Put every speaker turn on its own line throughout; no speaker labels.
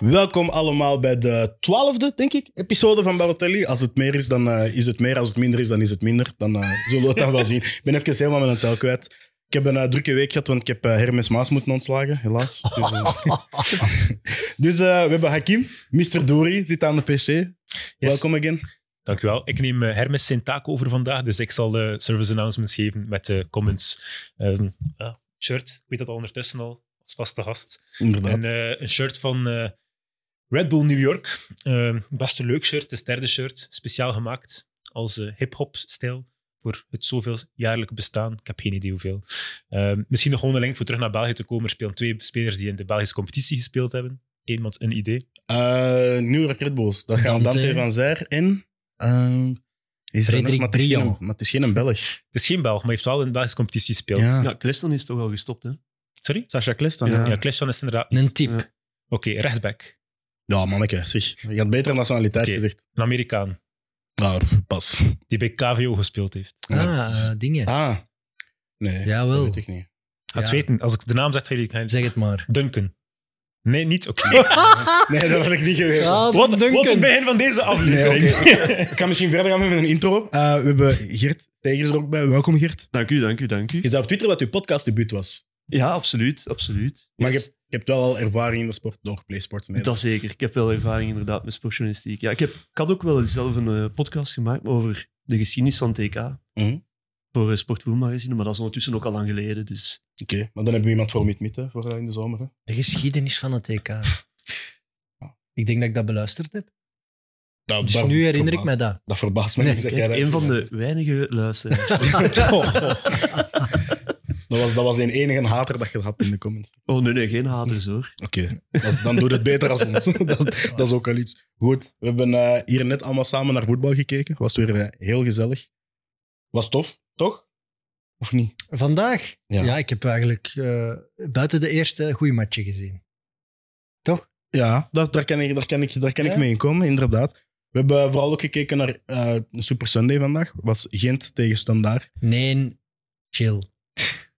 Welkom allemaal bij de twaalfde, denk ik, episode van Barotelli. Als het meer is, dan eh, is het meer. Als het minder is, dan is het minder. Dan eh, zullen we het dan wel zien. Ik ben even helemaal mijn tel kwijt. Ik heb een eh, drukke week gehad, want ik heb eh, Hermes Maas moeten ontslagen, helaas. Dus, eh, dus, eh, we hebben Hakim, Mr. Douri, zit aan de PC. Welkom again.
Dankjewel. Ik neem eh, Hermes zijn taak over vandaag, dus ik zal de service announcements geven met de comments. Ehm, ja, shirt, ik weet dat al ondertussen al, als vaste gast.
Inderdaad.
En, eh, een shirt van eh, Red Bull New York. Ehm, beste leuk shirt, het is het derde shirt, speciaal gemaakt als eh, hip-hop stijl voor het zoveel jaarlijke bestaan. Ik heb geen idee hoeveel. Ehm, misschien nog gewoon een link voor terug naar België te komen. Er spelen twee spelers die in de Belgische competitie gespeeld hebben. Iemand een idee?
Eh, New York Red Bulls. Dat gaan
Dante.
Dante van Zijr en... ehm, is er nog-
Frederik
maar het is geen-
Briand.
Maar het is geen een Belg.
Het is geen Belg, maar heeft wel in de Belgische competitie gespeeld.
Ja.
Ja, Kleston is toch al gestopt, hè?
Sorry?
Sasha Klestan.
Ja.
Ja.
Ja, Christian is inderdaad niet.
Een tip.
Ja.
Oké, rechtsback.
ja, manneke, zeg. Je had betere nationaliteit
Oké.
gezegd.
Een Amerikaan
Nou, pas.
die bij KVO gespeeld heeft.
Ja,
Ah, eh, dingen.
Ah. Nee,
Jawel.
dat weet ik niet.
Gaat het
Ja.
weten. Als ik de naam zeg, jullie gaan
Zeg het maar.
Duncan. Nee, niet. Oké.
Nee, dat had ik niet geweten.
wat, wat het begin van deze aflevering.
Ik kan misschien verder gaan met een intro. Eh, we hebben Geert Tegers er ook bij. Welkom, Geert.
Dank u, dank u, dank u.
Je zei op Twitter dat uw podcastdebuut was.
Ja, absoluut, absoluut.
Maar
Yes.
je, hebt, je hebt wel al ervaring in de sport door PlaySports. mee.
Dat zeker. Ik heb wel ervaring inderdaad met sportjournalistiek. Ja, ik, heb, ik had ook wel zelf een eh, podcast gemaakt over de geschiedenis van TK.
Mhm.
Voor eh, Sportvoermagazine, maar dat is ondertussen ook al lang geleden. Dus
Oké, maar dan hebben we iemand voor mid hè, voor eh, in de zomer. hè.
De geschiedenis van het EK. Ik denk dat ik dat beluisterd heb.
Dat,
Dus
dat-
nu herinner ik
verbaast-
mij dat.
Dat verbaast me
Nee,
niet dat jij
kijk,
dat
een
hebt
van de
gezegd.
weinige luisteraars.
Dat was, dat was een enige hater dat je had in de comments.
oh nee, nee, geen haters hoor.
Oké, dat is- dan doet het beter als ons. dat, dat is ook al iets. Goed, we hebben eh, hier net allemaal samen naar voetbal gekeken. Was weer eh, heel gezellig. Was tof, toch? Of niet?
Vandaag?
Ja.
Ja, ik heb eigenlijk eh, buiten de eerste goede matje gezien.
Ja, dat, daar kan, ik, daar kan, ik, daar kan ik
Ja.
mee in komen, inderdaad. We hebben vooral ook gekeken naar eh, een Super Sunday vandaag. Was Gent tegen Standaard?
Nee, chill.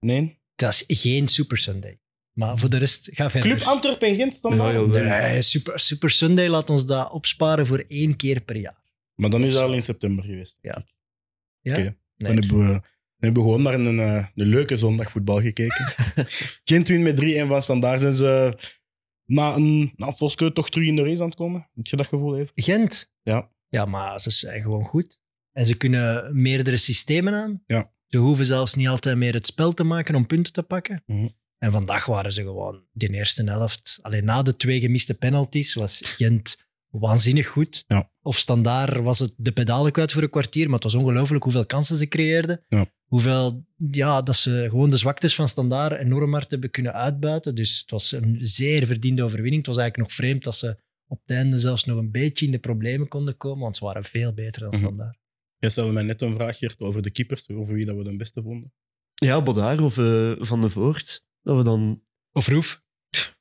Nee.
Dat is geen Super Sunday. Maar voor de rest, ga verder.
Club Antwerpen en Gent Standaard?
Ja, jawel.
Nee, super, super Sunday, laat ons dat opsparen voor één keer per jaar.
Maar dan is dat al in september geweest.
Ja?
Oké.
Nee.
Dan, hebben we, dan hebben we gewoon naar een, eh, een leuke zondag voetbal gekeken. Gent wint met 3-1 van Standaard. Zijn ze na een, na een Voske toch terug in de race aan het komen? Heb je dat gevoel even?
Gent?
Ja.
Ja, maar ze zijn gewoon goed. En ze kunnen meerdere systemen aan.
Ja.
Ze hoeven zelfs niet altijd meer het spel te maken om punten te pakken.
Mhm.
En vandaag waren ze gewoon de eerste helft. Alleen na de twee gemiste penalties was Gent waanzinnig goed.
Ja.
Of standaard was het de pedalen kwijt voor een kwartier, maar het was ongelooflijk hoeveel kansen ze creëerden.
Ja.
Hoeveel, ja, dat ze gewoon de zwaktes van standaard enorm hard hebben kunnen uitbuiten. Dus het was een zeer verdiende overwinning. Het was eigenlijk nog vreemd dat ze op het einde zelfs nog een beetje in de problemen konden komen, want ze waren veel beter dan
Mhm.
standaard.
Jij stelde mij net een vraag Geert, over de keepers, over wie dat we de beste vonden.
Ja, Bodaar of eh, Van de Voort. Dat we dan...
Of Roef.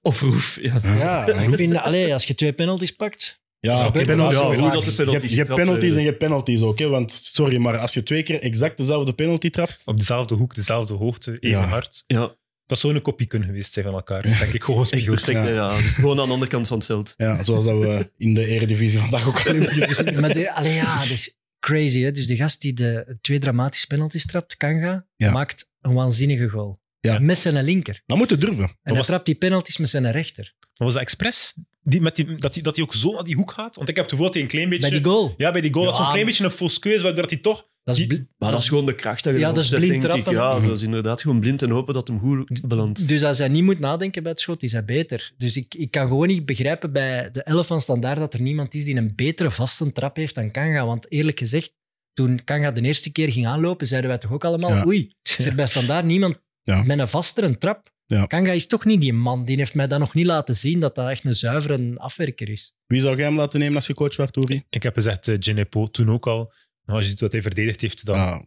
Of Roef. Ja, dat is-
Roef in de- allee, als je twee penalties pakt.
Ja,
Ja,
oké,
penalties.
penalties.
Ja, hoe dat de
Je hebt-
penalties
Je hebt
trappen.
penalties en je hebt penalties ook. Hè? Want sorry, maar als je twee keer exact dezelfde penalty trapt.
Op dezelfde hoek, dezelfde hoogte, even
Ja.
hard.
ja
Dat zou een kopie kunnen geweest zijn van elkaar. Denk ik gewoon
echt
spiegels.
perfect. hè, Ja. Gewoon aan de andere kant van het veld.
Ja, zoals dat we in de Eredivisie vandaag ook al hebben gezien.
Maar de, allee, ja, dat is crazy. Hè? Dus de gast die de twee dramatische penalties trapt, Kanga,
Ja.
maakt een waanzinnige goal.
Ja.
Met zijn linker.
Dat moet je durven.
En hij
was-
trapt die penalties met zijn rechter.
Maar was dat expres? Die, met die, dat hij dat die ook zo naar die hoek gaat? Want ik heb het gevoel dat hij een klein beetje...
Bij die goal.
Ja, bij die goal. dat
Ja,
zo'n klein
maar-
beetje een fausse keuze, waardoor hij toch...
Dat is
Die-
bl-
Maar dat is gewoon de kracht dat je
Ja,
erop
dat is
zet,
blind
denk ik.
trappen.
Ja, dat is inderdaad gewoon blind en hopen dat hem goed belandt.
Dus als hij niet moet nadenken bij het schot, is hij beter. Dus ik, ik kan gewoon niet begrijpen bij de 11 van standaard dat er niemand is die een betere vaste trap heeft dan Kanga. Want eerlijk gezegd, toen Kanga de eerste keer ging aanlopen, zeiden wij toch ook allemaal:
Ja.
oei, is er bij standaard niemand
Ja.
met een vastere trap?
Ja.
Kanga is toch niet die man. Die heeft mij dat nog niet laten zien dat dat echt een zuivere afwerker is.
Wie zou jij hem laten nemen als je coach was, Touri?
Ik heb gezegd, uh, Ginepo, toen ook al. Nou, als je ziet wat hij verdedigd heeft, dan...
Ja.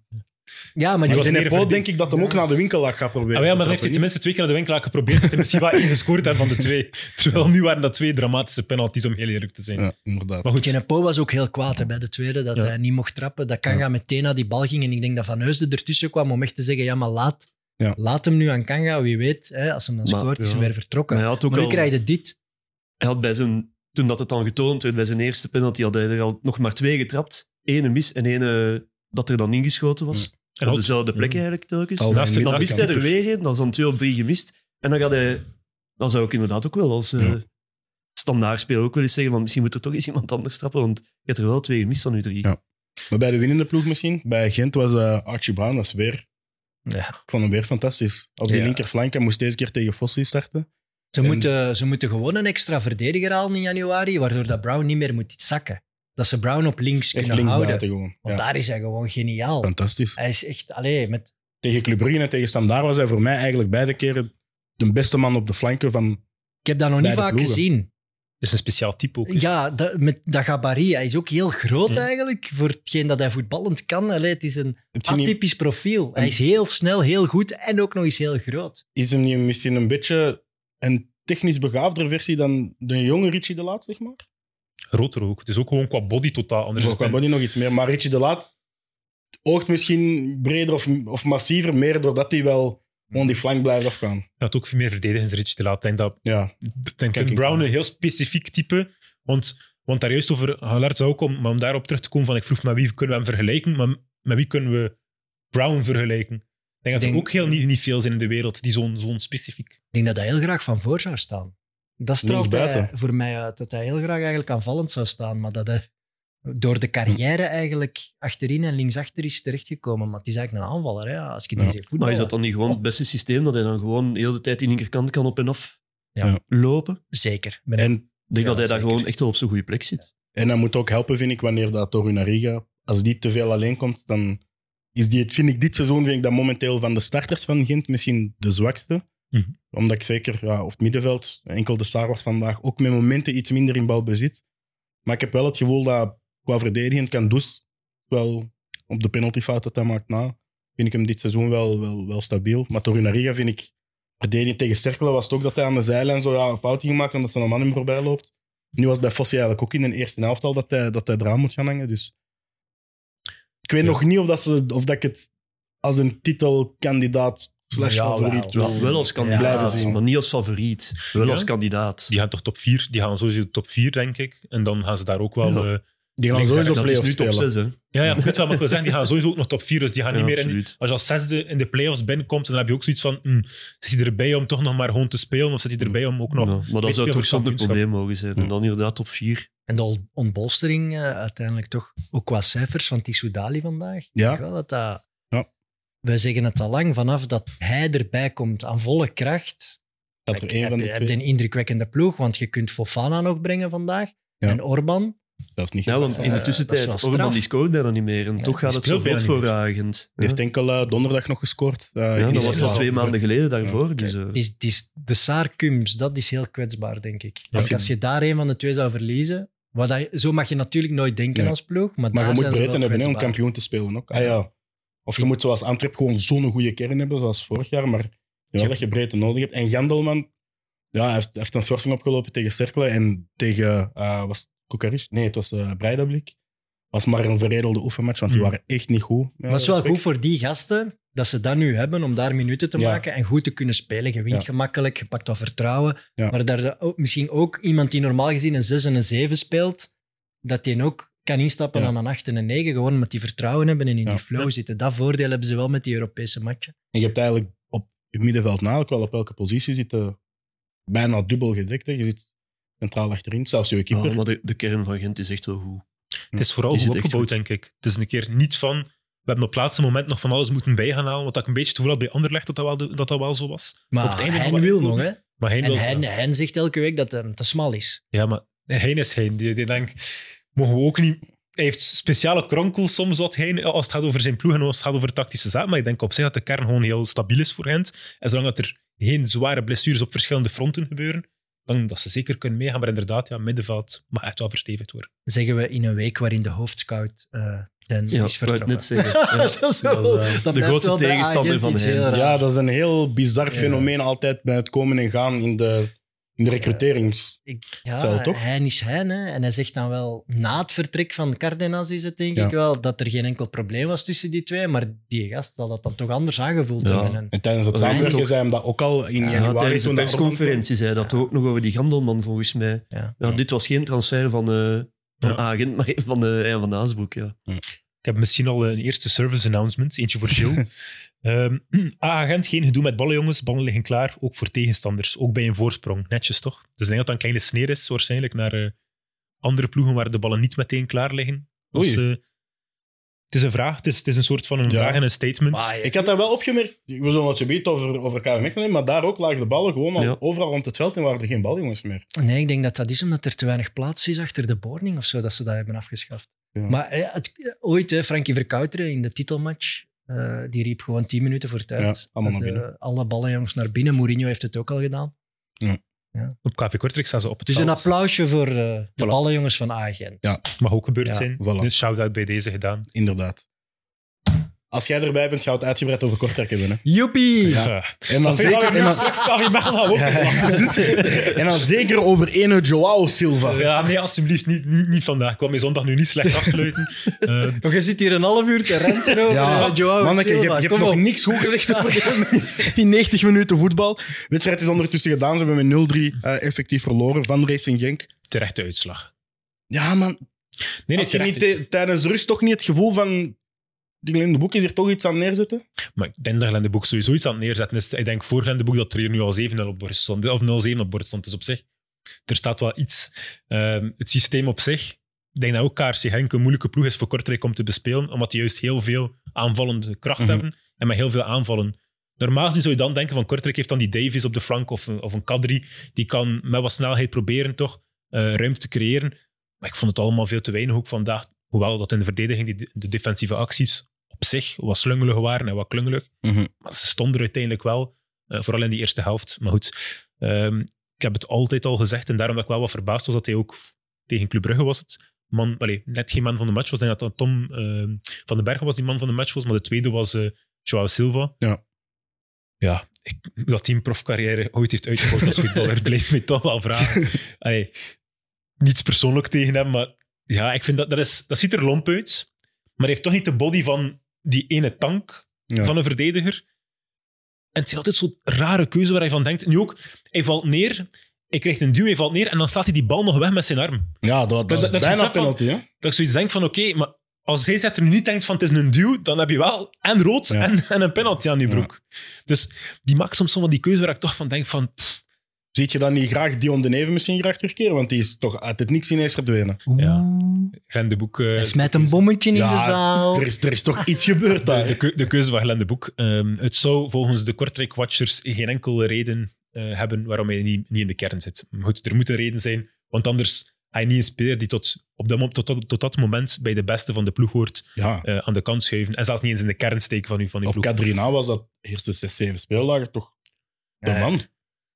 Ja, maar
Maar
die
was
in
meer
de
verdiend.
denk ik dat hem ook naar de winkel lag gaat proberen.
Ah, ja, maar dan
te
heeft hij
trappen,
tenminste twee keer naar de winkel geprobeerd. Dat hij misschien wel één gescoord heeft van de twee. Terwijl nu waren dat twee dramatische penalties, om heel eerlijk te zijn.
niet? Ja, inderdaad.
Maar goed,
Kenepo was ook heel kwaad hè, bij de tweede, dat
Ja.
hij niet mocht trappen. Dat Kanga meteen naar die bal ging. En ik denk dat Van Heusden ertussen kwam om echt te zeggen, ja, maar laat,
Ja.
laat hem nu aan Kanga. Wie weet, hè, als hem dan
Maar,
scoort, is hij
ja.
weer vertrokken.
Maar
Maar,
hij had ook
nu
al-
krijg je dit.
Hij had bij zijn, toen dat het dan getoond werd, bij zijn eerste penalty had hij er al nog maar twee getrapt. Ene mis en ene dat er dan ingeschoten
Mm.
was.
En
Op
ook-
dezelfde plek
Ja.
eigenlijk telkens.
Al
naast-
mijn
Dan
naast-
mist
middenkampers.
hij er weer een, dan is dan twee op drie gemist. En dan, gaat hij, dan zou ik inderdaad ook wel als eh
Ja.
standaard speler ook wel eens zeggen van misschien moet er toch eens iemand anders trappen, want je hebt er wel twee gemist van nu drie.
Ja. Maar bij de winnende ploeg misschien, bij Gent was eh, Archie Brown was weer...
Ja.
Ik vond hem weer fantastisch. Op die
Ja.
linkerflank, hij moest deze keer tegen Fossi starten.
Ze,
En-
moeten, ze moeten gewoon een extra verdediger halen in januari, waardoor dat Brown niet meer moet zakken. Dat ze Brown op links
Echt
kunnen
links
houden.
buiten gewoon. Ja,
Want daar is hij gewoon geniaal.
Fantastisch.
Hij is echt, allee, met,
Tegen Club Brugge en tegen Standaard was hij voor mij eigenlijk beide keren de beste man op de flanken van...
ik heb dat nog niet
Beide
vaak
ploegen.
gezien.
is een speciaal type ook. hè.
Ja, dat, met dat gabarit. Hij is ook heel groot
Ja.
eigenlijk voor hetgeen dat hij voetballend kan. Allee, het is een
Heb je niet-
atypisch profiel. Hij
En-
is heel snel, heel goed en ook nog eens heel groot.
Is hem niet misschien een beetje een technisch begaafder versie dan de jonge Richie de Laat, zeg maar?
Groter ook. Het is ook gewoon qua body totaal anders.
Dus qua body nog iets meer. Maar Richie de Laat oogt misschien breder of, of massiever, meer doordat hij wel
Mm.
gewoon die flank blijft afgaan.
Hij had ook veel meer verdedigingsritje te laten. Ik denk dat
Ja,
denk
Kijk,
Tim
ik
Brown
wel.
een heel specifiek type. Want, want daar juist over Hallard zou ook om, maar om daarop terug te komen: van ik vroeg met wie kunnen we hem vergelijken, maar met wie kunnen we Brown vergelijken? Ik denk dat er
Denk-
ook heel niet, niet veel zijn in de wereld die zo'n zo'n specifiek.
Ik denk dat hij heel graag van voor zou staan. Dat straalt hij
Linksbuiten.
voor mij uit. Dat hij heel graag eigenlijk aanvallend zou staan. Maar dat hij door de carrière eigenlijk achterin en linksachter is terechtgekomen. Maar het is eigenlijk een aanvaller, hè, als je die
Ja.
ziet
Maar
voetballen.
is dat dan niet gewoon het beste systeem dat hij dan gewoon de hele tijd die linkerkant kan op en af
Ja.
lopen?
Zeker. Ben ik-
en,
Ik denk
Ja,
dat hij daar
zeker.
gewoon echt wel op zijn goede plek zit.
en dat moet ook helpen, vind ik, wanneer dat Torunariga, als die te veel alleen komt, dan is die, het, vind ik dit seizoen, vind ik dat momenteel van de starters van Gent misschien de zwakste.
Mhm.
Omdat ik zeker, ja, op het middenveld, enkel de Saar was vandaag ook met momenten iets minder in balbezit. Maar ik heb wel het gevoel dat qua verdedigend kan Does wel op de penaltyfout dat hij maakt na. Vind ik hem dit seizoen wel, wel, wel stabiel. Maar Torunariga vind ik, verdedigend tegen Cerkelen was het ook dat hij aan de zijlijn zo ja, een fout ging maken omdat zijn man hem voorbij loopt. Nu was het bij Fossi eigenlijk ook in de eerste helft al dat hij, dat hij eraan moet gaan hangen. Dus ik weet
Ja.
nog niet of, dat ze, of dat ik het als een titelkandidaat slash
Ja,
favoriet
wel.
wil
wel als
blijven
kandidaat,
zien.
maar niet als favoriet. Wel
Ja.
als kandidaat.
Die gaan toch top 4? Die gaan sowieso top 4, denk ik. En dan gaan ze daar ook wel.
Ja.
eh,
Die gaan
Links-
sowieso
dat is
play-offs
nu top
spelen.
6, hè?
ja, ja, goed wel, maar ik wil zeggen, die gaan sowieso ook nog top 4. Dus die gaan
Ja,
niet meer. in-
absoluut.
als je als zesde in de playoffs binnenkomt, dan heb je ook zoiets van: hm, zit hij erbij om toch nog maar gewoon te spelen? Of zit hij erbij om ook nog.
Ja, maar
mee
dat zou
spelen
toch
voor het
zonder probleem
kampioenschap.
mogen zijn. En dan inderdaad top 4.
En de on- ontbolstering eh, uiteindelijk toch, ook qua cijfers van Tissou Dali vandaag. Ik
Ja.
denk wel dat dat...
Ja.
Wij zeggen het al lang, vanaf dat hij erbij komt aan volle kracht,
Dat er
Ik
één
heb,
van de
heb
twee-
een indrukwekkende ploeg, want je kunt Fofana nog brengen vandaag.
Ja.
En Orban.
Dat is niet
Ja, want
Eh,
in de
dat is wel
tussentijd,
straf.
Orban die scoort bijna niet meer. En toch gaat
die
het zo
speelt
vlot
bijna niet
voor Agent.
Die
Ja,
heeft enkel eh, donderdag nog gescoord. eh,
Ja,
in
dat
de
was
eerste
al
wel
twee
helft.
maanden geleden daarvoor. Dus, eh,
Het is, het is de Saar-Kums, dat is heel kwetsbaar, denk ik.
Ja.
Als, je, als je daar een van de twee zou verliezen. Wat dat, zo mag je natuurlijk nooit denken
Nee.
als ploeg. Maar,
Maar
daar
je moet
zijn ze
breedte
wel
hebben hè, om
kwetsbaar.
kampioen te spelen ook. Ah, ja. Of je moet zoals Antwerp gewoon zo'n goede kern hebben, zoals vorig jaar. Maar ja,
Ja.
dat je breedte nodig hebt. En Gandelman ja, hij heeft, heeft een schorsing opgelopen tegen Cerkelen en tegen... eh, was het Kukaris? Nee, het was eh Breidablik. was maar een verredelde oefenmatch, want die
Mm.
waren echt niet goed. Ja,
Maar het is wel
respect.
goed voor die gasten dat ze dat nu hebben om daar minuten te
Ja.
maken en goed te kunnen spelen. Je wint
Ja.
gemakkelijk, je pakt wat vertrouwen.
Ja.
Maar daar de- ook- misschien ook iemand die normaal gezien een 6 en een 7 speelt, dat die ook kan instappen
Ja.
aan een 8 en een 9, gewoon omdat die vertrouwen hebben en in
Ja.
die flow
Ja.
zitten. Dat voordeel hebben ze wel met die Europese matchen.
En je hebt eigenlijk op je middenveld namelijk wel op elke positie zitten bijna dubbel gedekt. Hè. Je zit centraal achterin, zelfs je keeper.
ja, maar de, de kern van Gent is echt wel goed.
Het is vooral
Die
goed
zit echt
opgebouwd,
goed.
denk ik. Het is een keer niet van. We hebben op het laatste moment nog van alles moeten bij gaan halen. Wat ik een beetje het gevoel had bij Anderlecht dat dat wel, de- dat dat wel zo was. Op het
Maar
einde
hij
nog wel
wil
echt
nog,
goed.
hè?
Maar Hein
En
wil
hij, hij zegt elke week dat hem te smal is.
Ja, maar Hein is Hein. Die, die denk, mogen we ook niet... Hij heeft speciale kronkels soms wat Hein, eh, als het gaat over zijn ploeg en als het gaat over tactische zaken. Maar ik denk op zich dat de kern gewoon heel stabiel is voor Gent. En zolang dat er geen zware blessures op verschillende fronten gebeuren, dan dat ze zeker kunnen meegaan. Maar inderdaad, ja, middenveld mag echt wel verstevigd worden.
Zeggen we in een week waarin de hoofdscout eh zijn
Ja,
is
wou ik
vertrokken.
net zeggen. Ja.
dat is wel-
Dat is, eh,
dat
de
blijft
grootste
wel bij
tegenstander
Agent
van
iets
hem.
heel raars.
Ja, dat is een heel bizar
Ja.
fenomeen altijd bij het komen en gaan in de In de recruterings.
Ik, ja,
Zou het toch?
Hein is Hein. Hè? En hij zegt dan wel, na het vertrek van Cardenas is het denk
Ja.
ik wel, dat er geen enkel probleem was tussen die twee. Maar die gast zal dat dan toch anders aangevoeld
Ja.
hebben. En,
En tijdens het
Dat is
samenwerken
eigenlijk
zei hem dat ook al in
Ja,
januari.
tijdens de
toen dat
persconferentie zei dat ook nog over die Gandelman, volgens mij.
Ja.
Ja, dit was geen transfer van, eh van
Ja.
Agent, maar van, eh van Aasbroek. Ja.
Ik heb misschien al een eerste service announcement. Eentje voor Jill. Ehm, A-agent, geen gedoe met ballen, jongens. Ballen liggen klaar, ook voor tegenstanders. Ook bij een voorsprong. Netjes, toch? Dus ik denk dat dat een kleine sneer is, waarschijnlijk, naar eh, andere ploegen waar de ballen niet meteen klaar liggen. Als, eh, het is een vraag. Het is, het is een soort van een
Ja.
vraag en een statement.
Ja, Ik had daar wel opgemerkt, we zullen het zo beetje over, over KV Mechelen hebben, maar daar ook lagen de ballen gewoon al
Ja.
overal rond het veld en waren er geen baljongens meer.
Nee, ik denk dat dat is omdat er te weinig plaats is achter de boarding of zo, dat ze dat hebben afgeschaft.
Ja.
Maar eh, het- ooit, hè, Frankie Verkouteren in de titelmatch, eh, die riep gewoon 10 minuten voor tijd.
Ja, allemaal naar
Dat, eh,
binnen.
alle ballen jongens naar binnen. Mourinho heeft het ook al gedaan.
Op KV Kortrijk staan ze op het
Het is een
veld.
applausje voor eh, de
Voilà.
ballenjongens van Agent.
Ja.
Mag ook gebeurd
Ja,
zijn.
voilà.
Dus shout-out bij deze gedaan.
Inderdaad. Als jij erbij bent, gaat het uitgebreid over Kortrijk hebben. Hè.
Joepie!
Ja.
Ja.
En dan,
Als je
zeker, en,
nou
dan,
straks KV Mechelen gaan we ook eens lachen.
en dan zeker over ene Joao Silva.
Ja, nee, alsjeblieft, niet, niet, niet vandaag. Ik kwam mijn zondag nu niet slecht afsluiten. Eh,
Maar je zit hier een half uur te renten over
Ja,
eh, Joao
manneke, je
Silva.
hebt, je hebt
Kom
nog
op.
niks goed gezegd over die mensen. Die 90 minuten voetbal. De wedstrijd is ondertussen gedaan. Ze hebben met 0-3 eh, effectief verloren van Racing Genk.
terechte uitslag.
Ja, man.
Nee, nee,
had je
terechte
niet te- tijdens de rust toch niet het gevoel van... Die Glenn de Boek is hier toch iets aan neerzetten?
Maar ik denk dat Lendeboek sowieso iets aan het neerzetten is. Ik denk voor Lendeboek dat er hier nu al 7 op bord stond. Of 0-7 op bord stond. Dus op zich, er staat wel iets. Ehm, het systeem op zich. Ik denk dat ook KRC Henk een moeilijke ploeg is voor Kortrijk om te bespelen. Omdat die juist heel veel aanvallende kracht
Mhm.
hebben. En met heel veel aanvallen. Normaal gezien zou je dan denken van Kortrijk heeft dan die Davies op de flank of een, of een Kadri. Die kan met wat snelheid proberen toch eh, ruimte te creëren. Maar ik vond het allemaal veel te weinig ook vandaag. Hoewel dat in de verdediging die, de- de defensieve acties op zich wat slungelig waren en wat klungelig.
Mhm.
Maar ze stonden er uiteindelijk wel, eh, vooral in die eerste helft. Maar goed, ehm, ik heb het altijd al gezegd en daarom dat ik wel wat verbaasd was dat hij ook f- tegen Club Brugge was het. Man, allee, net geen man van de match was. Ik denk dat dat Tom ehm, van den Bergen was die man van de match was, maar de tweede was eh Joao Silva.
Ja.
Ja, ik, dat die een profcarrière ooit heeft uitgevoerd als voetballer, bleef mij toch wel vragen. Allee, niets persoonlijk tegen hem, maar ja, ik vind dat, dat, is, dat ziet er lomp uit. Maar hij heeft toch niet de body van die ene tank
Ja.
van een verdediger. En het is altijd zo'n rare keuze waar hij van denkt. Nu ook, hij valt neer, hij krijgt een duw, hij valt neer en dan slaat hij die bal nog weg met zijn arm.
Ja, dat,
Dat-
dat is
dat je
bijna
zegt van-
penalty, hè?
Dat ik zoiets denk van, oké, maar als hij zet er nu niet denkt van het is een duw, dan heb je wel en rood
Ja.
en, en een penalty aan je
Ja.
broek. Dus die maakt soms soms van die keuze waar ik toch van denk van, pff,
Ziet je dan niet graag Dion de Neven misschien graag terugkeren? Want die is toch uit het niks ineens verdwenen.
Ja. Glenn de Boek... eh,
Hij smijt een bommetje in
Ja,
de zaal.
Er is, er is toch iets gebeurd
De,
daar.
de, keu- de keuze van Glenn de Boek. Ehm, het zou volgens de Kortrijk-watchers geen enkele reden eh, hebben waarom hij niet, niet in de kern zit. Maar goed, er moet een reden zijn, want anders ga je niet een speler die tot, op dat, mom- tot, dat- tot dat moment bij de beste van de ploeg hoort
Ja,
eh, aan de kant schuiven. En zelfs niet eens in de kern steken van uw, van uw
op
ploeg.
K3 na was dat eerste 6, 7 speeldagen toch de
Ja.
man.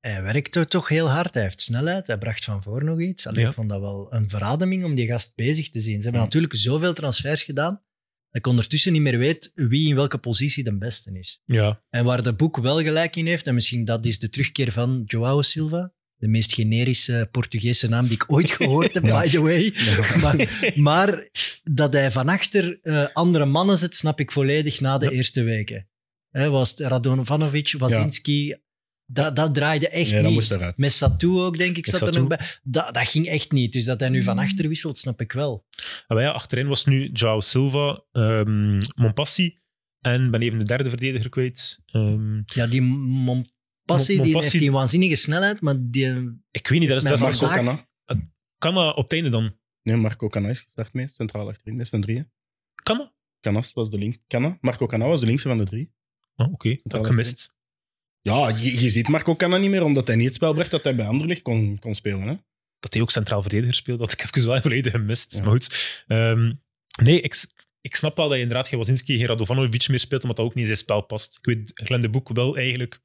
Hij werkt er toch heel hard. Hij heeft snelheid. Hij bracht van voor nog iets. Allee,
Ja.
Ik vond dat wel een verademing om die gast bezig te zien. Ze hebben
Ja.
natuurlijk zoveel transfers gedaan dat ik ondertussen niet meer weet wie in welke positie de beste is.
Ja,
En waar de boek wel gelijk in heeft, en misschien dat is de terugkeer van Joao Silva, de meest generische Portugese naam die ik ooit gehoord heb,
Ja.
by the way. Maar, maar dat hij van achter eh, andere mannen zit, snap ik volledig na de
Ja.
eerste weken. Hè, was het Radonovanovic, Wazinski, dat, dat draaide echt
Nee, dat
niet.
moest eruit.
Met Satou ook, denk ik, zat er
Satou.
nog bij. Dat, dat ging echt niet. Dus dat hij nu van
Mm.
achter wisselt, snap ik wel.
en ja, achterin was nu Joao Silva, ehm Monpassi en ben even de derde verdediger kwijt. Ehm,
Ja, die Mompassi, die
Mompassi-
heeft die waanzinnige snelheid, maar die...
ik weet niet, dat is, dat
Met
is
Marco
vandaag-
Cana.
kan dat op het einde dan?
Nee, Marco Cana is gestart mee. Centraal achterin. Dat zijn drieën.
Kan dat?
Canas was de links. Cana. Marco Cana was de linkse van de drie.
Oh, Oké, dat heb ik gemist.
Ja, je, je ziet Marco Cana niet meer, omdat hij niet het spel bracht dat hij bij Anderlecht kon, kon spelen. Hè?
dat hij ook centraal verdediger speelt. Dat ik even wel volledig gemist.
Ja.
Maar goed. Ehm, nee, ik, ik snap wel dat je inderdaad geen Wazinski, geen Radovanovic meer speelt, omdat dat ook niet in zijn spel past. Ik weet, Glenn de Boek wel eigenlijk,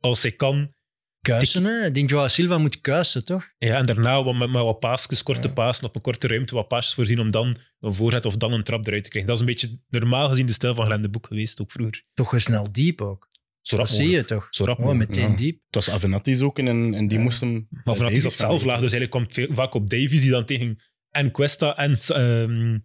als hij kan.
Kuisen, hè? Die Joao Silva moet kuisen, toch?
Ja, en daarna wat, met, met wat paasjes, korte paas, op een korte ruimte wat paasjes voorzien om dan een voorzet of dan een trap eruit te krijgen. Dat is een beetje normaal gezien de stijl van Glenn de Boek geweest, ook vroeger.
toch weer snel diep ook.
Zo rap
Dat zie
mogelijk.
je toch?
Zo rap
Oh,
mogelijk.
meteen
Ja.
diep.
Het was Avenatti zoeken en, en die
Ja.
moest hem...
Maar vanaf die
Davies
zat
gaan
zelf
doen.
laag, dus eigenlijk kwam het veel- vaak op Davies, die dan tegen en Cuesta en ehm,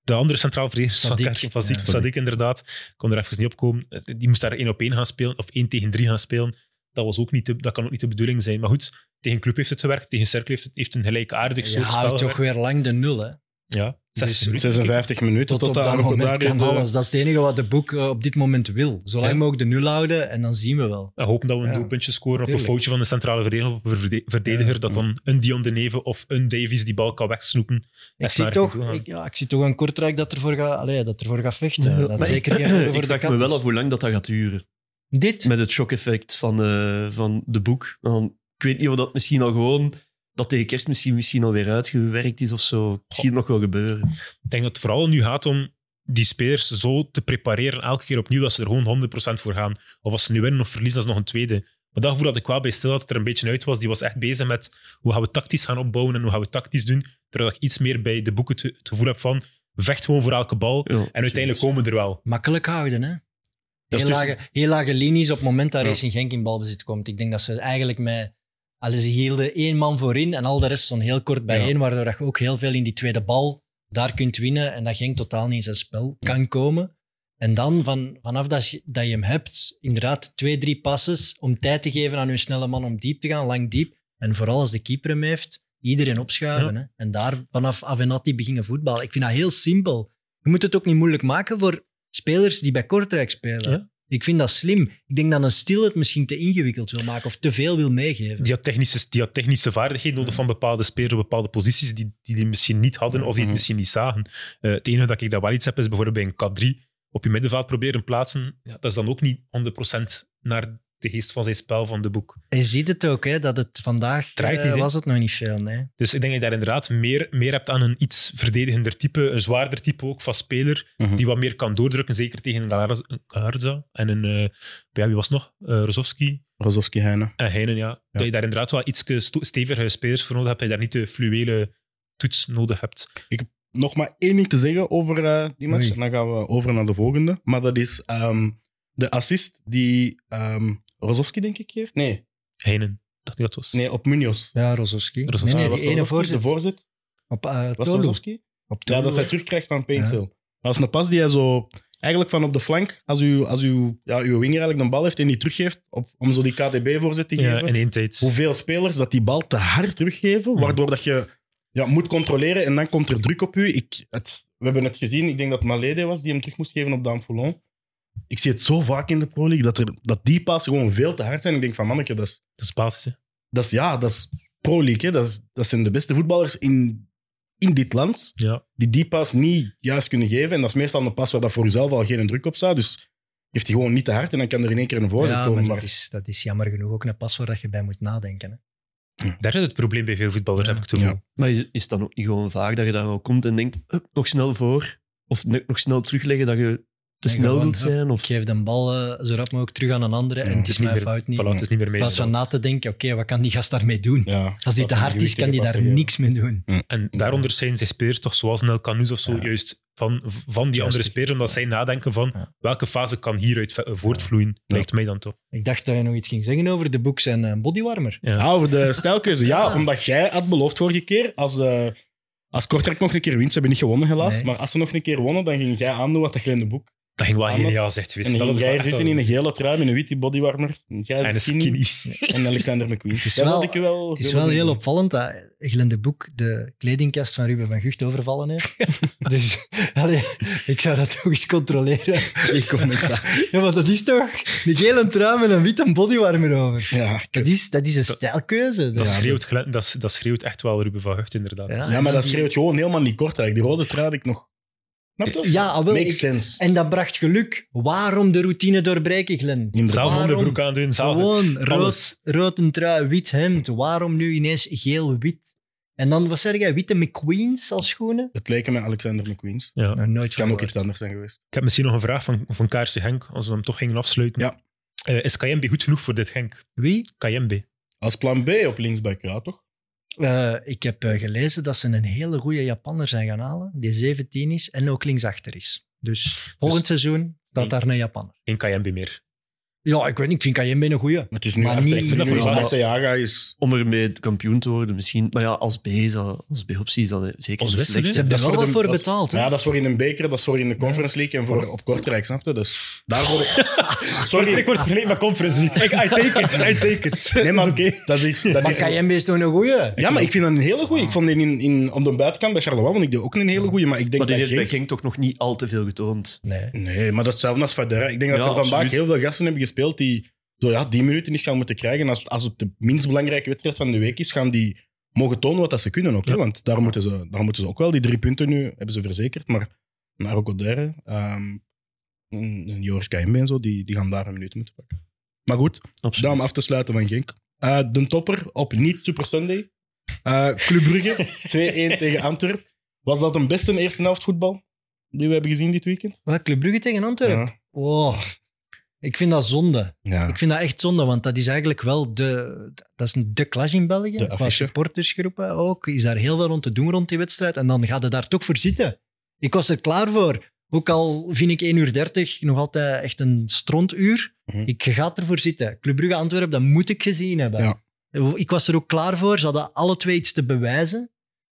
de andere centraal verdedigers van
Sadik.
Kerken, Sadik,
Ja.
Sadik inderdaad, kon er even niet op komen. Eh, Die moest daar één op één gaan spelen, of één tegen drie gaan spelen. Dat, was ook niet de- dat kan ook niet de bedoeling zijn. Maar goed, tegen Club heeft het gewerkt, tegen Cercle heeft, het- heeft een gelijkaardig
Je
soort spel
houdt toch
gewerkt.
weer lang de nul, hè?
Ja, 60
Dus-
minuten.
56 minuten
Tot,
tot,
op dat moment
Arco
kan
daar
alles. Dat is het enige wat de boek eh, op dit moment wil. Zolang
Ja.
mogelijk de nul houden en dan zien we wel.
En hopen dat we een
Ja,
doelpuntje scoren op een
tuurlijk.
foutje van de centrale verdediger, op een verde- verdediger, dat dan een Dion de Neve of een Davies die bal kan wegsnoepen.
Ik
Echt
zie,
waar,
toch,
ik wil gaan.
ik, ja, ik zie toch een Kortrijk dat ervoor gaat, allee, dat ervoor gaat vechten.
Ja,
dat dus.
maar
zeker geen
Ik
voor de
vraag
kat
me wel
is.
af hoe lang dat, dat gaat duren.
Dit?
Met het shock-effect van, eh, van de boek. Want ik weet niet of dat misschien al gewoon... Dat tegen kerst misschien, misschien alweer uitgewerkt is of zo. Ik zie het nog wel gebeuren.
Ik denk dat het vooral nu gaat om die spelers zo te prepareren elke keer opnieuw dat ze er gewoon 100% voor gaan. Of als ze nu winnen of verliezen, dat is nog een tweede. Maar dat gevoel had ik wel bij Stil dat het er een beetje uit was. Die was echt bezig met hoe gaan we tactisch gaan opbouwen en hoe gaan we tactisch doen. Terwijl ik iets meer bij de boeken te- het gevoel heb van vecht gewoon voor elke bal.
Ja,
En uiteindelijk komen we er wel.
Makkelijk houden, hè?
Dat
Heel,
is dus-
lage, heel lage linies op het moment dat
Ja.
Racing Genk in balbezit komt. Ik denk dat ze eigenlijk met... Allee, ze hielden één man voorin en al de rest stond heel kort bijeen, waardoor dat je ook heel veel in die tweede bal daar kunt winnen en dat Genk totaal niet in zijn spel kan komen. En dan, van, vanaf dat je, dat je hem hebt, inderdaad twee, drie passes om tijd te geven aan hun snelle man om diep te gaan, lang diep. En vooral als de keeper hem heeft, iedereen opschuiven. Hè? En daar vanaf Avenatti beginnen voetballen. Ik vind dat heel simpel. Je moet het ook niet moeilijk maken voor spelers die bij Kortrijk spelen.
Ja.
Ik vind dat slim. Ik denk dat een stil het misschien te ingewikkeld wil maken of te veel wil meegeven.
Die had technische, die had technische vaardigheden
Mhm.
nodig van bepaalde spelers op bepaalde posities die die, die misschien niet hadden of die het
Mhm.
misschien niet zagen. Eh, het enige dat ik daar wel iets heb, is bijvoorbeeld bij een K3 op je middenveld proberen plaatsen. Ja, dat is dan ook niet 100% naar de geest van zijn spel van de boek.
Je ziet het ook, hè, dat het vandaag
Draait
eh,
niet, hè?
was het nog niet veel. Nee.
Dus ik denk dat je daar inderdaad meer, meer hebt aan een iets verdedigender type, een zwaarder type ook van speler,
Mhm.
die wat meer kan doordrukken, zeker tegen een Galarza- een Galarza en een, eh, ja, wie was het nog? Eh Rozovski
Rozovski Heine.
en Heinen, eh, ja. Dat je daar inderdaad wel iets eh, stevigere spelers voor nodig hebt, dat je daar niet de fluwele toets nodig hebt.
nog maar één ding te zeggen over eh, die match.
Oei.
En dan gaan we over naar de volgende. Maar dat is ehm, de assist die ehm Rozovski, denk ik, geeft. Nee,
Heinen, dacht ik dat was.
nee op Munoz.
Ja, Rozovski.
Rozovski.
Nee, nee,
Ah, was
die
het
ene
Rozovski?
voorzet.
De voorzet.
op eh
Was het
Tolu.
Rozovski?
Op
Ja, dat
Tolu.
hij terugkrijgt van Painsel. Dat is een pas die hij zo... Eigenlijk van op de flank, als uw, als uw, ja, uw winger eigenlijk een bal heeft en die teruggeeft, op, om zo die KDB-voorzet te
Ja,
geven.
in één tijd.
hoeveel spelers dat die bal te hard teruggeven,
Mhm.
waardoor dat je ja, moet controleren en dan komt er druk op u. Ik, het, we hebben het gezien, ik denk dat het Malede was die hem terug moest geven op Daan Foulon. Ik zie het zo vaak in de Pro League dat, er, dat die passen gewoon veel te hard zijn. Ik denk van manneke, dat is,
Dat is basis, hè.
dat is, ja, dat is Pro League. Hè. Dat, is, dat zijn de beste voetballers in, in dit land
Ja.
die die pas niet juist kunnen geven. En dat is meestal een pas waar dat voor jezelf al geen druk op staat. Dus heeft hij gewoon niet te hard en dan kan er in één keer een voorzet
Ja, maar
komen.
dat
Maar,
is, dat is jammer genoeg ook een pas waar dat je bij moet nadenken. Hè.
Daar zit het probleem bij veel voetballers,
Ja.
heb ik het gevoel.
Ja.
Maar is, is het dan ook niet gewoon vaak dat je daar al komt en denkt, hup, nog snel voor? Of ne- nog snel terugleggen dat je te
En
snel
gewoon,
wilt
hup,
zijn? Of,
Ik geef de bal eh, zo rap mogelijk terug aan een andere
Ja,
en
het
het is mijn
niet meer-
fout niet.
Voilà, het is niet meer
In plaats van
meestal.
na te denken, oké, wat kan die gast daarmee doen?
ja,
Als die
dat
te
is een
hard is, kan
gewichtige
die
pas
daar
te geven.
niks mee doen.
En daaronder zijn zij spelers toch, zoals Nel Canus of zo,
Ja.
juist van, van die
Juist.
andere spelers, omdat zij nadenken van
Ja.
welke fase kan hieruit ve- voortvloeien, lijkt mij dan toch.
Ik dacht dat je nog iets ging zeggen over de boeks en eh, bodywarmer.
Ja.
Ja, over de stijlkeuze. Ja,
Ja.
omdat jij had beloofd vorige keer, als, eh als Kortrijk nog een keer wint, ze hebben niet gewonnen helaas,
Nee.
maar als ze nog een keer wonnen, dan ging jij aandoen wat dat je in de boek.
Dat ging wel
Anders-
geniaal, zegt wist.
en
dat
dan ging
had ik
jij
wel echt
zitten in
wel
Ah, een
gezien.
gele trui met een witte bodywarmer. En Jij
en een
skinny,
skinny.
En Alexander McQueen.
Het is
Daar
wel-
had ik je wel
Het is
veel
wel
zin
heel
in.
opvallend dat Glenn de Boek de kledingkast van Ruben van Gucht overvallen heeft. dus allee, ik zou dat toch eens controleren.
Ik kom met dat.
Ja, maar dat is toch een gele trui met een witte bodywarmer over.
Ja, ik-
Dat is, dat is een
Dat-
stijlkeuze.
Dat,
is-
schreeuwt, Glenn- dat, dat schreeuwt echt wel Ruben van Hucht, inderdaad.
Ja.
ja, maar dat schreeuwt gewoon helemaal niet Kortrijk. Die rode trui had ik nog. Snap je?
Ja, ah, wel,
Makes
ik-
sense.
En dat bracht geluk. Waarom de routine doorbreken, Glenn?
Zelf
Waarom?
onderbroek aandoen, zelf...
Gewoon
alles.
rood, rood een trui, wit hemd. Waarom nu ineens geel-wit? En dan, wat zeg jij, witte McQueens als schoenen?
Het leken met Alexander McQueen's.
Ja.
Nou, nooit
Het kan ook
gehoord.
iets anders zijn geweest.
Eh, Ik heb misschien nog een vraag van, van Kaarsje Henk, als we hem toch gingen afsluiten.
Ja.
Eh, is Kayembe goed genoeg voor dit, Henk?
Wie?
Kayembe.
Als plan B op linksback, ja toch?
Eh, ik heb eh, gelezen dat ze een hele goede Japanner zijn gaan halen, die 17 is
Dus
en ook linksachter is. Dus volgend seizoen staat daar een Japanner.
Geen Kayembe meer.
Ja, ik weet niet. Ik vind Cayenne een goeie.
Maar het is nu
Maar
echt...
niet-
Ik vind dat voor
Ja, maar-
Jaga is...
Om ermee kampioen te worden misschien. Maar ja, als B is dat, als B-optie is dat eh, zeker
Als
niet
Westerlo,
slecht.
Ze
dat
hebben er
is
wel
voor
wat
de-
voor
dat is-
betaald. hè?
Ja, dat is voor in een beker, dat is voor in de Conference League en voor op Kortrijk, snap je? Dus daarvoor... Sorry. Ah.
Ik word verleden met Conference League. Ik, I take it, I take it.
Nee, maar
Dat is oké.
dat is... Dat
Maar
is
Cayenne is toch een goeie?
ja, maar ik vind dat een hele goeie. Ik vond die in, in, op de buitenkant bij Charleroi vond ik die ook een hele goeie, maar ik denk
Maar die
dat
heeft bij
geen-
Genk toch nog niet al te veel getoond.
Nee.
Nee, maar dat is hetzelfde als Fadera. Ik denk dat
Ja,
er vandaag
absoluut.
heel veel gasten hebben gespeeld die zo, ja, die minuten niet gaan moeten krijgen. Als, als het de minst belangrijke wedstrijd van de week is, gaan die mogen tonen wat dat ze kunnen. Ook, hè?
Ja.
Want daar moeten, ze, daar moeten ze ook wel. Die drie punten nu hebben ze verzekerd. Maar naar Okodere, ehm en en Joris Kembe en zo, die, die gaan daar een minuut moeten pakken. Maar goed, daar om af te sluiten van Genk. Eh, de topper op niet Super Sunday. Eh, Club Brugge, 2-1 tegen Antwerp. Was dat een beste eerste helft voetbal die we hebben gezien dit weekend?
Maar Club Brugge tegen Antwerpen?
Ja.
Wow. Ik vind dat zonde.
Ja.
Ik vind dat echt zonde, want dat is eigenlijk wel de, dat is de clash in België.
De
Qua
affiche.
supportersgroepen ook. Is daar heel veel rond te doen rond die wedstrijd. En dan gaat het daar toch voor zitten. Ik was er klaar voor. Ook al vind ik 1 uur 30 nog altijd echt een strontuur.
Mhm.
Ik ga ervoor zitten. Club Brugge Antwerpen, dat moet ik gezien hebben.
Ja.
Ik was er ook klaar voor. Ze hadden alle twee iets te bewijzen.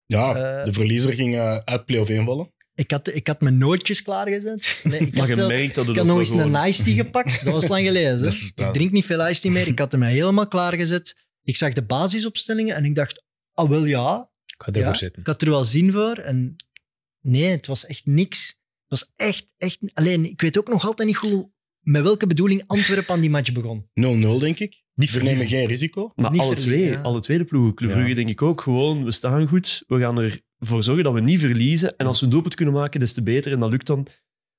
Ja,
Eh,
de verliezer ging eh, uit play-off invallen.
Ik had, ik had mijn nootjes klaargezet. Nee, ik
Maar
had
je
zelf-
merkt dat het
Ik had nog
ook wel
eens een
gewoon-
iced tea gepakt. Dat was lang geleden. hè.
Dat is
ik
dat.
drink niet veel iced tea meer. Ik had hem helemaal klaargezet. Ik zag de basisopstellingen en ik dacht, ah wel ja.
Ik ga ervoor
Ja.
zitten.
Ik had er wel zin voor. En nee, het was echt niks. Het was echt, echt... Alleen, ik weet ook nog altijd niet goed met welke bedoeling Antwerpen aan die match begon.
0-0, denk ik.
Niet
We nemen
verliezen.
geen risico.
Maar
Niet
alle
verliezen,
twee,
ja.
alle twee de ploegen. Club
Ja.
Brugge denk ik ook. Gewoon, we staan goed. We gaan ervoor zorgen dat we niet verliezen. En als we een doelpunt kunnen maken, des te beter. En dat lukt dan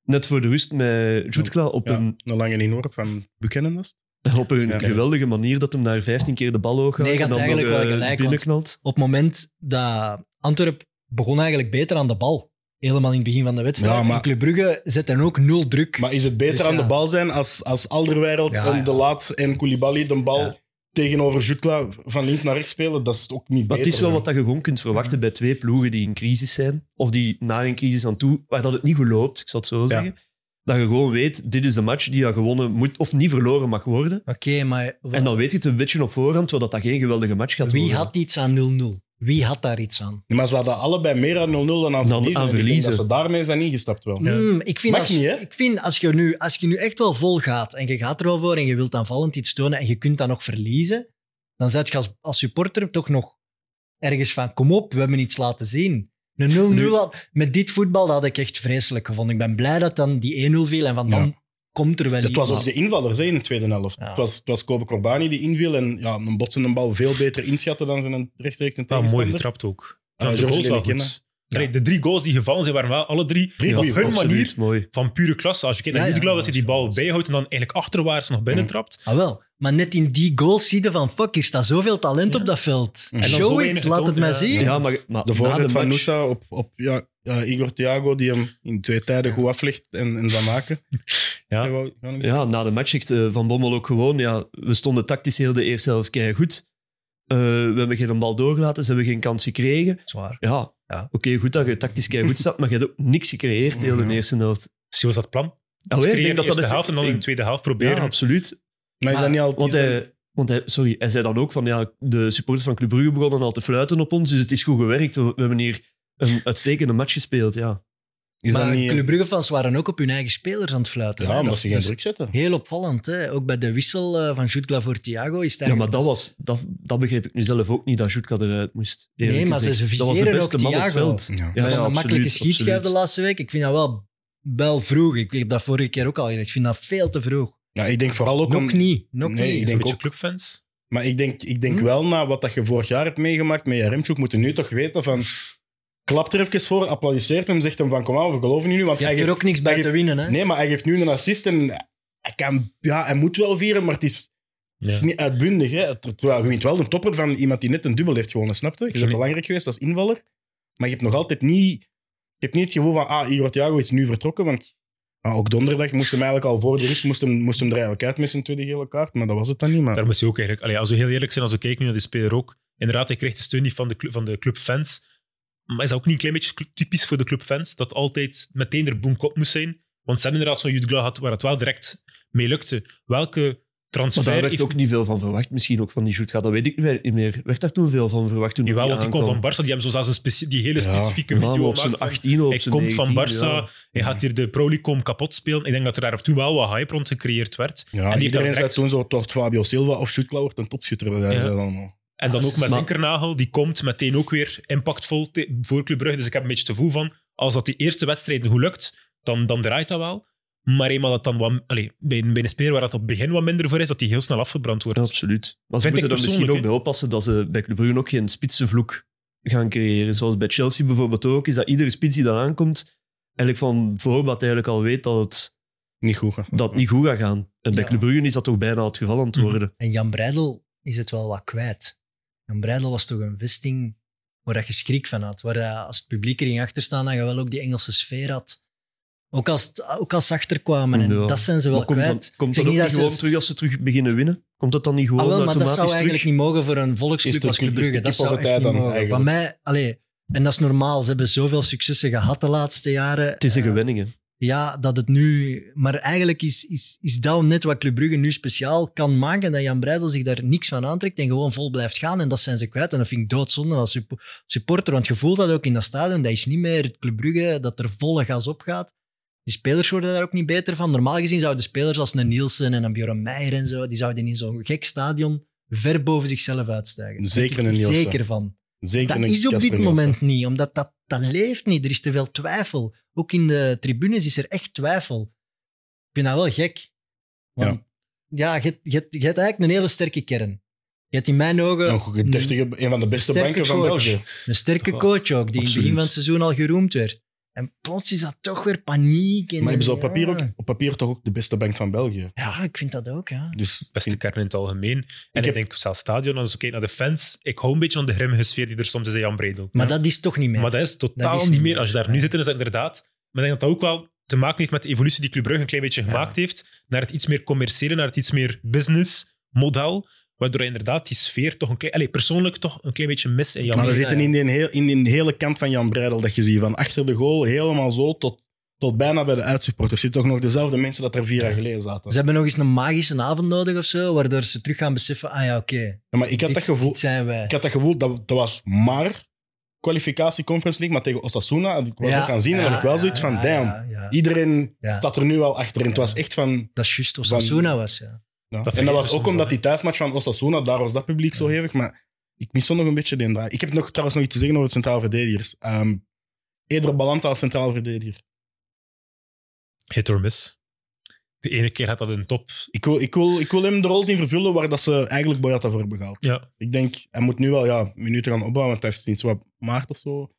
net voor de rust met Jutkla op,
Ja,
een,
een lange inworp van Buchanan. was het?
op een
Ja.
geweldige manier dat hem daar 15 keer de bal hoog gaat.
Nee, je
en
had
dan
eigenlijk
nog,
wel
eh,
gelijk, want-
binnenknalt.
Op het moment dat Antwerpen begon eigenlijk beter aan de bal. Helemaal in het begin van de wedstrijd.
Ja, maar-
En Club Brugge zet dan ook nul druk.
Maar is het beter
Dus
aan
ja.
de bal zijn als, als Alderweireld
Ja,
en
ja.
De Laat en Koulibaly de bal
Ja.
tegenover Jutla van links naar rechts spelen? Dat is ook niet
Maar
beter.
het is wel
hè.
wat dat je gewoon kunt verwachten bij twee ploegen die in crisis zijn, of die naar een crisis aan toe, waar dat het niet goed loopt, ik zal het zo zeggen. Dat je gewoon weet, dit is de match die dat gewonnen moet, of niet verloren mag worden.
Oké, maar...
En dan weet je het een beetje op voorhand, wel dat dat geen geweldige match gaat
Wie
worden.
had iets aan 0-0? Wie had daar iets aan?
Maar ze hadden allebei meer aan 0-0 dan aan
Dan
verliezen.
aan
En ik denk
verliezen.
Dat ze daarmee zijn ingestapt wel.
Ja.
Mm, ik, vind
Mag
als,
niet, hè?
ik vind als je, nu, als je nu echt wel vol gaat en je gaat er wel voor en je wilt aanvallend iets tonen en je kunt dat nog verliezen, dan zet je als, als supporter toch nog ergens van: kom op, we hebben iets laten zien. Een 0-0
Nu-
had- met dit voetbal dat had ik echt vreselijk gevonden. Ik ben blij dat dan die 1-0 viel en van dan
Ja.
komt er wel
Het
iets.
was ook de invallers hè, in de tweede helft.
Ja.
Het, was, het was Kobe Corbani die inviel en ja, een botsende bal veel beter inschatten dan zijn rechtstreeks
Ja,
tegenstander.
Ah, mooi getrapt ook.
Ja,
de,
Georges
goals wel
Lillekennen.
goed. Allee, de drie goals die gevallen zijn, waren wel alle drie
Drie
op
goeie
hun
goals,
manier
Absoluut, mooi.
van pure klasse. Als je kijkt
Ja,
naar
ja,
ja,
ja,
dat hij die
dat is
bal
wel
bijhoudt en dan eigenlijk achterwaarts nog binnen
Mm.
trapt.
Ah, wel. Maar net in die goals zie je van: fuck, hier staat zoveel talent
Ja.
op dat veld.
En
dan zo
Show it,
weinig
laat het
getoond,
mij
ja.
zien.
Ja, maar, maar
De
na
voorzet van
match-
Nusa op, op ja, eh, Igor Thiago, die hem in twee tijden goed aflegt en, en zou maken.
Ja.
Hij wou- wou nog-
Ja, na de match zegt eh, Van Bommel ook gewoon, ja, we stonden tactisch heel de eerste helft keihard goed. Eh, we hebben geen bal doorgelaten, ze hebben geen kans gekregen.
Zwaar.
Ja,
Ja.
oké, goed dat je tactisch keihard goed staat, maar je hebt ook niks gecreëerd heel de
Mhm.
eerste helft.
Misschien was dat het
Oh,
plan.
Allee,
Creëren in Dus de eerste
even-
helft en dan in de tweede helft proberen.
Ja, absoluut.
Maar is dat niet al...
Want
is dat-
hij, want hij, sorry, hij zei dan ook van, ja, de supporters van Club Brugge begonnen al te fluiten op ons, dus het is goed gewerkt. We, we hebben hier een uitstekende match gespeeld, ja.
is dat
maar
niet... eh,
Club Brugge-fans waren ook op hun eigen spelers aan het fluiten.
ja,
hè.
omdat
Dat-
ze geen
dat is
druk zetten.
Heel opvallend, hè? ook bij de wissel eh, van Jutgla voor Thiago. Is het
Ja, maar
eigenlijk-
dat, was, dat, dat begreep ik nu zelf ook niet, dat Jutka eruit moest. eerlijk
Nee, maar
gezegd.
ze
Dat was de
viseren
beste
ook
man op het
Thiago.
veld.
Ja.
dat was een
absoluut,
makkelijke
absoluut.
schietschijf de laatste week. Ik vind dat wel, wel vroeg. Ik heb dat vorige keer ook al gezegd. Ik vind dat veel te vroeg.
Ja, ik denk vooral ook... om-
nog niet. Nog
Nee,
niet.
ik denk
Ik denk beetje
ook.
clubfans.
Maar ik denk, ik denk
Hm?
wel, na wat dat je vorig jaar hebt meegemaakt met Jaremchuk, moeten nu toch weten van... Klap er even voor, applaudisseert hem, zegt hem van kom aan, we geloven in u. Want
Je
hij
hebt er
geeft-
ook niks bij
hij
te winnen. Hè?
Nee, maar hij geeft nu een assist en hij, kan, ja, hij moet wel vieren, maar het is, het is niet uitbundig. Hè? Terwijl je wint wel een topper van iemand die net een dubbel heeft gewonnen, snap je? Je bent
Sorry.
belangrijk geweest als invaller, maar je hebt nog altijd niet, je hebt niet het gevoel van ah, Igor Thiago is nu vertrokken, want ah, ook donderdag moest hem eigenlijk al voor de rust, moest hem, moest hem er eigenlijk uit met zijn tweede gele kaart, maar dat was het dan
Ah.
niet. Maar...
Daar moest hij ook eigenlijk... Allee, als we heel eerlijk zijn, als we kijken nu naar die speler ook. Inderdaad, hij kreeg de steun niet van de, club, van de clubfans. Maar is dat ook niet een klein beetje cl- typisch voor de clubfans? Dat altijd meteen er boek op moest zijn. Want ze hebben inderdaad zo'n Jude Glau gehad waar het wel direct mee lukte. Welke
Maar daar
transfer
werd
heeft...
ook niet veel van verwacht. Misschien ook van die shoot gaat, dat weet ik niet meer. Werd daar toen veel van verwacht toen
Jawel,
die
want die komt van
aankwam?
Barça. Die hebben zo zelfs een specie- die hele
Ja,
specifieke
Ja, maar
video
op zijn
gemaakt van-
18 of op
Hij
zijn
komt van
19,
Barça,
ja.
hij gaat hier de Pro League komen kapot spelen. Ik denk dat er daar toen wel wat hype rond gecreëerd werd.
Ja,
en die heeft dat
iedereen zei
direct-
toen zo, het wordt Fabio Silva of Schuttler wordt een topschutter. bij wijze
Ja.
van allemaal.
En dan ook met
Maar-
Zinkernagel, die komt meteen ook weer impactvol te- voor Club Brugge. Dus ik heb een beetje het gevoel van, als dat die eerste wedstrijden goed lukt, dan, dan draait dat wel. Maar eenmaal dat dan wat, allez, bij, een- bij een speler waar dat op het begin wat minder voor is, dat die heel snel afgebrand wordt.
Ja, absoluut. Maar ze
Vind
moeten
ik
er misschien
persoonlijk,
ook bij oppassen dat ze bij Club Brugge ook geen spitsenvloek gaan creëren. Zoals bij Chelsea bijvoorbeeld ook, is dat iedere spits die dan aankomt, eigenlijk van voorbaat eigenlijk al weet dat het
Niet goed. hè.
dat het niet goed gaat gaan. En bij
Ja.
Club Brugge is dat toch bijna het geval aan het
Mhm.
worden.
En Jan Breidel is het wel wat kwijt. Jan Breidel was toch een vesting waar dat je schrik van had. Waar dat, als het publiek erin achter staan, dan je wel ook die Engelse sfeer had. Ook als, het- ook als ze achterkwamen. En
Ja.
dat zijn ze wel
Maar komt
kwijt.
dat, komt
zeg
dat ook
niet
niet
dat ze-
gewoon terug als ze terug beginnen winnen? Komt dat dan niet gewoon
Ah, wel, maar dat
automatisch
zou eigenlijk
terug?
niet mogen voor een
Is
volksclub
de
als Club
club- is de
Brugge. Dat
club van
zou
de
echt
tijd
niet
dan
mogen. Van
eigenlijk?
mij, allee, en dat is normaal. Ze hebben zoveel successen gehad de laatste jaren.
Het is een
Eh,
gewenning. hè.
ja, dat het nu... Maar eigenlijk is, is, is dat net wat Club Brugge nu speciaal kan maken, dat Jan Breidel zich daar niks van aantrekt en gewoon vol blijft gaan. En dat zijn ze kwijt. En dat vind ik doodzonde als sup- supporter, want je voelt dat ook in dat stadion. Dat is niet meer het Club Brugge dat er volle gas op gaat. Die spelers worden daar ook niet beter van. Normaal gezien zouden spelers als een Nielsen en een Björn Meijer en zo, die zouden in zo'n gek stadion ver boven zichzelf uitstijgen.
Zeker
Daar ben
een
ik
Nielsen.
Zeker van.
Zeker
Dat
een
is op
Casper
dit
Nielsen.
moment niet, omdat dat, dat leeft niet. Er is te veel twijfel. Ook in de tribunes is er echt twijfel. Ik vind dat wel gek. Want ja, je, je, je hebt eigenlijk een hele sterke kern. Je hebt in mijn ogen
Een goede, deftige, een van de beste
eh, Sterke
banken van
coach.
België.
een sterke
Ja,
coach ook, die in het
absoluut.
begin van het seizoen al geroemd werd. En plots is dat toch weer paniek. En,
Maar hebben ze op
ja.
papier, ook, op papier toch ook de beste bank van België?
Ja, ik vind dat ook, ja.
Dus
Beste kern in het algemeen. En ik,
heb-
denk zelfs stadion, als ik kijk naar de fans, ik hou een beetje van de grimmige sfeer die er soms is in Jan Bredel.
Maar dat is toch niet meer.
Maar dat is totaal
Dat is
niet
niet
meer.
meer.
Als je daar nu
Nee.
zit, is dat inderdaad. Maar ik denk dat dat ook wel te maken heeft met de evolutie die Club Brugge een klein beetje
Ja.
gemaakt heeft. Naar het iets meer commerciële, naar het iets meer business model. Waardoor je inderdaad die sfeer toch een klein... Allee, persoonlijk toch een klein beetje mis in
maar
Jan.
we
is
zitten
dat,
in die, heel, in die hele kant van Jan Breidel dat je ziet. Van achter de goal, helemaal zo, tot, tot bijna bij de uitsupporters. Zitten toch nog dezelfde mensen dat er vier jaar geleden zaten.
Ze hebben nog eens een magische avond nodig of zo, waardoor ze terug gaan beseffen, ah ja, oké,
Ja, maar ik had, dat
dit,
gevoel,
dit zijn wij.
ik had dat gevoel, dat, dat was maar kwalificatie Conference League, maar tegen Osasuna, en ik was ook gaan zien, en
ja,
had ik wel
ja,
zoiets van,
ja,
damn,
ja, ja.
iedereen
Ja.
staat er nu wel achter. En het
Ja.
was echt van...
Dat is juist
Van-
Osasuna was, ja.
Ja.
Dat
en dat
vergeten
was
soms
ook
wel,
omdat
hè.
die thuismatch van Osasuna, daar was dat publiek zo hevig. Maar ik mis zo nog een beetje die draai. Ik heb nog, trouwens nog iets te zeggen over het centraal verdedigers. Ehm Eder Balanta als centraal verdediger.
Hit or miss. De ene keer had dat een top.
Ik wil, ik, wil, ik wil hem de rol zien vervullen waar dat ze eigenlijk Boyata voor hebben gehaald.
Ja.
Ik denk, hij moet nu wel ja, minuten gaan opbouwen, want hij heeft sinds wat maart of zo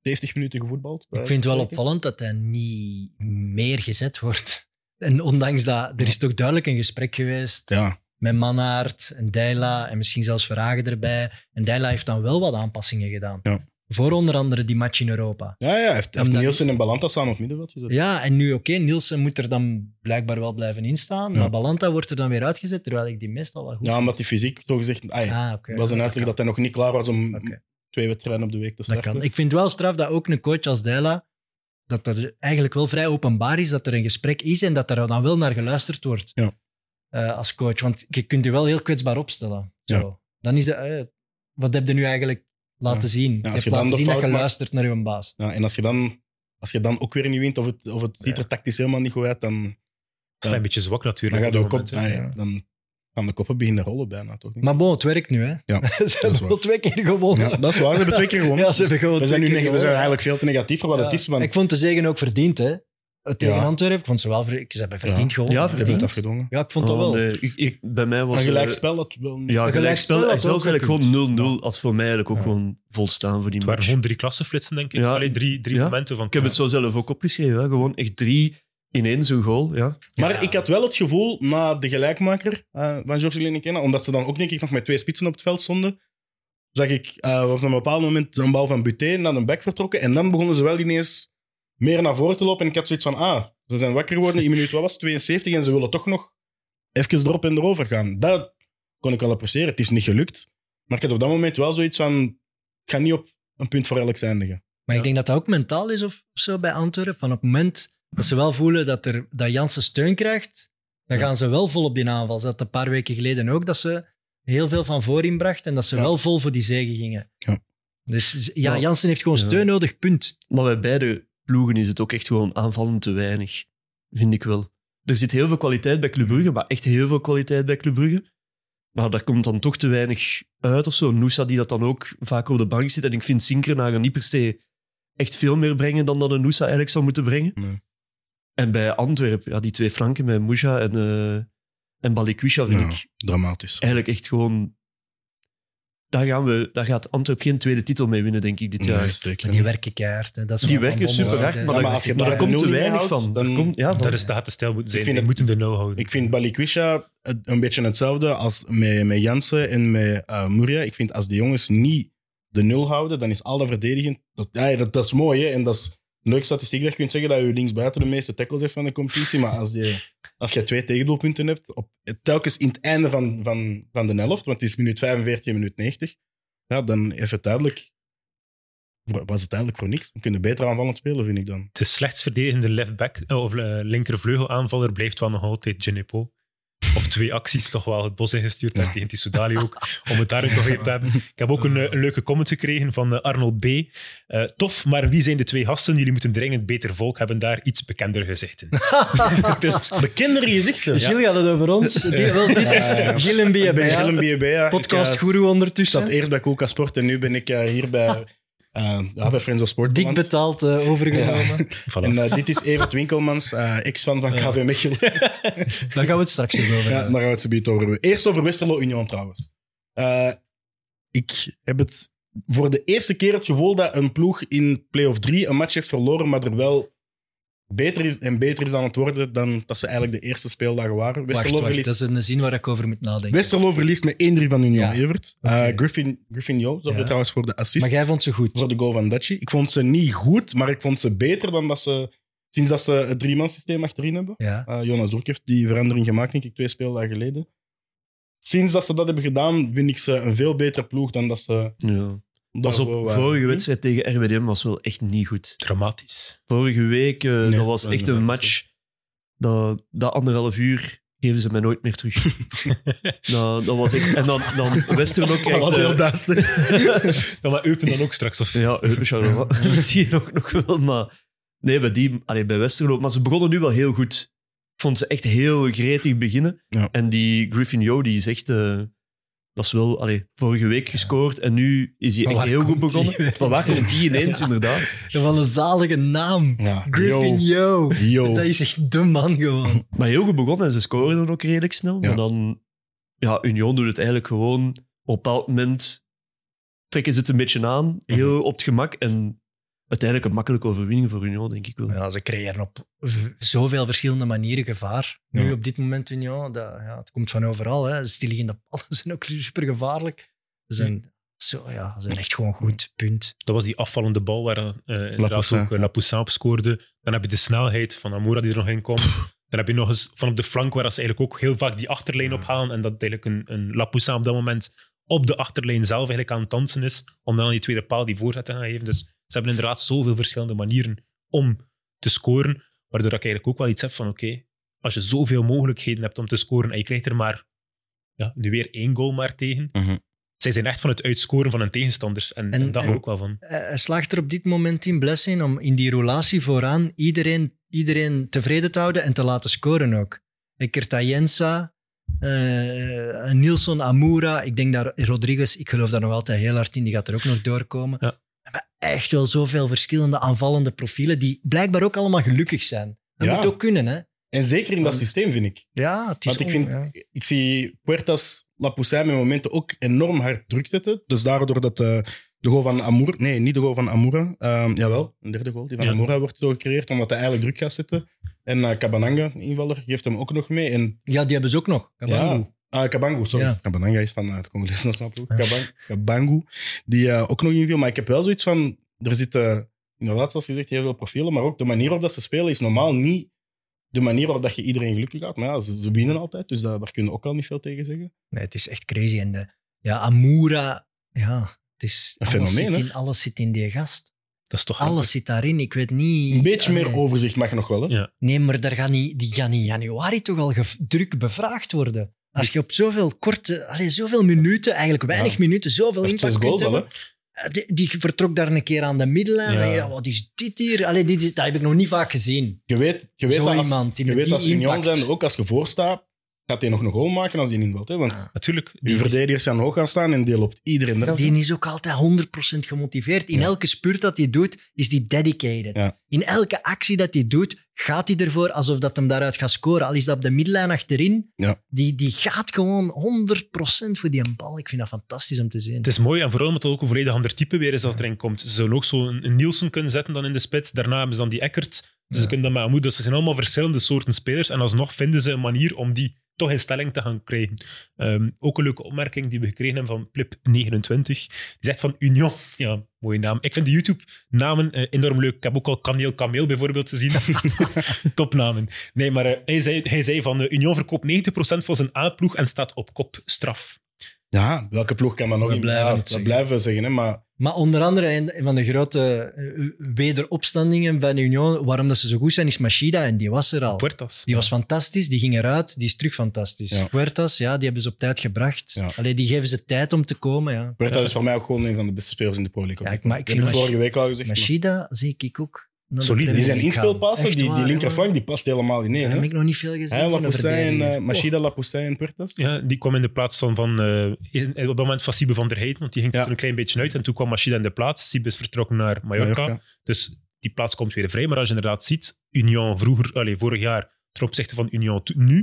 70 minuten gevoetbald.
Ik vind het wel opvallend dat hij niet meer gezet wordt. En ondanks dat, er is toch duidelijk een gesprek geweest
Ja,
met Mannaert en Deila en misschien zelfs Verhagen erbij. En Deila heeft dan wel wat aanpassingen gedaan.
Ja.
Voor onder andere die match in Europa.
ja, ja hij heeft, hij heeft
Omdat-
Nielsen en Balanta samen op middenveld gezet.
Ja, en nu oké, Nielsen moet er dan blijkbaar wel blijven instaan.
Ja.
Maar Balanta wordt er dan weer uitgezet, terwijl ik die meestal wel goed
Ja,
vind.
omdat die fysiek zo gezegd... ai,
Ah, oké.
was een uitleg dat hij nog niet klaar was om
Oké.
twee wedstrijden op de week te
Dat
starten.
kan. Ik vind wel straf dat ook een coach als Dela dat er eigenlijk wel vrij openbaar is dat er een gesprek is en dat er dan wel naar geluisterd wordt
Ja.
Eh, als coach. Want je kunt je wel heel kwetsbaar opstellen. Zo. Dan is dat, eh, wat heb je nu eigenlijk laten
Ja.
zien? je
als
hebt
je dan
laten
de
zien dat je
fout maakt-
luistert naar je baas.
Ja, en als je, dan, als je dan ook weer niet wint, of het, of het ziet er tactisch helemaal niet goed uit, dan,
Dat is een beetje zwak
dan,
natuurlijk.
ga je
op
ook
dat
op,
moment, hè.
ah ja, dan gaan de koppen beginnen rollen bijna, toch? niet?
Maar bon, het werkt nu. Hè.
Ja,
ze
is
hebben
waar.
wel twee keer gewonnen.
ja, dat is waar, ze hebben twee keer gewonnen.
Ja, ze hebben gewoon
we zijn, nu
twee keer
neg- we zijn
gewonnen.
eigenlijk veel te negatief voor wat
Ja.
het is, want
Ik vond de zegen ook verdiend. Hè. Eh, Tegen
Ja.
Antwerpen. Ik vond ze wel ver- ze hebben verdiend
Ja.
gewonnen.
Ja,
ze hebben het
verdiend.
afgedwongen.
Ja, ik vond dat
Oh,
wel.
nee, ik- ik- bij mij was
Een
eh,
gelijkspel, dat wel niet.
Ja,
Een gelijkspel
gelijkspel. En
had
zelfs
ook een
eigenlijk gewoon 0-0 als voor mij eigenlijk ook
Ja.
gewoon volstaan voor die
Het waren
match.
gewoon drie klassenflitsen, denk ik.
Ja.
Allee, drie, drie
Ja.
momenten van...
Ik heb het zo zelf ook opgeschreven. Hè. Gewoon echt drie in één zo'n goal. Ja.
Maar
Ja.
ik had wel het gevoel, na de gelijkmaker eh, van George Lenikena, omdat ze dan ook denk ik nog met twee spitsen op het veld stonden, zag ik eh, op een bepaald moment een bal van Buté naar de back vertrokken. En dan begonnen ze wel ineens meer naar voren te lopen. En ik had zoiets van, ah, ze zijn wakker geworden in minuut, wat was het, 72 en ze willen toch nog even erop en erover gaan. Dat kon ik wel appreciëren. Het is niet gelukt. Maar ik had op dat moment wel zoiets van, het gaat niet op een punt voor elk eindigen.
Ja.
Maar ik denk dat dat ook mentaal is of of zo bij Antwerpen. Van op het moment Als ze wel voelen dat, er, dat Jansen steun krijgt, dan
Ja.
gaan ze wel vol op die aanval. Ze hadden een paar weken geleden ook dat ze heel veel van voorin bracht en dat ze
Ja.
wel vol voor die zege gingen.
Ja.
Dus ja,
Ja.
Jansen heeft gewoon
Ja.
steun nodig, punt.
Maar bij beide ploegen is het ook echt gewoon aanvallend te weinig, vind ik wel. Er zit heel veel kwaliteit bij Club Brugge, maar echt heel veel kwaliteit bij Club Brugge. Maar daar komt dan toch te weinig uit of zo. Noosa die dat dan ook vaak op de bank zit. En ik vind Sinkenaar niet per se echt veel meer brengen dan dat een Noosa eigenlijk zou moeten brengen.
Nee.
En bij Antwerpen, ja, die twee Franken met Mouja en, eh en Balikwisha vind
Ja.
ik
Dramatisch.
eigenlijk echt gewoon... Daar, gaan we, daar gaat Antwerpen geen tweede titel mee winnen, denk ik, dit
Nee,
jaar.
zeker
Maar
niet.
die werken keihard. Hè. Dat is
Die
wat Van
werken
Bommel
super
zei,
hard,
hè.
maar,
Ja,
daar-
maar als je
daar
daar
komt
nul
te
niet
weinig
houdt,
van.
dan-
Daar komt, ja, van.
Dat is de te stijl moeten
Ik vind
zijn. Die
het-
moeten de know houden.
Ik vind Balikwisha het- een beetje hetzelfde als met, met Jansen en met eh Murray. Ik vind als die jongens niet de nul houden, dan is al dat verdedigend. Dat, ja, dat, dat is mooi, hè? En dat is een leuke statistiek dat je kunt zeggen dat je linksbuiten de meeste tackles heeft van de competitie. Maar als je, als je twee tegendoelpunten hebt, op, telkens in het einde van, van, van de helft, want het is minuut 45 en minuut 90, ja, dan heeft het duidelijk. Was het eigenlijk voor niks? We kunnen beter aanvallend spelen, vind ik dan.
De slechts verdedigende leftback eh, of eh, linkervleugelaanvaller blijft wel nog altijd Genepo. Op twee acties toch wel het bos ingestuurd werd
Ja.
tegen Tissoudali ook. Om het daarin toch even te hebben. Ik heb ook een, eh, een leuke comment gekregen van eh, Arnold B. Eh, tof, maar wie zijn de twee gasten? Jullie moeten dringend beter volk hebben daar iets bekender gezichten. dus
Bekendere gezichten.
Gilles had het over ons. Die, wel, dit is
Ja, ja.
Gilles en
Ik ben
Biabea,
Gilles Biabea. Ik,
Podcast
eh,
guru
Ik zat
ondertussen.
eerst bij Coca Sport en nu ben ik eh, hier bij, eh, ja, bij Friends of Sport.
Dik betaald, eh, overgenomen.
voilà.
En eh, dit is Evert Winkelmans, eh, ex-fan van KV Mechelen.
Daar gaan we het straks even
Ja,
over
daar
hebben.
gaan we het zo meteen over hebben. Eerst over Westerlo Union trouwens. Eh, ik heb het voor de eerste keer het gevoel dat een ploeg in play-off 3 een match heeft verloren, maar er wel beter is en beter is aan het worden dan dat ze eigenlijk de eerste speeldagen waren.
Wacht,
Westerlo
wacht,
verliest,
dat is een zin waar ik over moet nadenken.
Westerlo verliest met 1-3 van Union
Ja.
Evert. Eh,
Oké.
Griffin, Griffin Jo zorgde
Ja.
trouwens voor de assist.
Maar jij vond ze goed.
voor de goal van Dutchie. Ik vond ze niet goed, maar ik vond ze beter dan dat ze... Sinds dat ze het driemanssysteem achterin hebben.
Ja.
Eh, Jonas Dork heeft die verandering gemaakt, denk ik, twee speeldagen geleden. Sinds dat ze dat hebben gedaan, vind ik ze een veel betere ploeg dan eh, dat ze...
Ja.
dat
Pas op,
we waren.
vorige wedstrijd tegen RWDM was wel echt niet goed.
Dramatisch.
Vorige week, eh, dat was
dat
echt
was
een
niet
match. Dat, dat anderhalf uur geven ze mij nooit meer terug. nou, dat was echt... En dan, dan Westerlo
Dat
krijgt...
was
eh,
heel duister.
Dan maar Eupen dan ook straks. Of...
ja, Heupenschouder, misschien ook nog wel, maar... Nee, bij, die, allee, bij Westerlo. Maar ze begonnen nu wel heel goed. Ik vond ze echt heel gretig beginnen.
Ja.
En die Griffin Yo, die is echt... eh, dat is wel allee, vorige week gescoord en nu is hij
Van
echt
waar
heel goed
komt die?
begonnen. Van waar komt die ineens, inderdaad?
Wat een zalige naam.
Ja.
Griffin Yo.
Yo.
Dat is echt de man gewoon.
Maar heel goed begonnen en ze scoren dan ook redelijk snel.
Ja.
Maar dan, ja, Union doet het eigenlijk gewoon. Op een bepaald moment trekken ze het een beetje aan, heel op het gemak. En uiteindelijk een makkelijke overwinning voor Union, denk ik wel.
Ja, ze creëren op v- zoveel verschillende manieren gevaar. Nu
Ja.
op dit moment, ja, dat, ja, het komt van overal. Hè. Stilliggende ballen zijn ook super gevaarlijk. Ze
Mm.
zijn, zo, ja, ze zijn echt gewoon goed, punt.
Dat was die afvallende bal waar eh, inderdaad
Lapoussin.
ook eh, Lapoussin op scoorde. Dan heb je de snelheid van Amoura die er nog in komt. Dan heb je nog eens van op de flank waar ze eigenlijk ook heel vaak die achterlijn ophalen. En dat eigenlijk een, een Lapoussin op dat moment op de achterlijn zelf eigenlijk aan het dansen is. Om dan aan die tweede paal die voorzet te gaan geven. Dus ze hebben inderdaad zoveel verschillende manieren om te scoren. Waardoor ik eigenlijk ook wel iets heb van oké, als je zoveel mogelijkheden hebt om te scoren en je krijgt er maar ja, nu weer één goal maar tegen.
Mhm.
Zij zijn echt van het uitscoren van hun tegenstanders. En,
En-
en daar
en-
hou ik wel van.
Eh, Hij slaagt er op dit moment in, Blessing, om in die relatie vooraan iedereen, iedereen tevreden te houden en te laten scoren ook. Eh, Kertajensa, eh Nilsson Amura, ik denk dat Rodriguez, ik geloof daar nog altijd heel hard in, die gaat er ook nog doorkomen.
Ja.
We hebben echt wel zoveel verschillende aanvallende profielen die blijkbaar ook allemaal gelukkig zijn. Dat
Ja.
moet ook kunnen, hè?
En zeker in dat systeem, vind ik.
Ja, het is
Want ik
on-
vind-
ja.
Ik zie Puertas Lapoussin met momenten ook enorm hard druk zetten. Dus daardoor dat eh, de goal van Amour... Nee, niet de goal van Amoura. Ehm, jawel, een derde goal. Die van
Ja.
Amoura wordt zo gecreëerd, omdat hij eigenlijk druk gaat zetten. En eh, Cabananga, invaller, geeft hem ook nog mee. En
ja, die hebben ze ook nog. Kabangu.
Ja. Ah, Kabangu, sorry.
Ja.
Kabananga is van eh, het Congolese Nationaal Ploeg. Kabang- Kabangu, die eh, ook nog inviel. Maar ik heb wel zoiets van... Er zitten, inderdaad, zoals gezegd, heel veel profielen. Maar ook de manier waarop dat ze spelen is normaal niet de manier waarop dat je iedereen gelukkig gaat. Maar ja, ze, ze winnen altijd, dus daar, daar kun je ook al niet veel tegen zeggen.
Nee, het is echt crazy. En de, ja, Amura, ja, het is...
Een
alles
fenomeen,
zit
hè?
in- Alles zit in die gast.
Dat is toch
Alles zit daarin. Ik weet niet...
Een beetje meer
Allee.
overzicht mag nog wel. Hè?
Ja.
Nee, maar daar gaan die, die gaan in januari toch al gev- druk bevraagd worden. Als je op zoveel korte, allee, zoveel minuten, eigenlijk weinig
Ja.
minuten, zoveel
Dat heeft
impact
zes
kunt
goals al. Hè?
hebben. Eh, Die, die vertrok daar een keer aan de middenlijn.
Ja.
En Ja. Wat is dit hier? Allee, dit, is- dat heb ik nog niet vaak gezien.
Je weet, je weet
Zo
dat als,
iemand die
je
met
weet
die
als Union
impact.
zijn, ook als je voorstaat, gaat hij nog een goal maken als hij invalt. Hè? Want
Natuurlijk.
die verdedigers zijn hoog gaan staan en die loopt iedereen eraf.
Die is ook altijd 100% gemotiveerd. In
Ja.
elke spurt dat hij doet, is die dedicated.
Ja.
In elke actie dat hij doet, gaat hij ervoor alsof dat hem daaruit gaat scoren. Al is dat op de middenlijn achterin,
Ja.
die, die gaat gewoon 100% voor die bal. Ik vind dat fantastisch om te zien.
Het is mooi en vooral omdat het ook een volledig ander type weer is dat erin komt. Ze zouden ook zo een, een Nielsen kunnen zetten dan in de spits. Daarna hebben ze dan die Eckert. Dus ze kunnen dan maar Amoud. Dus ze zijn allemaal verschillende soorten spelers. En alsnog vinden ze een manier om die toch in stelling te gaan krijgen. Ehm, ook een leuke opmerking die we gekregen hebben van Plip29. Die zegt van Union. Ja, mooie naam. Ik vind de YouTube-namen eh, enorm leuk. Ik heb ook al Kaneel Kameel bijvoorbeeld gezien. Topnamen. Nee, maar eh, hij, zei, hij zei van eh, Union verkoopt 90% van zijn A-ploeg en staat op kop straf.
Ja, welke ploeg kan dat nog
We
in-
blijven
Ja,
het
dat
zeggen.
blijven we zeggen. Hè? Maar
Maar onder andere een een van de grote eh, wederopstandingen van Union, waarom dat ze zo goed zijn, is Machida. En die was er al.
Puertas.
Die was fantastisch, die ging eruit, die is terug fantastisch.
Ja.
Puertas, ja, die hebben ze op tijd gebracht.
Ja.
Alleen die geven ze tijd om te komen. Ja.
Bertha is voor mij ook gewoon een van de beste spelers in de Pro League.
Ja, ik- maar ik
heb het
vind
vorige week al gezegd. maar-
Machida zie ik ook. naar de
Solide.
Die
Premier
zijn
League gaan.
inspeelpassen,
Echt
die,
waar,
die
jongen.
linkerflank, die past helemaal niet neer.
Daar heb
hè?
ik nog niet veel gezien.
Hij,
van een
Lapoussin,
verdediger.
eh, Machida, Lapoussin en Puertas.
Ja, die kwam in de plaats van, van eh, in- op dat moment van Siebe van der Heijden, want die ging er
Ja.
toen een klein beetje uit. En toen kwam Machida in de plaats. Siebe is vertrokken naar Mallorca,
Mallorca.
Dus die plaats komt weer vrij. Maar als je inderdaad ziet, Union vroeger, allez, vorig jaar ten opzichte van Union to- nu,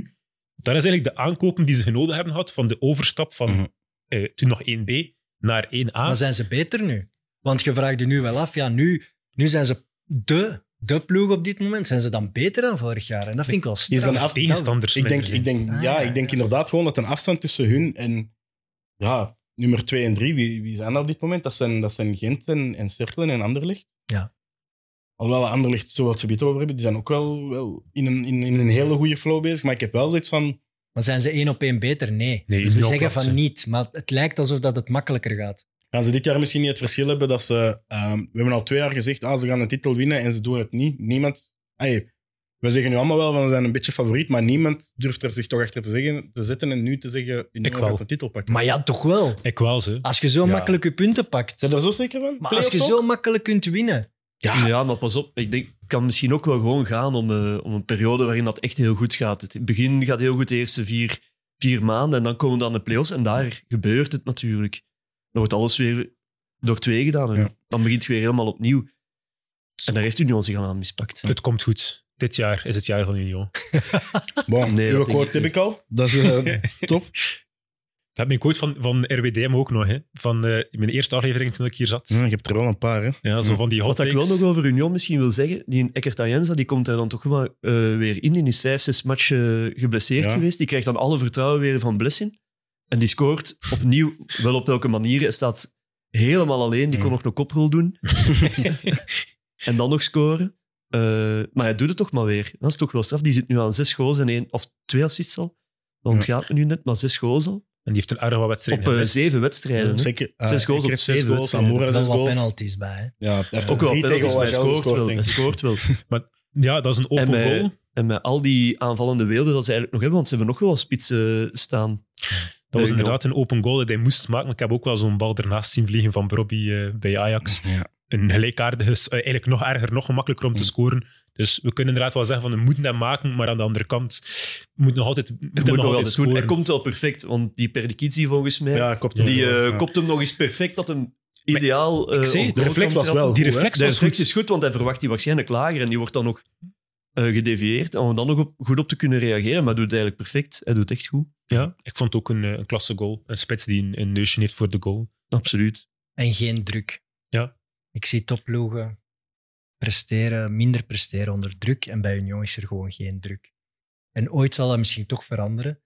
dat is eigenlijk de aankopen die ze genodigd hebben gehad van de overstap van
Mhm.
eh, toen nog 1B naar 1A.
Oh, Maar zijn ze beter nu? Want je vraagt je nu wel af, ja, nu, nu zijn ze de, de ploeg op dit moment. Zijn ze dan beter dan vorig jaar? En dat vind ik wel
Die
straf.
is dan af-
tegenstanders
Ik denk,
minder
ik denk,
Ah,
ja,
ja,
ik denk
ja.
inderdaad gewoon dat een afstand tussen hun en ja, nummer 2 en 3, wie, wie zijn dat op dit moment? Dat zijn, dat zijn Gent en, en Cerkelen en Anderlecht.
Ja.
Alhoewel Anderlecht, zo wat ze het over hebben, die zijn ook wel, wel in, een, in, in een hele goede flow bezig. Maar ik heb wel zoiets van,
Maar zijn ze één op één beter? Nee.
Nee,
dus we
Union
zeggen
klapt
van
ze.
niet, maar het lijkt alsof dat het makkelijker gaat.
gaan ze dit jaar misschien niet het verschil hebben dat ze... ehm, we hebben al twee jaar gezegd, ah, ze gaan een titel winnen en ze doen het niet. Niemand... Hey, we zeggen nu allemaal wel van, ze zijn een beetje favoriet, maar niemand durft er zich toch achter te, zeggen, te zetten en nu te zeggen, Union
wel.
gaat de titel pakken.
Maar ja, toch wel.
Ik wel ze.
Als je zo
Ja.
makkelijk je punten pakt.
Zijn je er zo zeker van?
Maar als je zo makkelijk kunt winnen.
Ja.
Ja. maar pas op. Ik denk, het kan misschien ook wel gewoon gaan om, eh, om een periode waarin dat echt heel goed gaat. Het begin gaat heel goed de eerste vier, vier maanden en dan komen we aan de playoffs en daar gebeurt het natuurlijk. Dan wordt alles weer door twee gedaan en
Ja.
dan begint het weer helemaal opnieuw. En daar heeft Union zich al aan mispakt.
Het komt goed. Dit jaar is het jaar van Union.
Bon,
Nee,
uw
dat denk
quote
ik
heb
niet.
ik al.
Dat is eh, top.
Dat heb ik ooit van, van RWDM ook nog. Hè. Van eh, mijn eerste aflevering toen ik hier zat.
Hm, je hebt er wel een paar, hè.
Ja, zo van die hot
Wat ik wel
takes.
nog over Union misschien wil zeggen, die Eckert Ayenza, die komt daar dan toch maar eh, weer in. Die is vijf, zes matchen eh, geblesseerd
Ja.
geweest. Die krijgt dan alle vertrouwen weer van Blessing. En die scoort opnieuw, wel op welke manier. Hij staat helemaal alleen. Die kon
Ja.
nog een koprol doen. en dan nog scoren. Eh, maar hij doet het toch maar weer. Dat is toch wel straf. Die zit nu aan zes goals en één, of twee assists al. Dat ontgaat me nu net, maar zes goals al.
En die heeft een aardig wat wedstrijden
Op eh,
gemist.
zeven wedstrijden. hè.
Zeker. eh,
Zes goals
ik
op
heb
zeven wedstrijden.
Zamora
Er zijn
zes
wel
goals.
penalties bij. hè.
Ja, hij heeft
Ook wel
drie
penalties,
tegen
maar hij
Wajal
scoort wel.
gescoord,
Hij
denk ik.
scoort wel.
Ja, dat is een open
En, eh,
goal.
En met al die aanvallende wilden dat ze eigenlijk nog hebben, want ze hebben nog wel spitsen staan.
Dat was
Union.
inderdaad een open goal dat hij moest maken. Maar ik heb ook wel zo'n bal ernaast zien vliegen van Brobby eh, bij Ajax.
Ja.
Een gelijkaardige, is, eh, eigenlijk nog erger, nog gemakkelijker om te
Mm.
scoren. Dus we kunnen inderdaad wel zeggen van we moeten dat maken, maar aan de andere kant moet nog altijd, moet
Hij
hem
moet
nog
nog
altijd
altijd doen. Hij
scoren.
komt wel perfect, want die Perdikizi volgens mij,
Ja, kopt hem
die
wel,
eh,
ja.
kopt hem nog eens perfect dat hem ideaal... eh,
ik zei
op
het,
De
goal
reflex
kan
was
trappen.
wel
Die
goed, hè.
reflex
De
was
reflex
goed.
is goed, want hij verwacht die waarschijnlijk lager en die wordt dan nog eh, gedevieerd. Om dan nog op, goed op te kunnen reageren, maar hij doet het eigenlijk perfect. Hij doet het echt goed.
Ja, ik vond het ook een, eh, een klasse goal. Een spits die een, een neusje heeft voor de goal.
Absoluut.
En geen druk.
Ja.
Ik zie topploegen presteren, minder presteren onder druk. En bij Union is er gewoon geen druk. En ooit zal dat misschien toch veranderen.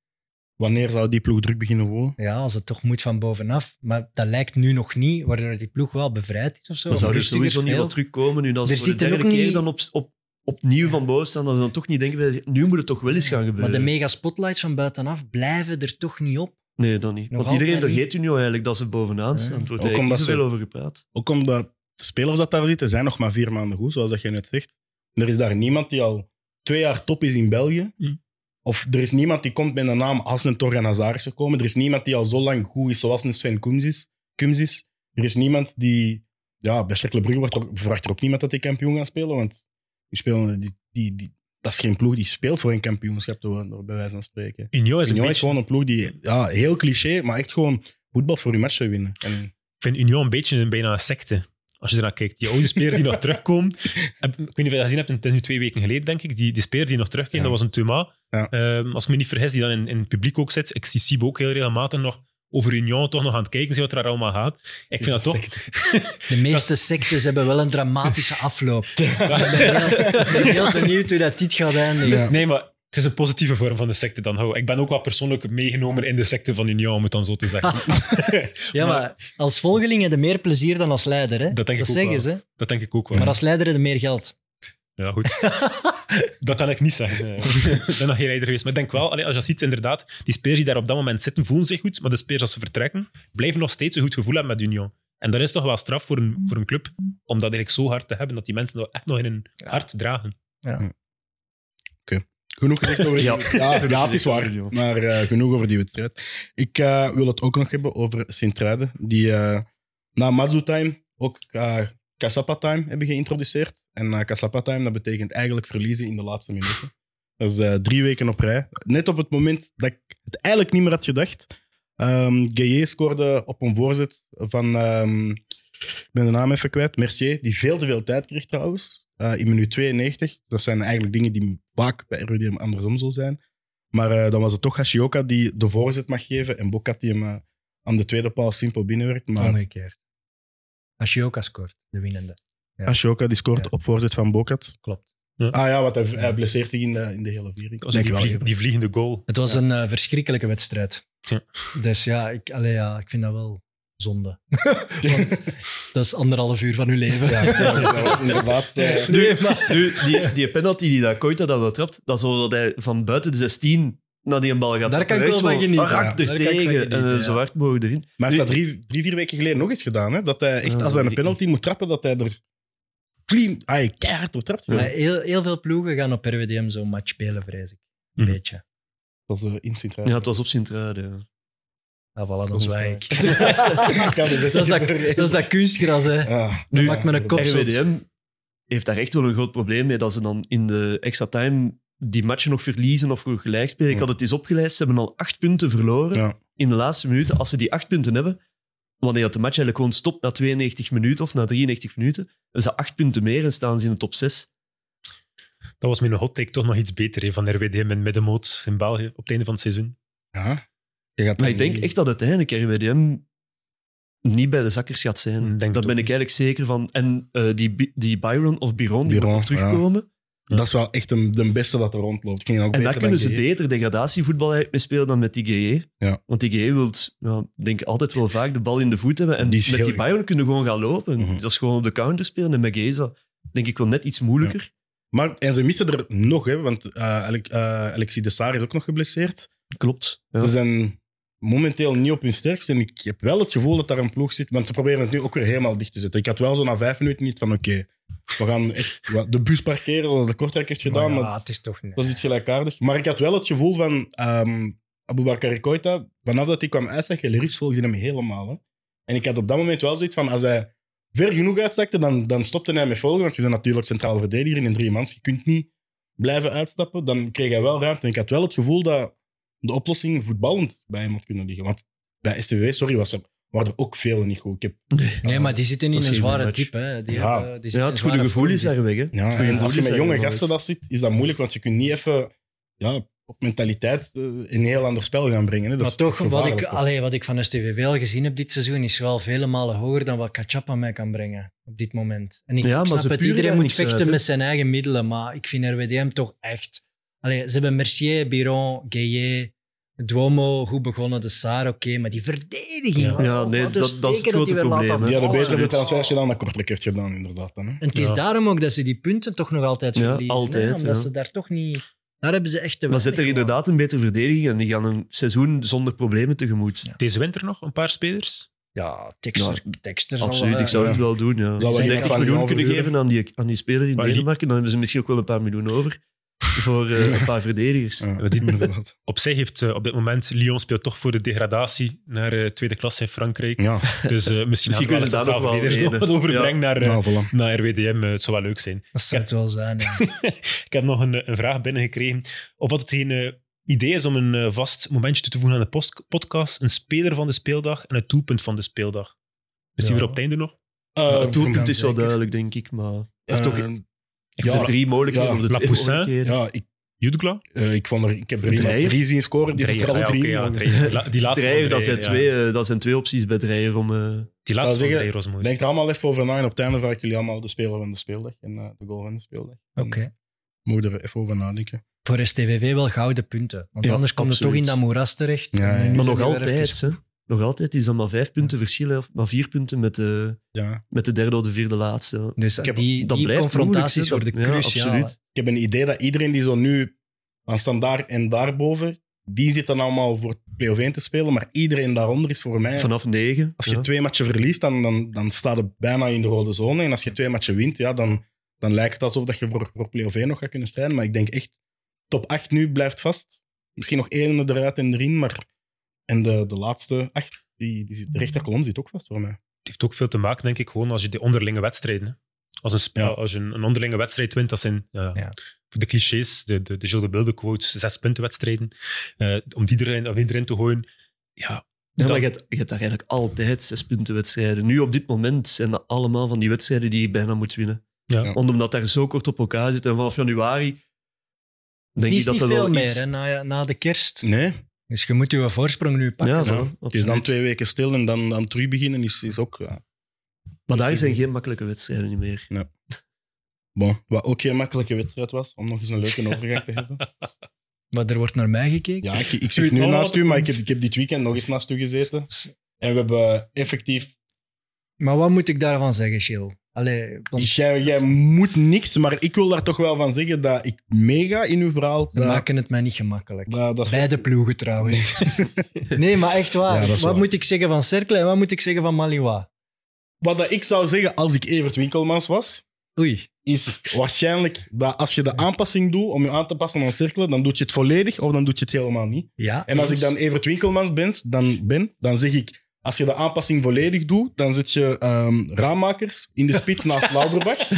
Wanneer zou die ploeg druk beginnen voelen?
Ja, als het toch moet van bovenaf. Maar dat lijkt nu nog niet, waardoor die ploeg wel bevrijd is of zo.
Maar
Of
zou er
rustiger
sowieso niet
speelt.
wat terugkomen nu dat ze
Er
voor de
zitten ook
derde keer
niet-
dan op, op, opnieuw van boven staan, dat ze dan toch niet denken, bij- nu moet het toch wel eens gaan gebeuren.
Maar de mega spotlights van buitenaf blijven er toch niet op.
Nee, dan niet.
Nog
Want iedereen
altijd
vergeet nu eigenlijk dat ze
Ja.
bovenaan staan. Er wordt
Ook
eigenlijk
omdat
niet
ze-
zoveel over gepraat.
Ook omdat de spelers dat daar zitten zijn nog maar vier maanden goed, zoals dat je net zegt. En Er is daar niemand die al twee jaar top is in België.
Mm.
Of er is niemand die komt met een naam als een Torgan Hazard is gekomen. Er is niemand die al zo lang goed is zoals een Sven Kums is. Kums is. Er is niemand die... Ja, bij Cercle Brugge wordt er ook- verwacht er ook niemand dat die kampioen gaat spelen, want die spelen, die, die, die, dat is geen ploeg die speelt voor een kampioenschap, te worden, bij wijze van spreken.
Union is een
Union is
beetje,
gewoon een ploeg die, ja, heel cliché, maar echt gewoon voetbal voor je matchen winnen. En
ik vind Union een beetje een bijna een secte. Als je ernaar kijkt, die oude speler die nog terugkomt. Heb- Ik weet niet of je dat gezien hebt, het is nu twee weken geleden, denk ik. Die, die speler die nog terugkeert,
Ja.
dat was een Thomas.
Ja.
Ehm, als ik me niet vergis, die dan in, in het publiek ook zit. Ik zie Sibo ook heel regelmatig nog over Union toch nog aan het kijken, zien wat er allemaal gaat. Ik vind dat toch...
De meeste sectes hebben wel een dramatische afloop. Ik ben heel, ik ben heel benieuwd hoe dat dit gaat eindigen.
Ja.
Nee, maar het is een positieve vorm van de secte dan. hou. Ik ben ook wel persoonlijk meegenomen in de secte van Union, om het dan zo te
Ah.
zeggen.
Ja, maar als volgeling heb je meer plezier dan als leider. Hè?
Dat denk ik ook
zeggen
wel.
ze. hè.
dat denk ik ook wel.
Maar als leider heb je meer geld.
Ja, goed. dat kan ik niet zeggen. nee. Ik ben nog geen leider geweest. Maar ik denk wel, allee, als je dat ziet, inderdaad, die spelers die daar op dat moment zitten, voelen zich goed. Maar de spelers als ze vertrekken, blijven nog steeds een goed gevoel hebben met Union. En dat is toch wel straf voor een, voor een club, om dat eigenlijk zo hard te hebben, dat die mensen dat echt nog in hun hart dragen.
Genoeg gezegd over
Ja.
die... Ja, ja, het is waar. Maar eh, genoeg over die wedstrijd. Ik eh, wil het ook nog hebben over Sint-Truiden, die eh, na Mazu Time ook eh Kasapa Time hebben geïntroduceerd. En eh Kasapa Time, dat betekent eigenlijk verliezen in de laatste minuten. Dat is eh, drie weken op rij. Net op het moment dat ik het eigenlijk niet meer had gedacht. Ehm Gaye scoorde op een voorzet van, ehm, ik ben de naam even kwijt, Mercier, die veel te veel tijd kreeg trouwens. eh, in minuut 92. Dat zijn eigenlijk dingen die vaak bij RWDM andersom zo zijn. Maar eh, dan was het toch Hashioka die de voorzet mag geven en Bokat die hem eh, aan de tweede paal simpel binnenwerkt. Maar
Omgekeerd. Ashioka scoort, de winnende. Ja.
Ashoka die scoort
Ja.
op voorzet van Bokat.
Klopt.
Ja.
Ah ja, want hij, hij blesseert zich in de, in de hele viering.
Dat was die,
Denk wel
vlie-
even.
die vliegende goal.
Het was een eh, verschrikkelijke wedstrijd.
Ja.
Dus ja ik, allee, ja, ik vind dat wel zonde. Want dat is anderhalf uur van uw leven.
Ja, dat was inderdaad... eh,
Nu, nu die, die penalty die dat Koita dat wel trapt, dat is zo dat hij van buiten de 16 naar die een bal gaat.
Daar kan ik
trappen.
wel van
Echt zo
genieten,
hard
ja. Daar
er
kan ik van
tegen en
genieten,
eh,
ja.
zo hard mogelijk erin.
Maar hij heeft dat
Nu-
drie, drie, vier weken geleden nog eens gedaan. Hè? Dat hij echt, als
Ah,
hij
dat
een
weet ik
penalty moet trappen, dat hij er clean, ah, keihard door trapt.
Maar heel, heel veel ploegen gaan op RWDM zo'n match spelen, vrees ik. Een
Mhm.
beetje.
Dat is eh, instant raar.
Ja, het was op Sint-Truiden. ja.
Nou, voilà, dan
Dat is
zwijg ik.
Kan er best
Dat is dat,
gebeuren.
dat is dat kunstgras, hè.
Ah,
Nu-
maakt me een kop. Opzet.
RWDM heeft daar echt wel een groot probleem mee dat ze dan in de extra time die matchen nog verliezen of nog gelijk spelen. Ik
Ja.
had het eens opgelijst, ze hebben al acht punten verloren
Ja.
in de laatste minuten. Als ze die acht punten hebben, wanneer dat de match eigenlijk gewoon stopt na 92 minuten of na 93 minuten, hebben ze acht punten meer en staan ze in de top 6.
Dat was mijn hot take toch nog iets beter hè, van RWDM in middenmoot in België op het einde van het seizoen.
Ja. Je gaat
Maar
dan
ik denk
niet-
echt dat uiteindelijk RWDM niet bij de zakkers gaat zijn.
Mm, Denk
Daar
het
ben
ook niet.
ik eigenlijk zeker van. En eh, die, Bi- die Byron of Biron, die
Byron,
moet nog terugkomen.
Dat is wel echt een, de beste dat er rondloopt. Ik ging ook
En
beter
daar kunnen ze
dan Gea.
beter degradatievoetbal eigenlijk mee spelen dan met die GE.
Ja.
Want die GE wil, nou, denk ik, altijd wel vaak de bal in de voet hebben. En
Die is
met
heel
die
goed.
Bayern kunnen gewoon gaan lopen. Dus
Mhm.
Dat is gewoon op de counter spelen. En met GE is dat, denk ik, wel net iets moeilijker.
Maar, en ze missen er nog, hè, want eh Alec- eh, Alexis de Saar is ook nog geblesseerd.
Klopt. Ja.
Ze zijn momenteel niet op hun sterkst. En ik heb wel het gevoel dat daar een ploeg zit. Want ze proberen het nu ook weer helemaal dicht te zetten. Ik had wel zo na vijf minuten niet van: oké, we gaan echt wa- de bus parkeren zoals de Kortrijk heeft gedaan.
Maar
maar
Oh ja, het is toch niet.
Dat is iets gelijkaardig. Maar ik had wel het gevoel van ehm Abubakar Koita, vanaf dat hij kwam uitzakken, Liris volgde hem helemaal. Hè. En ik had op dat moment wel zoiets van, als hij ver genoeg uitzakte, dan, dan stopte hij met volgen. Want je bent natuurlijk centraal verdediger in een drie mans. Je kunt niet blijven uitstappen. Dan kreeg hij wel ruimte. En ik had wel het gevoel dat de oplossing voetballend bij hem had kunnen liggen. Want bij STV, sorry, was er, waren er ook velen niet goed. Ik heb,
Nee, maar die zitten
Dat
in
is
een
geen
zware
match.
diep, hè. Die
Ja.
hebben- die zitten
ja,
in
het goede
zware
gevoel is
vorm.
daar weg. Hè.
Ja,
Goeie
en als je
voordeel
met
zijn
jonge
ervan,
gasten dat zit, is dat moeilijk, want je kunt niet even ja, op mentaliteit eh, een heel ander spel gaan brengen. Hè. Dat
Maar
is-
toch,
dat is
wat ik,
gevaarlijk, hoor.
allee, wat ik van STVV al gezien heb dit seizoen, is wel vele malen hoger dan wat Kachapa mij kan brengen op dit moment. En ik,
Ja,
ik
maar
snap
ze
het,
puren
iedereen
daar
moet
niks
vechten
uit, hè.
met zijn eigen middelen, maar ik vind RWDM toch echt... Allee, ze hebben Mercier, Biron, Gueye, Duomo, goed begonnen, de Saar, oké, maar die verdediging...
Ja.
wow,
Ja, nee,
wat een
dat- dat is het
steken
grote
die weer laten
probleem, hè.
Die
Ja,
hadden
vallen.
beter de transfers gedaan dan Kortrijk heeft gedaan, inderdaad. Dan, hè.
En het is
Ja.
daarom ook dat ze die punten toch nog altijd
Ja,
verliezen. hè,
altijd,
Omdat
ja.
ze daar toch niet... Daar hebben ze echt te
Maar
weinig
zet er
gewoon.
inderdaad een betere verdediging en die gaan een seizoen zonder problemen tegemoet.
Deze winter nog een paar spelers
Ja, tekster. tekster zal,
Absoluut,
eh,
ik zou
ja.
het wel doen. Ja.
Zou
Als
wel
ze
iets
30
van
miljoen
halve
kunnen
uur.
geven aan die, aan die speler in
Maar die-
Denemarken, dan hebben ze misschien ook wel een paar miljoen over voor eh, een paar verdedigers.
Ja,
Maar die-
inderdaad.
Op zich heeft eh, op dit moment Lyon speelt toch voor de degradatie naar eh, tweede klasse in Frankrijk.
Ja,
Dus eh, misschien,
Misschien kunnen ze daar nog wel
verder
reden.
wat overbrengen naar, eh,
ja, voilà.
naar RWDM. eh, het zou wel leuk zijn.
Dat zou het wel zijn. ja.
Ik heb nog een, eh, een vraag binnengekregen. Of wat het geen eh, idee is om een eh, vast momentje toe te voegen aan de post- podcast. Een speler van de speeldag en het doelpunt van de speeldag. Dus die
Ja.
weer op het einde nog.
Eh,
het doelpunt
ja,
is wel
zeker.
duidelijk, denk ik. Maar
Eh,
toch-
Ik
ja, de
vond
drie mogelijkheden
ja,
of de
La
twee
Poussin.
mogelijkheden.
ja, ik,
Judekla?
eh, ik, vond er, ik heb er iemand
Dreyer?
drie zien scoren. Die
Dreyer.
heeft er
Ah,
alle
ja,
drie.
oké, ja,
maar-
Dreyer. La- Die laatste
Dreyer,
van
dat
Dreyer,
zijn,
ja.
twee, eh, dat zijn twee opties bij Dreyer om... eh,
Die laatste
Ik zou
van
zeggen,
Dreyer was mooi.
Denk er allemaal even over na. En op het einde vraag ik jullie allemaal de speler van de speeldag en eh, de goal van de speeldag.
Oké.
Moet er even over nadenken.
Mm. Voor STVV wel gouden punten. Want
Ja,
anders komt het toch in
absoluut.
dat moeras terecht.
Ja, ja.
En nu
maar
zijn
nog
we weer
altijd,
even-
hè. Nog altijd is dat maar vijf punten verschil, hè, of maar vier punten met de,
Ja.
met de derde of de vierde laatste. hè.
Dus
Ik heb-
die,
dat
die
blijft
confrontaties
moeilijk, hè.
worden
Dat- ja,
cruciaal.
absoluut.
Ik heb een idee dat iedereen die zo nu aan standaard en daarboven, die zit dan allemaal voor play-off 1 te spelen, maar iedereen daaronder is voor mij...
Vanaf negen.
als je
ja.
twee matchen verliest, dan, dan, dan staat het bijna in de rode zone. En als je twee matchen wint, ja, dan, dan lijkt het alsof dat je voor, voor play-off 1 nog gaat kunnen strijden. Maar ik denk echt, top 8 nu blijft vast. Misschien nog één eruit en erin, maar... En de, de laatste acht, die, die zit, de rechterkolom zit ook vast voor mij.
Het heeft ook veel te maken, denk ik, gewoon als je die onderlinge wedstrijden. hè. Als, een, sp-
Ja.
als je een, een onderlinge wedstrijd wint, dat zijn ja,
Ja.
de clichés, de, de, de Gilles de Bilde quotes, zes punten wedstrijden. Eh, om die erin, om die erin te gooien. Ja,
Ja, maar
dan-
je hebt, je hebt daar eigenlijk altijd zes punten wedstrijden. Nu op dit moment zijn dat allemaal van die wedstrijden die je bijna moet winnen.
Ja.
Ja.
Want omdat daar zo kort op elkaar zit en vanaf januari
Het
denk
is
ik dat
niet
er
veel
wel
meer
iets...
hè, na, na de kerst.
Nee,
Dus je moet je voorsprong nu pakken.
Ja,
Ja. het
voilà,
is
absoluut.
dan twee weken stil en dan, dan terug beginnen is, is ook... ja,
Maar daar zijn geen makkelijke wedstrijden niet meer.
Bon, wat ook geen makkelijke wedstrijd was, om nog eens een leuke overgang te hebben.
Maar er wordt naar mij gekeken.
Ja, ik, ik
Doe
zit
het
nu
allemaal
naast u, maar ik
goed.
heb, ik heb dit weekend nog eens naast u gezeten. En we hebben effectief...
Maar wat moet ik daarvan zeggen, Chill? Allee, want
Jij, jij moet niks, maar ik wil daar toch wel van zeggen dat ik mega in uw verhaal...
ze maken het mij niet gemakkelijk.
dat, dat,
Beide ploegen trouwens. nee, maar echt waar.
Ja, dat is
wat
waar.
moet ik zeggen van Cercle en wat moet ik zeggen van Maliwa?
Wat dat ik zou zeggen als ik Evert Winkelmans was,
Oei.
is waarschijnlijk dat als je de aanpassing doet om je aan te passen aan cirkelen, dan doe je het volledig of dan doe je het helemaal niet.
Ja,
En als ik dan Evert Winkelmans ben, dan, ben, dan zeg ik... Als je de aanpassing volledig doet, dan zet je ehm, raammakers in de spits naast Lauberbach.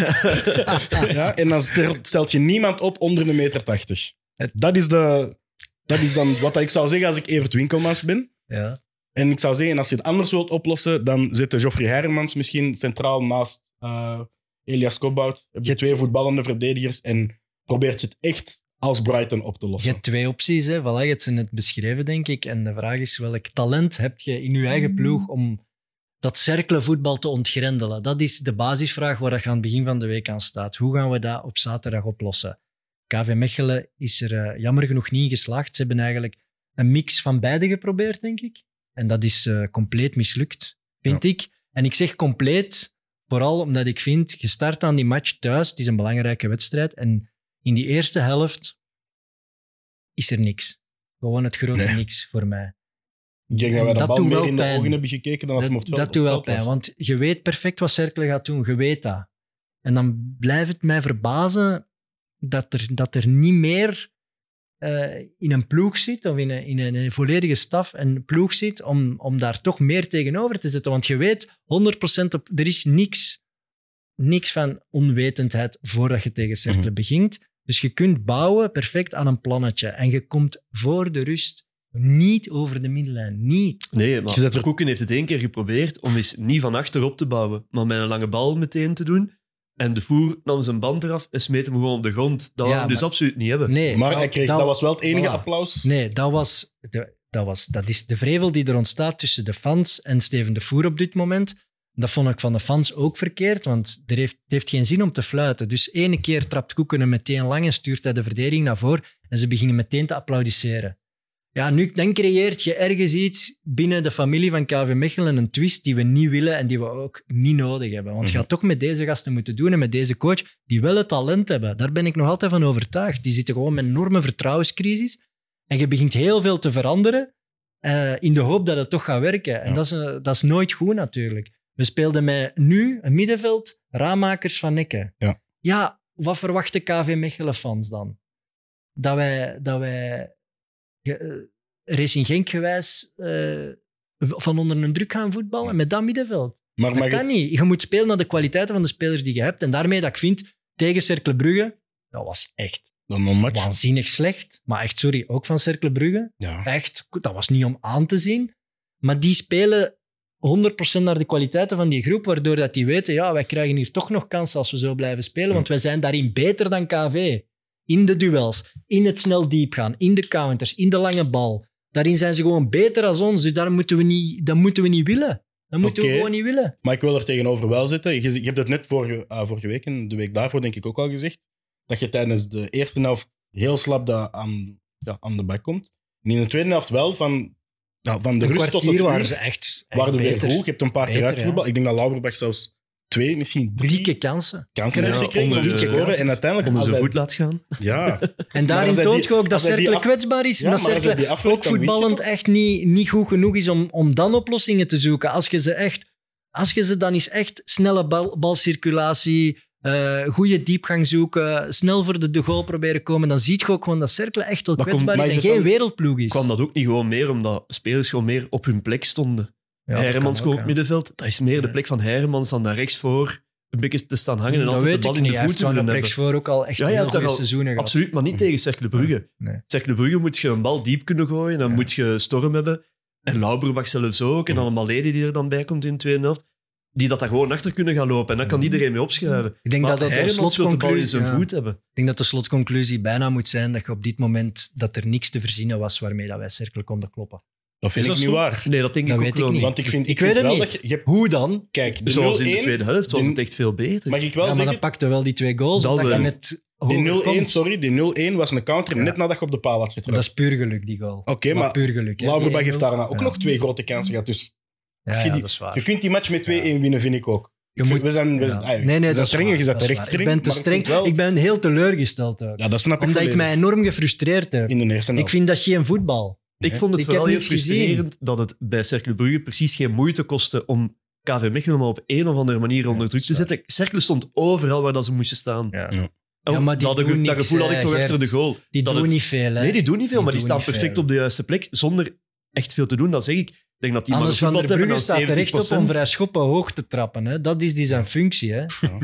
ja, en dan stel- stelt je niemand op onder de meter 80. Dat is, de, dat is dan wat ik zou zeggen als ik Evert Winkelmans ben.
Ja.
En ik zou zeggen, als je het anders wilt oplossen, dan zet je Geoffrey Hermans misschien centraal naast eh, Elias Kobout. Heb je
Je
twee
hebt-
voetballende verdedigers en probeert je het echt als Brighton op te
Je
lossen.
hebt twee opties, hè. Voilà, je hebt ze net beschreven, denk ik. En de vraag is, welk talent heb je in je eigen ploeg om dat cirkelenvoetbal te ontgrendelen? Dat is de basisvraag waar dat aan het begin van de week aan staat. Hoe gaan we dat op zaterdag oplossen? KV Mechelen is er eh, jammer genoeg niet in geslaagd. Ze hebben eigenlijk een mix van beide geprobeerd, denk ik. En dat is eh, compleet mislukt, vind ik. En ik zeg compleet, vooral omdat ik vind, je start aan die match thuis, het is een belangrijke wedstrijd. En in die eerste helft is er niks. Gewoon het grote
Nee.
niks voor mij.
Ik denk dat wij de
Dat
bal
doet
meer
wel
in de
pijn.
ogen hebben gekeken dan dat,
Dat,
hem op het veld-
dat doet wel
op het veld
pijn,
was.
want je weet perfect wat Cercle gaat doen. Je weet dat. En dan blijft het mij verbazen dat er, dat er niet meer eh, in een ploeg zit, of in een, in een, een volledige staf en ploeg zit, om, om daar toch meer tegenover te zetten. Want je weet 100% op, er is niks, niks van onwetendheid voordat je tegen Cercle
Mhm.
begint. Dus je kunt bouwen perfect aan een plannetje. En je komt voor de rust niet over de middenlijn. Niet.
Nee,
Je zet
maar
er-
Koeken heeft het één keer geprobeerd om eens niet van achter op te bouwen, maar met een lange bal meteen te doen. En de voer nam zijn band eraf en smeet hem gewoon op de grond. Dat
Ja,
wou hij dus
maar-
absoluut niet hebben.
Nee,
Maar hij kreeg, dat, was wel het enige
voilà.
applaus.
Nee, dat was, de, dat was... Dat is de vrevel die er ontstaat tussen de fans en Steven de Voer op dit moment. Dat vond ik van de fans ook verkeerd, want er heeft, het heeft geen zin om te fluiten. Dus ene keer trapt Koeken hem meteen lang en stuurt hij de verdediging naar voren en ze beginnen meteen te applaudisseren. Ja, nu, dan creëert je ergens iets binnen de familie van KV Mechelen, een twist die we niet willen en die we ook niet nodig hebben. Want je gaat toch met deze gasten moeten doen en met deze coach die wel het talent hebben. Daar ben ik nog altijd van overtuigd. Die zitten gewoon met een enorme vertrouwenscrisis en je begint heel veel te veranderen. eh, in de hoop dat het toch gaat werken. En
Ja.
dat, is, eh, dat is nooit goed natuurlijk. We speelden met nu een middenveld, raammakers van Nekken.
Ja.
ja, wat verwachten KV Mechelen-fans dan? Dat wij, dat wij ge- eh, Racing Genk-gewijs eh, van onder een druk gaan voetballen
Ja.
met dat middenveld.
Maar
Dat
mag ik-
kan niet. Je moet spelen naar de kwaliteiten van de spelers die je hebt. En daarmee dat ik vind, tegen Cercle Brugge, dat was echt
dan nog een match?
waanzinnig slecht. Maar echt, sorry, ook van Cercle Brugge.
Ja.
Echt, dat was niet om aan te zien. Maar die spelen 100% naar de kwaliteiten van die groep, waardoor dat die weten, ja, wij krijgen hier toch nog kansen als we zo blijven spelen, want wij zijn daarin beter dan KV. In de duels, in het snel diep gaan, in de counters, in de lange bal. Daarin zijn ze gewoon beter dan ons, dus daar moeten we niet, dat moeten we niet willen. Dat moeten
Oké.
we gewoon niet willen.
Maar ik wil er tegenover wel zitten. Je, je hebt het net vorige, ah, vorige week en de week daarvoor denk ik ook al gezegd. Dat je tijdens de eerste helft heel slap dat aan, ja, aan de bak komt. En in de tweede helft wel van, ja, van de
een
rust tot het
kwartier waren
uur
ze echt, echt
waren we weer
beter.
goed. Je hebt een paar keer
Beter,
uitgevoetbald. Ik denk dat Lauberbach zelfs twee, misschien drie
Dikke kansen.
kansen
Ja,
heeft gekregen
onder
om
de-
te scoren. En uiteindelijk...
Onder
als
zijn
hij-
dus voet laat gaan.
Ja,
En
als
daarin
hij
toont
die-
je ook dat
als hij die
Cercle
af-
kwetsbaar is.
ja
en dat
maar als hij
Cercle
die afwerkt,
ook
dan win je
voetballend
toch?
echt niet, niet goed genoeg is om, om dan oplossingen te zoeken. Als je ze echt... Als je ze dan eens echt snelle bal, balcirculatie, eh goede diepgang zoeken, snel voor de, de goal proberen komen, dan zie je ook gewoon dat Cercle echt wel
Maar kom-
kwetsbaar
maar
is en
is het
geen
dan-
wereldploeg is.
Kwam dat ook niet gewoon meer omdat spelers gewoon meer op hun plek stonden? Hermans kwam op
midden.
middenveld. Dat is meer de
Ja.
plek van Hermans dan naar rechts voor. Een beetje te staan hangen en
Dat
altijd
weet
de bal
ik
in
niet.
de
Hij heeft
voet
gewoon
willen
op
hebben.
rechts voor ook al echt
Ja, hij
heel
heeft daar
goede
al-
seizoenen gehad.
Absoluut, maar niet tegen Cercle Brugge.
Mhm. Nee.
Cercle Brugge moet je een bal diep kunnen gooien, dan
Ja. Mhm.
moet je storm hebben. En Lauberbach zelfs ook, en dan een Maledi die er dan bij komt in de tweede helft, die dat daar gewoon achter kunnen gaan lopen. En dan
Mhm.
kan iedereen mee opschuiven.
Ik denk
maar
dat dat de
Hermans wil de bal
slotconclusie...
in zijn
ja.
voet hebben.
Ik denk dat de slotconclusie bijna moet zijn dat je op dit moment dat er niks te verzinnen was waarmee dat wij cirkel konden kloppen.
dat vind
Is
ik
dat
niet
zo?
waar.
Nee, dat denk
Dat
ik
weet
ook
ik
wel
niet.
niet.
Want ik vind,
Ik
ik
weet
vind
het
wel
niet.
dat je... je hebt-
Hoe dan?
kijk, de
Dus Zoals in de
0-1
tweede helft was
de-
het echt veel beter.
Mag ik wel
Ja, maar
zeggen,
dat pakte wel die twee goals,
Dat
dat omdat
wel.
je net hoger
die 0-1,
komt.
sorry, die 0-1 was een counter
Ja.
net nadat je op de paal had getrapt.
Dat is puur geluk, die goal.
Oké,
Maar
maar
puur geluk. hè.
Lauberbach
Die
heeft daarna ook
Ja.
nog twee grote kansen gehad. Dus
Ja,
als je
ja,
die-
dat is
je
waar.
kunt die match met 2-1 winnen, vind ik ook.
Je
Ik
moet-
vind- we zijn, we,
Ja.
zijn- ah, we
Nee, nee,
zijn
dat is
strenger,
waar,
je bent
dat is
terecht
waar.
streng.
Ik ben te
maar ik
streng.
vind wel-
Ik ben heel teleurgesteld ook.
Ja, dat snap ik
omdat ik
volledig.
mij enorm gefrustreerd heb.
In de eerste
Ik
helft.
vind dat geen voetbal.
Ik vond het
Ik
vooral
heb
heel
niks gezien.
frustrerend dat het bij Cercle Brugge precies geen moeite kostte om KV Mechelen maar op een of andere manier onder druk te
dat is
zetten. Cercle stond overal waar dat ze moesten staan.
Ja.
Ja.
En
Ja, maar die
dat, ge-
doen
dat
niks,
gevoel had ik
hè,
toch
Gert.
achter de goal.
Die
dat
doen
het-
niet veel, hè.
Nee, die doen niet
Die
veel, maar
doen
die staan
niet
perfect
veel.
op de juiste plek zonder echt veel te doen. Dat zeg ik. Ik denk dat die maar
Anders van der
gevoetbald hebben
Brugge
aan
staat er echt op om
70%.
vrij schoppen hoog te trappen. Hè. Dat is die zijn functie. Hè.
Ja,
Ja,
maar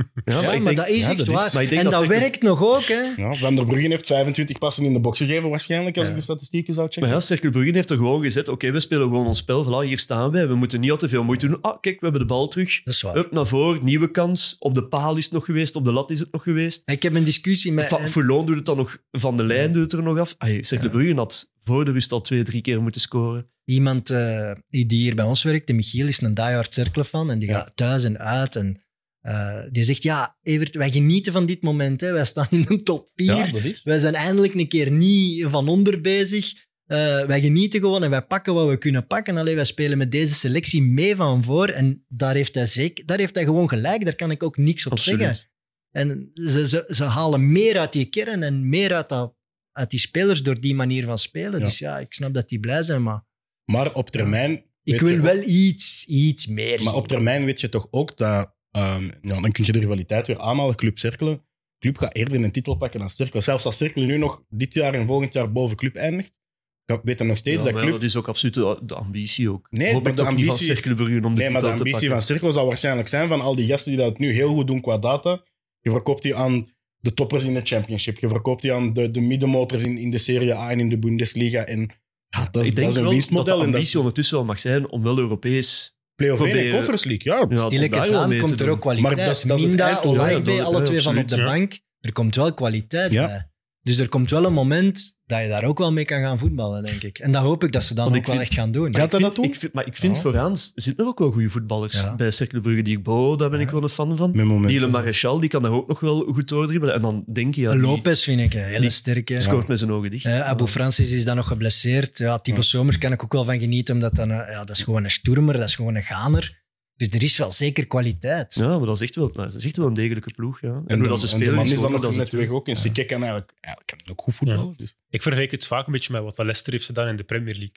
maar,
ik denk-
dat is
ja,
echt
dat is-
waar.
maar ik denk
en
dat
dat,
ze-
werkt nog ook, hè?
Ja, Van der Bruggen heeft 25 passen in de box gegeven, waarschijnlijk, als
Ja.
ik de statistieken zou checken.
Maar ja, Cercle Brugge heeft er gewoon gezet, oké, we spelen gewoon ons spel. Voilà, hier staan wij. We moeten niet al te veel moeite doen. Ah, kijk, we hebben de bal terug.
Dat is waar.
Up naar voren, nieuwe kans. Op de paal is het nog geweest, op de lat is het nog geweest.
Ik heb een discussie met.
Va
eh,
Foulon doet het dan nog, Van de Lijn doet het er nog af. Ay, Cercle Brugge had voor de rust al twee, drie keer moeten scoren.
Iemand eh, die hier bij ons werkt, de Michiel, is een diehard cirkel van. En die
Ja.
gaat thuis en uit. En eh, die zegt: Ja, Evert, wij genieten van dit moment. Hè. Wij staan in de top 4.
Ja, dat is.
Wij zijn eindelijk een keer niet van onder bezig. Eh, wij genieten gewoon en wij pakken wat we kunnen pakken. Alleen wij spelen met deze selectie mee van voor. En daar heeft hij, zeker, daar heeft hij gewoon gelijk. Daar kan ik ook niks op
Absoluut.
zeggen. En ze, ze, ze halen meer uit die kern en meer uit, dat, uit die spelers door die manier van spelen.
Ja.
Dus ja, ik snap dat die blij zijn, maar
Maar op termijn Weet
ik
je
wil
ook-
wel iets, iets meer.
Maar
zien.
op termijn weet je toch ook dat... ehm, ja, dan kun je de rivaliteit weer aanhalen, Club Cerkelen. Club gaat eerder een titel pakken dan Cerkelen. Zelfs als Cerkelen nu nog dit jaar en volgend jaar boven Club eindigt, dan weet je nog steeds
Ja,
dat
maar
Club...
dat is ook absoluut de, de ambitie ook.
Nee,
Hoop
maar
ik
de
toch niet van
ambitie-
Cercle Brugge om de
Nee, maar
titel
de
te
ambitie
pakken.
van Cirkel zal waarschijnlijk zijn van al die gasten die dat nu heel goed doen qua data. Je verkoopt die aan de toppers in de championship. Je verkoopt die aan de, de middenmotors in, in de Serie A en in de Bundesliga. En ja, dat, is-
ik denk
dat is een
wel dat de
winstmodel. en dat
ambitie
is
ondertussen wel mag zijn om wel Europees...
play-off één en
proberen.
Conference League. Ja,
Ja, om daar
Stilletjes
wel mee
aan
te
komt er
doen.
ook kwaliteit.
Maar dat is- dat is het
Minda,
einddoel, hè?
Olaïbe,
Ja,
alle
ja,
twee van op de
absoluut, ja.
bank. Er komt wel kwaliteit
Ja.
bij. Dus er komt wel een moment dat je daar ook wel mee kan gaan voetballen, denk ik. En dat hoop ik dat ze dan
Want
ook
ik
wel
vind-
echt gaan doen.
Gaat
ik
dat
vind,
dat doen? Ah,
Ik vind, maar ik vind
Ja.
vooraan zitten er ook wel goede voetballers
Ja.
bij Cercle Brugge. Die Bo, daar ben ik wel een fan van.
Met moment.
Die Le Maréchal, die kan daar ook nog wel goed doordribbelen. En dan denk je, ja, die
Eh, Lopez vind ik een hele
die
sterke.
scoort met zijn ogen dicht.
Eh, Abu Francis is dan nog geblesseerd. Ja, Thibaut
Ja.
Somers kan ik ook wel van genieten, omdat dan, eh, ja, dat is gewoon een stoermer, dat is gewoon een ganer. Dus er is wel zeker kwaliteit.
Ja, maar dat is echt wel, dat is echt wel een degelijke ploeg. Ja. En, hoe
de-
dat ze
en de
spelen
man
is
is dan
gewoon
ook
dat
net
ze...
weg ook. En Sikke kan eigenlijk, eigenlijk kan ook goed voetballen. Dus.
Ik vergelijk het vaak een beetje met wat Leicester heeft gedaan in de Premier League.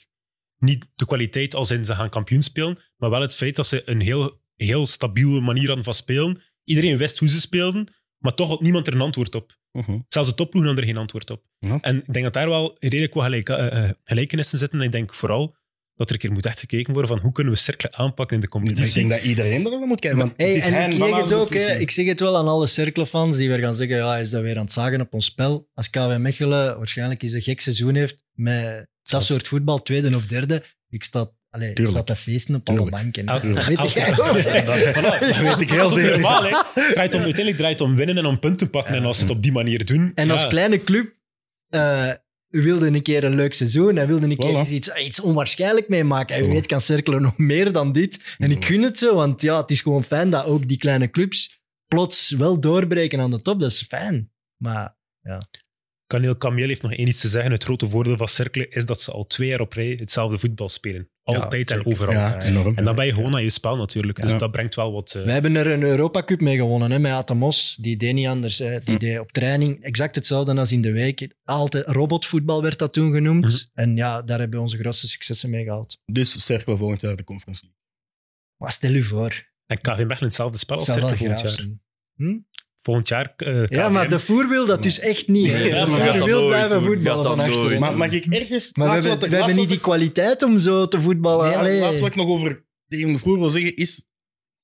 niet de kwaliteit als in ze gaan kampioen spelen, maar wel het feit dat ze een heel, heel stabiele manier hadden van spelen. Iedereen wist hoe ze speelden, maar toch had niemand er een antwoord op.
Dus
Mhm.
Zelfs de topploegen hadden er geen antwoord op.
Ja.
En ik denk dat daar wel redelijk wat gelijk, eh, eh, gelijkenissen zitten. En ik denk vooral dat er een keer moet echt gekeken worden van hoe kunnen we cirkelen aanpakken in de
Ik
competitie.
denk dat iedereen dat moet kijken. Want het
Hey,
is
en
hen,
ik
Van
zeg het
Azen
ook, hè.
natuurlijk.
ik zeg het wel aan alle cirkelfans die weer gaan zeggen, ja, hij is dat weer aan het zagen op ons spel. Als KW Mechelen waarschijnlijk eens een gek seizoen heeft met dat soort voetbal, tweede of derde, ik sta, allee, ik
Tuurlijk.
sta te feesten op alle
Tuurlijk.
banken.
Elk-
hè. Dat weet
elk
jij
jaar.
ook.
Ja, dat- voilà, dat weet ik heel
zeker.
zeker. Normaal, hè. Het Draait om, uiteindelijk draait het om winnen en om punten pakken. En als ze het op die manier doen...
En
ja.
als kleine club eh, u wilde een keer een leuk seizoen en wilde een keer
Voilà.
eens iets, iets onwaarschijnlijk meemaken. En wie
Ja.
weet kan cirkelen nog meer dan dit. En ik
Ja.
gun het ze, want ja, het is gewoon fijn dat ook die kleine clubs plots wel doorbreken aan de top. Dat is fijn. Maar
Kaneel Kameel heeft nog één iets te zeggen. Het grote voordeel van cirkelen is dat ze al twee jaar op rij hetzelfde voetbal spelen. Altijd en overal.
Ja, enorm.
En dan ben je gewoon aan je spel natuurlijk. Dus
Ja.
dat brengt wel wat... eh,
we hebben er een Europa Cup mee gewonnen hè, met Atamos. Die deed niet anders. Hè. Die
Hm.
deed op training exact hetzelfde als in de week. Altijd robotvoetbal werd dat toen genoemd. En ja, daar hebben we onze grootste successen mee gehaald.
Dus cirkel volgend jaar de conference. League.
Maar stel u voor,
En KV Mechelen hetzelfde spel
het
als
zou
cirkelen
wel
volgend
graag
jaar.
zijn.
Volgend jaar... eh,
Ja,
KVM.
maar de voer wil dat dus echt niet. hè.
Nee,
de
dat
voer
gaat dat
wil
nooit
blijven
doen.
voetballen
Gaat dat
van achteren.
nooit
Maar,
Maar mag ik ergens...
maar we
laatst
hebben,
wat ik-
we hebben
laatst wat
niet die kwaliteit om zo te voetballen.
Nee,
Allee.
laatst wat ik nog over de jonge vroeger wil zeggen, is...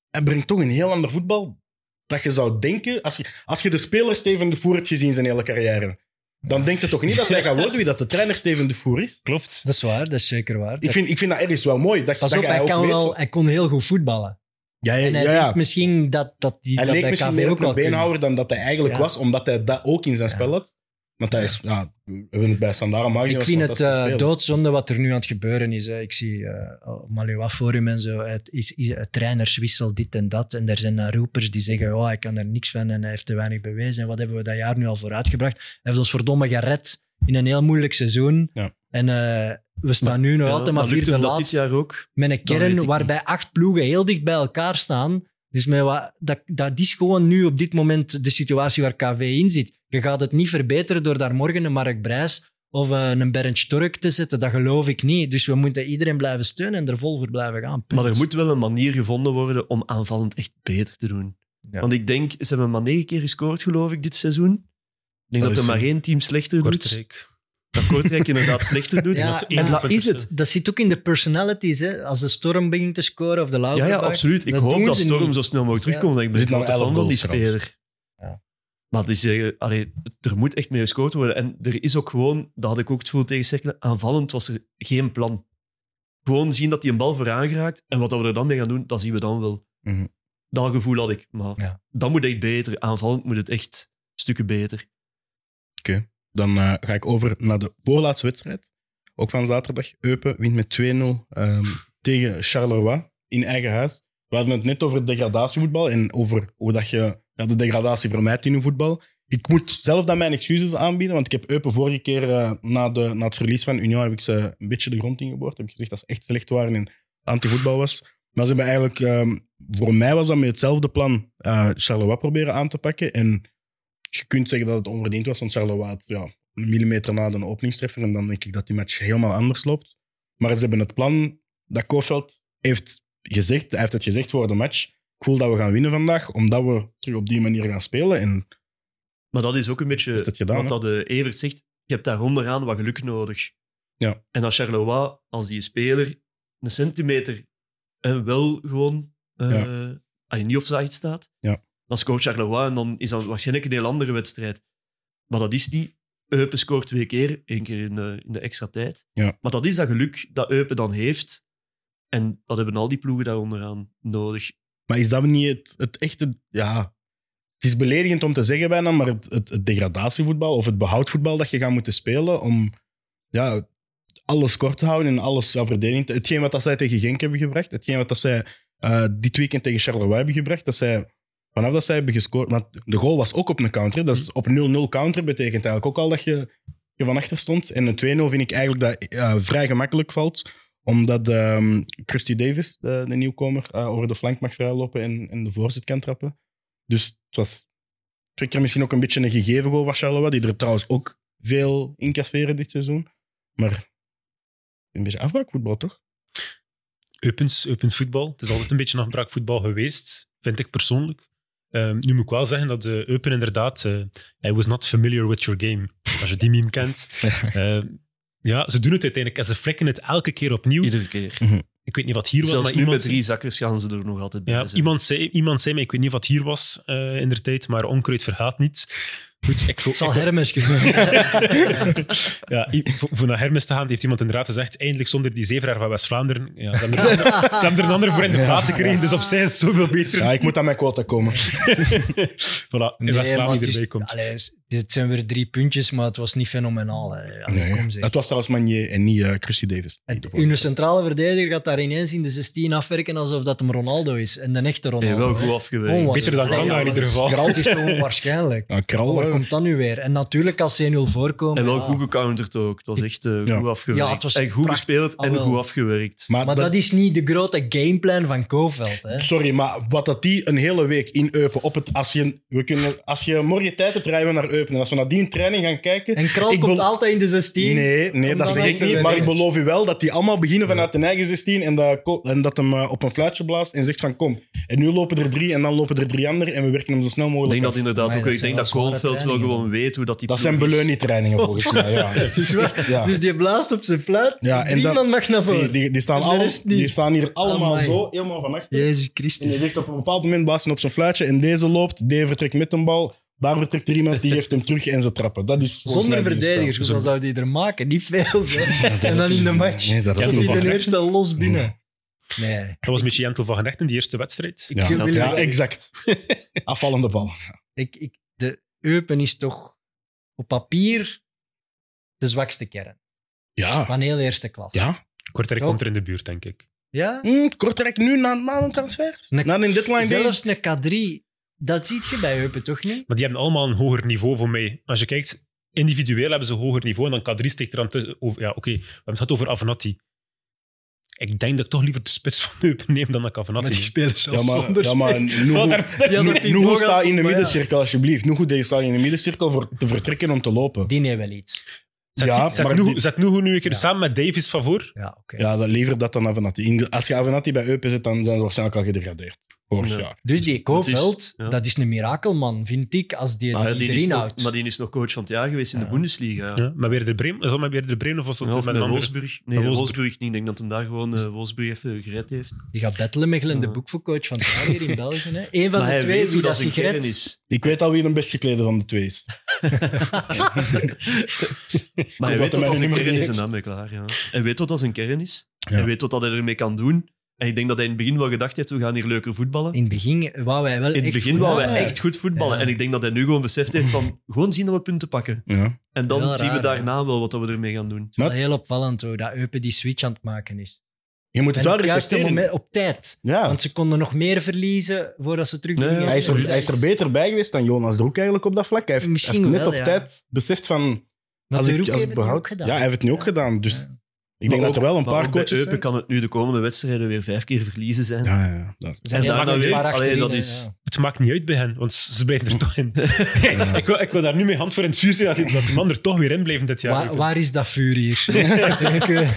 Hij brengt toch een heel ander voetbal dat je zou denken... Als je, als je de speler Steven de Voer hebt gezien zijn hele carrière, dan denk je toch niet dat hij gaat worden wie dat de trainer Steven de Voer is?
Klopt.
Dat is waar, dat is zeker waar.
Ik vind, ik vind dat ergens wel mooi. Dat,
Pas
dat
op,
je
hij,
ook
kan
weet-
wel, hij kon heel goed voetballen.
Ja, ja,
En hij
ja, ja.
denkt misschien dat, dat die
Hij
dat
leek
bij
misschien
KV
meer
ook
op een
wel kunnen.
beenhouwer dan dat hij eigenlijk
Ja.
was, omdat hij dat ook in zijn spel had. Want hij is, ja, we hebben het bij Sandara Maggi.
Ik
was
vind
een
het
fantastische
eh,
speler.
doodzonde wat er nu aan het gebeuren is. Hè. Ik zie eh Maluwa Forum en zo. Het is, is- het trainerswissel, dit en dat. En daar zijn dan roepers die zeggen: oh, hij kan er niks van en hij heeft te weinig bewezen. En wat hebben we dat jaar nu al vooruitgebracht? Hij heeft ons verdomme gered in een heel moeilijk seizoen.
Ja.
En eh, we staan nu nog
Ja,
altijd maar
lukt
vierde
hem dat dit
laatst
jaar ook.
met een
Dat weet
kern
ik
waarbij acht ploegen heel dicht bij elkaar staan. Dus met wat, dat, dat is gewoon nu op dit moment de situatie waar KV in zit. Je gaat het niet verbeteren door daar morgen een Mark Brijs of eh, een Bernd Stork te zetten. Dat geloof ik niet. Dus we moeten iedereen blijven steunen en er vol voor blijven gaan. Punt.
Maar er moet wel een manier gevonden worden om aanvallend echt beter te doen.
Ja.
Want ik denk, ze hebben maar negen keer gescoord, geloof ik, dit seizoen. Ik denk
Dat
dat,
is
er maar
zo.
één team slechter doet.
Kortrijk.
Dat Kortrijk inderdaad slechter doet.
Ja,
en
maar-
dat is het.
Dat zit ook in de personalities. Hè? Als de storm begint te scoren of de
Ja,
Lauterbach.
ja, absoluut. Ik
Dat
hoop
doen
dat
ze
Storm
niet.
zo snel mogelijk
Ja.
terugkomt. want Ik ben
Er
echt
zitten
grote
nog elf
fan van die
goals trouwens.
speler.
Ja.
Maar die zeggen, allee, er moet echt meer gescoord worden. En er is ook gewoon, dat had ik ook het gevoel tegen Cercle, aanvallend was er geen plan. Gewoon zien dat hij een bal vooraan geraakt. En wat we er dan mee gaan doen, dat zien we dan wel.
Mhm.
Dat gevoel had ik. Maar
Ja.
dat moet echt beter. Aanvallend moet het echt stukken beter.
Dan eh, ga ik over naar de voorlaatste wedstrijd. Ook van zaterdag. Eupen wint met 2-0 ehm, tegen Charleroi in eigen huis. We hadden het net over degradatievoetbal en over hoe dat je ja, de degradatie vermijdt in je voetbal. Ik moet zelf dan mijn excuses aanbieden, want ik heb Eupen vorige keer eh, na, de, na het verlies van Union heb ik ze een beetje de grond ingeboord. Heb ik gezegd dat ze echt slecht waren en antivoetbal was. Maar ze hebben eigenlijk, ehm, voor mij was dat met hetzelfde plan eh, Charleroi proberen aan te pakken. En je kunt zeggen dat het onverdiend was, want Charleroi had ja, een millimeter na de openingstreffer. En dan denk ik dat die match helemaal anders loopt. Maar ze hebben het plan dat Kofeld heeft gezegd. Hij heeft het gezegd voor de match. Ik voel dat we gaan winnen vandaag, omdat we terug op die manier gaan spelen. En
Maar dat is ook een beetje
Heeft het gedaan,
wat dat eh, Evert zegt. Je hebt daar onderaan wat geluk nodig.
Ja.
En als Charleroi, als die speler een centimeter en wel gewoon eh aan je niet offside staat,
Ja.
dan scoort Charleroi en dan is dat waarschijnlijk een heel andere wedstrijd. Maar dat is niet. Eupen scoort twee keer, één keer in de, in de extra tijd.
Ja.
Maar dat is dat geluk dat Eupen dan heeft. En dat hebben al die ploegen daar onderaan nodig.
Maar is dat niet het, het echte... Ja, het is beledigend om te zeggen bijna, maar het, het, het degradatievoetbal of het behoudvoetbal dat je gaat moeten spelen om ja, alles kort te houden en alles ja, verdediging te... Hetgeen wat dat zij tegen Genk hebben gebracht, hetgeen wat dat zij eh, dit weekend tegen Charleroi hebben gebracht, dat zij... Vanaf dat zij hebben gescoord... Want de goal was ook op een counter. hè. Dat is op 0-0 counter betekent eigenlijk ook al dat je, je van achter stond. En een 2-0 vind ik eigenlijk dat eh, vrij gemakkelijk valt omdat ehm Christy Davis, de, de nieuwkomer, eh, over de flank mag vrijlopen en, en de voorzet kan trappen. Dus het was twee keer misschien ook een beetje een gegeven goal van Charleroi, die er trouwens ook veel incasseren dit seizoen. Maar een beetje afbraakvoetbal, toch?
Uppens, Uppens voetbal. Het is altijd een beetje afbraakvoetbal geweest, vind ik persoonlijk. Ehm, nu moet ik wel zeggen dat eh Eupen inderdaad... eh I was not familiar with your game. Als je die meme kent. Ehm, ja, ze doen het uiteindelijk. En ze flikken het elke keer opnieuw.
Iedere keer.
Ik weet niet wat hier was,
Zelfs
maar
nu met
iemand...
drie zakkers gaan ze er nog altijd bij
Ja,
zijn.
iemand, zei, iemand zei mij, ik weet niet wat hier was eh, in de tijd, maar onkruid vergaat niet. Goed, ik,
Het zal
ik-
Hermes geweest
ja, i- voor, voor naar Hermes te gaan, die heeft iemand inderdaad gezegd, eindelijk zonder die zeveraar van West-Vlaanderen. Ja, ze, hebben er, een ander- ze hebben er een ander voor in de plaats gekregen, dus op zij is het zoveel beter.
Ja, ik moet aan mijn quota komen.
voilà, in
maar
West-Vlaanderen
het is-
erbij komt.
Allee, s- dit zijn weer drie puntjes, maar het was niet fenomenaal. Hè. Allee,
Nee,
kom zeg.
het was trouwens Manier en niet eh Christy Davis.
En uw centrale verdediger gaat daar ineens in de 16 afwerken alsof dat hem Ronaldo is. En de echte
Hey,
Ronaldo.
wel goed afgewezen.
Onwaarschijnlijk.
Beter dan
Allee,
Kanga in
maar
ieder geval.
Geralt is toch
Nou,
onwaarschijnlijk. Maar
Kral,
Waar
eh,
komt dat nu weer? En natuurlijk als 1-0 voorkomen.
En wel
ja.
goed gecounterd ook. Het was echt eh,
Ja.
goed afgewerkt.
Ja, het was
en goed
prachtig.
gespeeld
Ah,
en
wel.
goed afgewerkt.
maar,
Maar
dat-
dat is niet de grote gameplan van Kofeld. Hè?
Sorry, maar wat dat die een hele week in Eupen op het... Als je, we kunnen, als je morgen tijd hebt, rijden we naar Eupen. En als we naar die training gaan kijken...
En Kral
ik
komt
bel-
altijd in de 16.
Nee, nee
Omdat
dat zeg
hij
ik
te
niet.
weinig
Maar ik
is.
beloof u wel dat die allemaal beginnen vanuit hun eigen 16 en dat, ko- en dat hem eh, op een fluitje blaast en zegt van kom. En nu lopen er drie en dan lopen er drie anderen en we werken hem zo snel
Ik
mogelijk.
denk
af.
dat inderdaad
Maar
ook.
dat
Ik
zijn wel
denk dat
zware
Koolveld wel
trainingen.
gewoon weet hoe dat die
Dat
ploeg
zijn
is.
beleunietrainingen volgens mij. Ja.
Dus, wat?
Ja.
dus die blaast op zijn fluit.
Ja, en
Niemand
dan-
mag naar voren.
Die, die, die, staan
En de
alle-
rest niet.
die staan hier allemaal
Amai.
zo, helemaal van achter.
Jezus
En je
Christus.
zegt op een bepaald moment blaast hij op zijn fluitje en deze loopt, die vertrekt met een bal, daar vertrekt er iemand, die geeft hem terug en ze trappen. Dat is volgens
Zonder
mij die
verdedigers,
spel.
hoeveel zou die er maken? Niet veel. Zeg. En dan in de match.
Nee, dat
Ja,
is
toch
die
wel.
niet.
de eerste los binnen. Nee.
Dat was een beetje Jentel van Genecht in die eerste wedstrijd.
Ik,
Ja,
wil-
dat-
Ja, exact. Afvallende bal.
ik, ik, de Eupen is toch op papier de zwakste kern
Ja.
van heel eerste klas.
Ja.
Kortrijk
Ja.
komt er in de buurt, denk ik.
ja?
Hmm, Kortrijk nu na een maand transfers?
Nee.
Na een deadline day?
Zelfs een K3, dat ziet je bij Eupen toch niet?
Maar die hebben allemaal een hoger niveau voor mij. Als je kijkt, individueel hebben ze een hoger niveau. En dan K3 steekt er aan tussen. over- Ja, oké. We hebben het gehad over Avenatti. Ik denk dat ik toch liever de spits van Eupen neem dan dat ik Avenatti neem.
spelen
Ja, maar, ja, maar
Wel,
Nuhu-
daar- daar-
Ja, dat
Nuhu-
vind ik
Nuhu
ook
staat
als-
in de
maar ja.
middencirkel, alsjeblieft. Nuhu staat in de middencirkel voor te vertrekken om te lopen.
Die neemt wel iets.
Zet,
Ja,
die- zet,
maar
Nuhu-
die-
zet Nuhu nu een keer
Ja.
samen met Davis van voor.
Ja, oké.
Ja, dat levert dat dan Avenatti. In- Als je Avenatti bij Eupen zet, dan zijn ze waarschijnlijk al gedegradeerd. Vorig
Ja.
jaar.
Dus die Kofeld, dat is,
ja.
een mirakelman, vind ik, als die
Maar,
er
die is
iedereen
nog,
houdt.
maar die is nog coach van het jaar geweest in de
Ja.
Bundesliga.
Ja, maar weer de Bremen. Is dat maar weer de Bremen of was dat
Ja, of
met
met
een andere-
Wolfsburg. Nee,
Met Wolfsburg.
Wolfsburg. niet. Ik denk dat hem daar gewoon eh, Wolfsburg even gered heeft.
Die gaat bettelen met Glenn de
Ja.
Boekvercoach van het jaar hier in België. Hè. Eén van
maar
de
hij
twee
weet
die
hoe
dat
dat zijn kern
sigaret
is.
Ik weet al wie de best geklede van de twee is.
Maar
dat hij
hij weet wat dat
mijn
zijn
nummer
kern is
heeft.
en daarmee klaar. Ja. Hij weet wat dat zijn kern is. Hij weet wat dat hij ermee kan doen. En ik denk dat hij in het begin wel gedacht heeft, we gaan hier leuker voetballen.
In het begin wou hij wel
In het
echt
begin
goed-
wouden
Ja.
wij echt goed voetballen.
Ja.
En ik denk dat hij nu gewoon beseft heeft van, gewoon zien dat we punten pakken.
Ja.
En dan
Heel
zien
raar,
we daarna wel wat dat we ermee gaan doen.
Wel heel opvallend hoe dat Eupen die switch aan het maken is.
Je moet het
En
wel
op het juiste
respecteren.
moment, op tijd.
Ja.
Want ze konden nog meer verliezen voordat ze Dus terug
Nee,
gingen.
Ah. Hij is, er,
absoluut.
hij is er beter bij geweest dan Jonas Droek eigenlijk op dat vlak. Hij heeft, hij
Misschien
heeft net
wel,
op
ja.
tijd beseft van...
Maar
als
de
ik,
Roek
als ik
heeft het nu
behoud...
ook
Ja,
gedaan.
hij heeft het nu ook
Ja.
gedaan. Dus
Ja.
ik denk
Maar
dat er
ook-
wel een
maar
paar
ook bij
coaches
Eupen
zijn.
kan het nu de komende wedstrijden weer vijf keer verliezen zijn.
Ja, ja, ja. Dat-
zijn
En
heel
daarna
lang
weet-
een paar
allee, dat
achterin,
is-
ja.
Het maakt niet uit bij hen, want ze blijven er toch in. ik, wil, ik wil daar nu mee hand voor in het vuur zetten dat die, dat die man er toch weer in bleef dit jaar.
waar, waar is dat vuur hier? Ik, eh,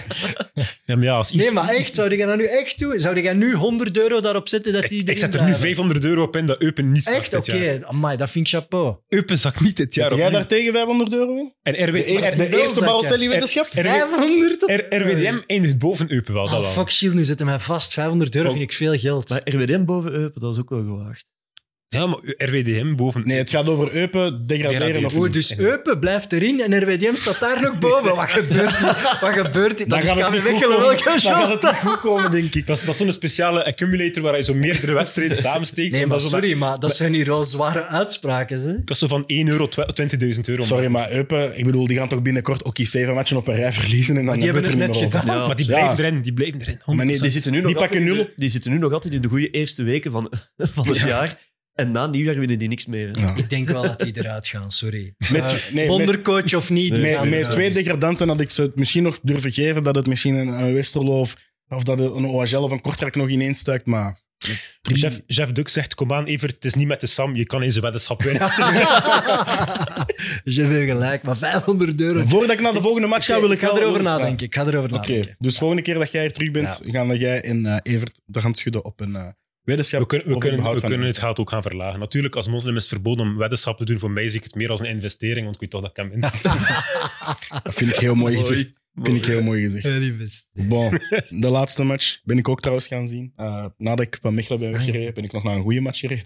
Ja, maar ja, als iets-
nee, maar echt, zou jij dat nu echt doen? Zou jij nu 100 euro daarop zetten dat die
ik, ik
erin
zet er nu
blijven?
500 euro op in dat Eupen niet zakt
Echt?
dit
Oké,
jaar.
amai, dat vind ik chapeau.
Eupen zakt niet dit jaar
Zet jij
opnieuw.
daar tegen 500 euro in?
En RW,
De eerste, de
wel,
eerste
zak, ja.
Barotelli-wetenschap?
R- R-
500?
R-
Eh,
RWDM eindigt boven Eupen wel, dat
Ah,
wel.
fuck, Shield, nu zet hem mij vast. 500 euro
Oh.
vind ik veel geld.
Maar RWDM boven Eupen, dat is ook wel gewaagd.
Ja, maar RWDM boven
Nee, het gaat over Eupen, degraderen
Degraderen.
of
Oeh, dus Eupen blijft erin en RWDM staat daar nog boven. Wat gebeurt hier? Wat gebeurt hier?
Dan
Dat is
gaat het niet goed
KBW-Gele
komen.
welke
Dan gaat
show
het niet goed komen, denk ik.
Dat is, dat is zo'n speciale accumulator waar je zo meerdere wedstrijden samensteekt.
Nee, maar
Omdat zo-
sorry, maar dat zijn hier wel zware uitspraken. Ze.
Dat is zo van 1 euro, twa- 20.000 euro.
Sorry, maar Eupen, ik bedoel, die gaan toch binnenkort ook die zeven matchen op een rij verliezen en dan
Maar die
hebben
hebben
er niet
het net
meer over.
gedaan.
Ja.
Maar die
Ja.
blijven erin, die blijven erin. 100%.
Maar nee, die zitten nu nog
Die, pakken
altijd
nu,
in
nog- die zitten nu nog altijd in de goede eerste weken van, van het jaar. En na nieuwjaar winnen die niks meer. hè.
Ja.
Ik denk wel dat die eruit gaan, sorry.
Met, nee, met,
Bondercoach of niet. die
met-
gaan
met
eruit.
twee degradanten had ik ze het misschien nog durven geven dat het misschien een, een Westerlo of, of dat een OHL of een Kortrijk nog ineens stuikt, maar Drie-
Jeff, Jeff Duk zegt, kom aan Evert, het is niet met de Sam, je kan in zijn weddenschap winnen.
Je hebt gelijk, maar 500 euro.
Voordat ik naar de volgende match ga, wil ik
ik ga
wel-
erover
wil ik- ja.
nadenken. Ik ga erover
Oké,
nadenken.
dus volgende keer dat jij er terug bent, gaan jij en eh, Evert de hand schudden op een eh wetenschap.
We kunnen, we
over het
kunnen,
behoud
we
van
kunnen
de-
het geld ook gaan verlagen. Natuurlijk, als moslim is het verboden om weddenschappen te doen. Voor mij zie ik het meer als een investering, want ik weet toch dat ik hem in.
Dat vind ik heel mooi
Mooi.
gezegd. Vind ik heel mooi gezegd.
Very best.
Bon, de laatste match ben ik ook trouwens gaan zien. Eh, nadat ik van Mechelen
Ah,
ben weggereden, ben ik nog naar een goede match gereden.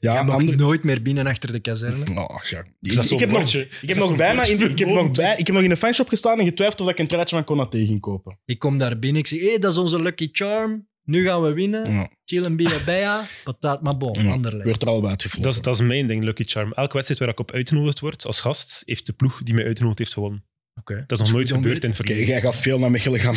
Ja,
Mag
ander...
nooit meer binnen achter de kazerne.
Oh, ja. Ik,
Dat is
ik
zo'n
heb nog,
matje.
ik
Dat
heb
is
nog
zo'n
bijna in,
matje.
ik heb nog bij, ik heb nog in de fanshop gestaan en getwijfeld of ik een truitje van Konaté ging kopen.
Ik kom daar binnen, ik zeg, hé, dat is onze lucky charm. Nu gaan we winnen.
Ja,
Chill en bia bia. Patat maar bon,
Ja.
Anderlecht.
werd er al bij uitgevlogen.
Dat is, dat is mijn ding, Lucky Charm. Elke wedstrijd waar ik op uitgenodigd word als gast, heeft de ploeg die mij uitgenodigd heeft gewonnen.
Oké.
Dat is nog nooit
goed om
gebeurd in het
Oké,
verleden.
jij gaat veel naar Mechelen gaan.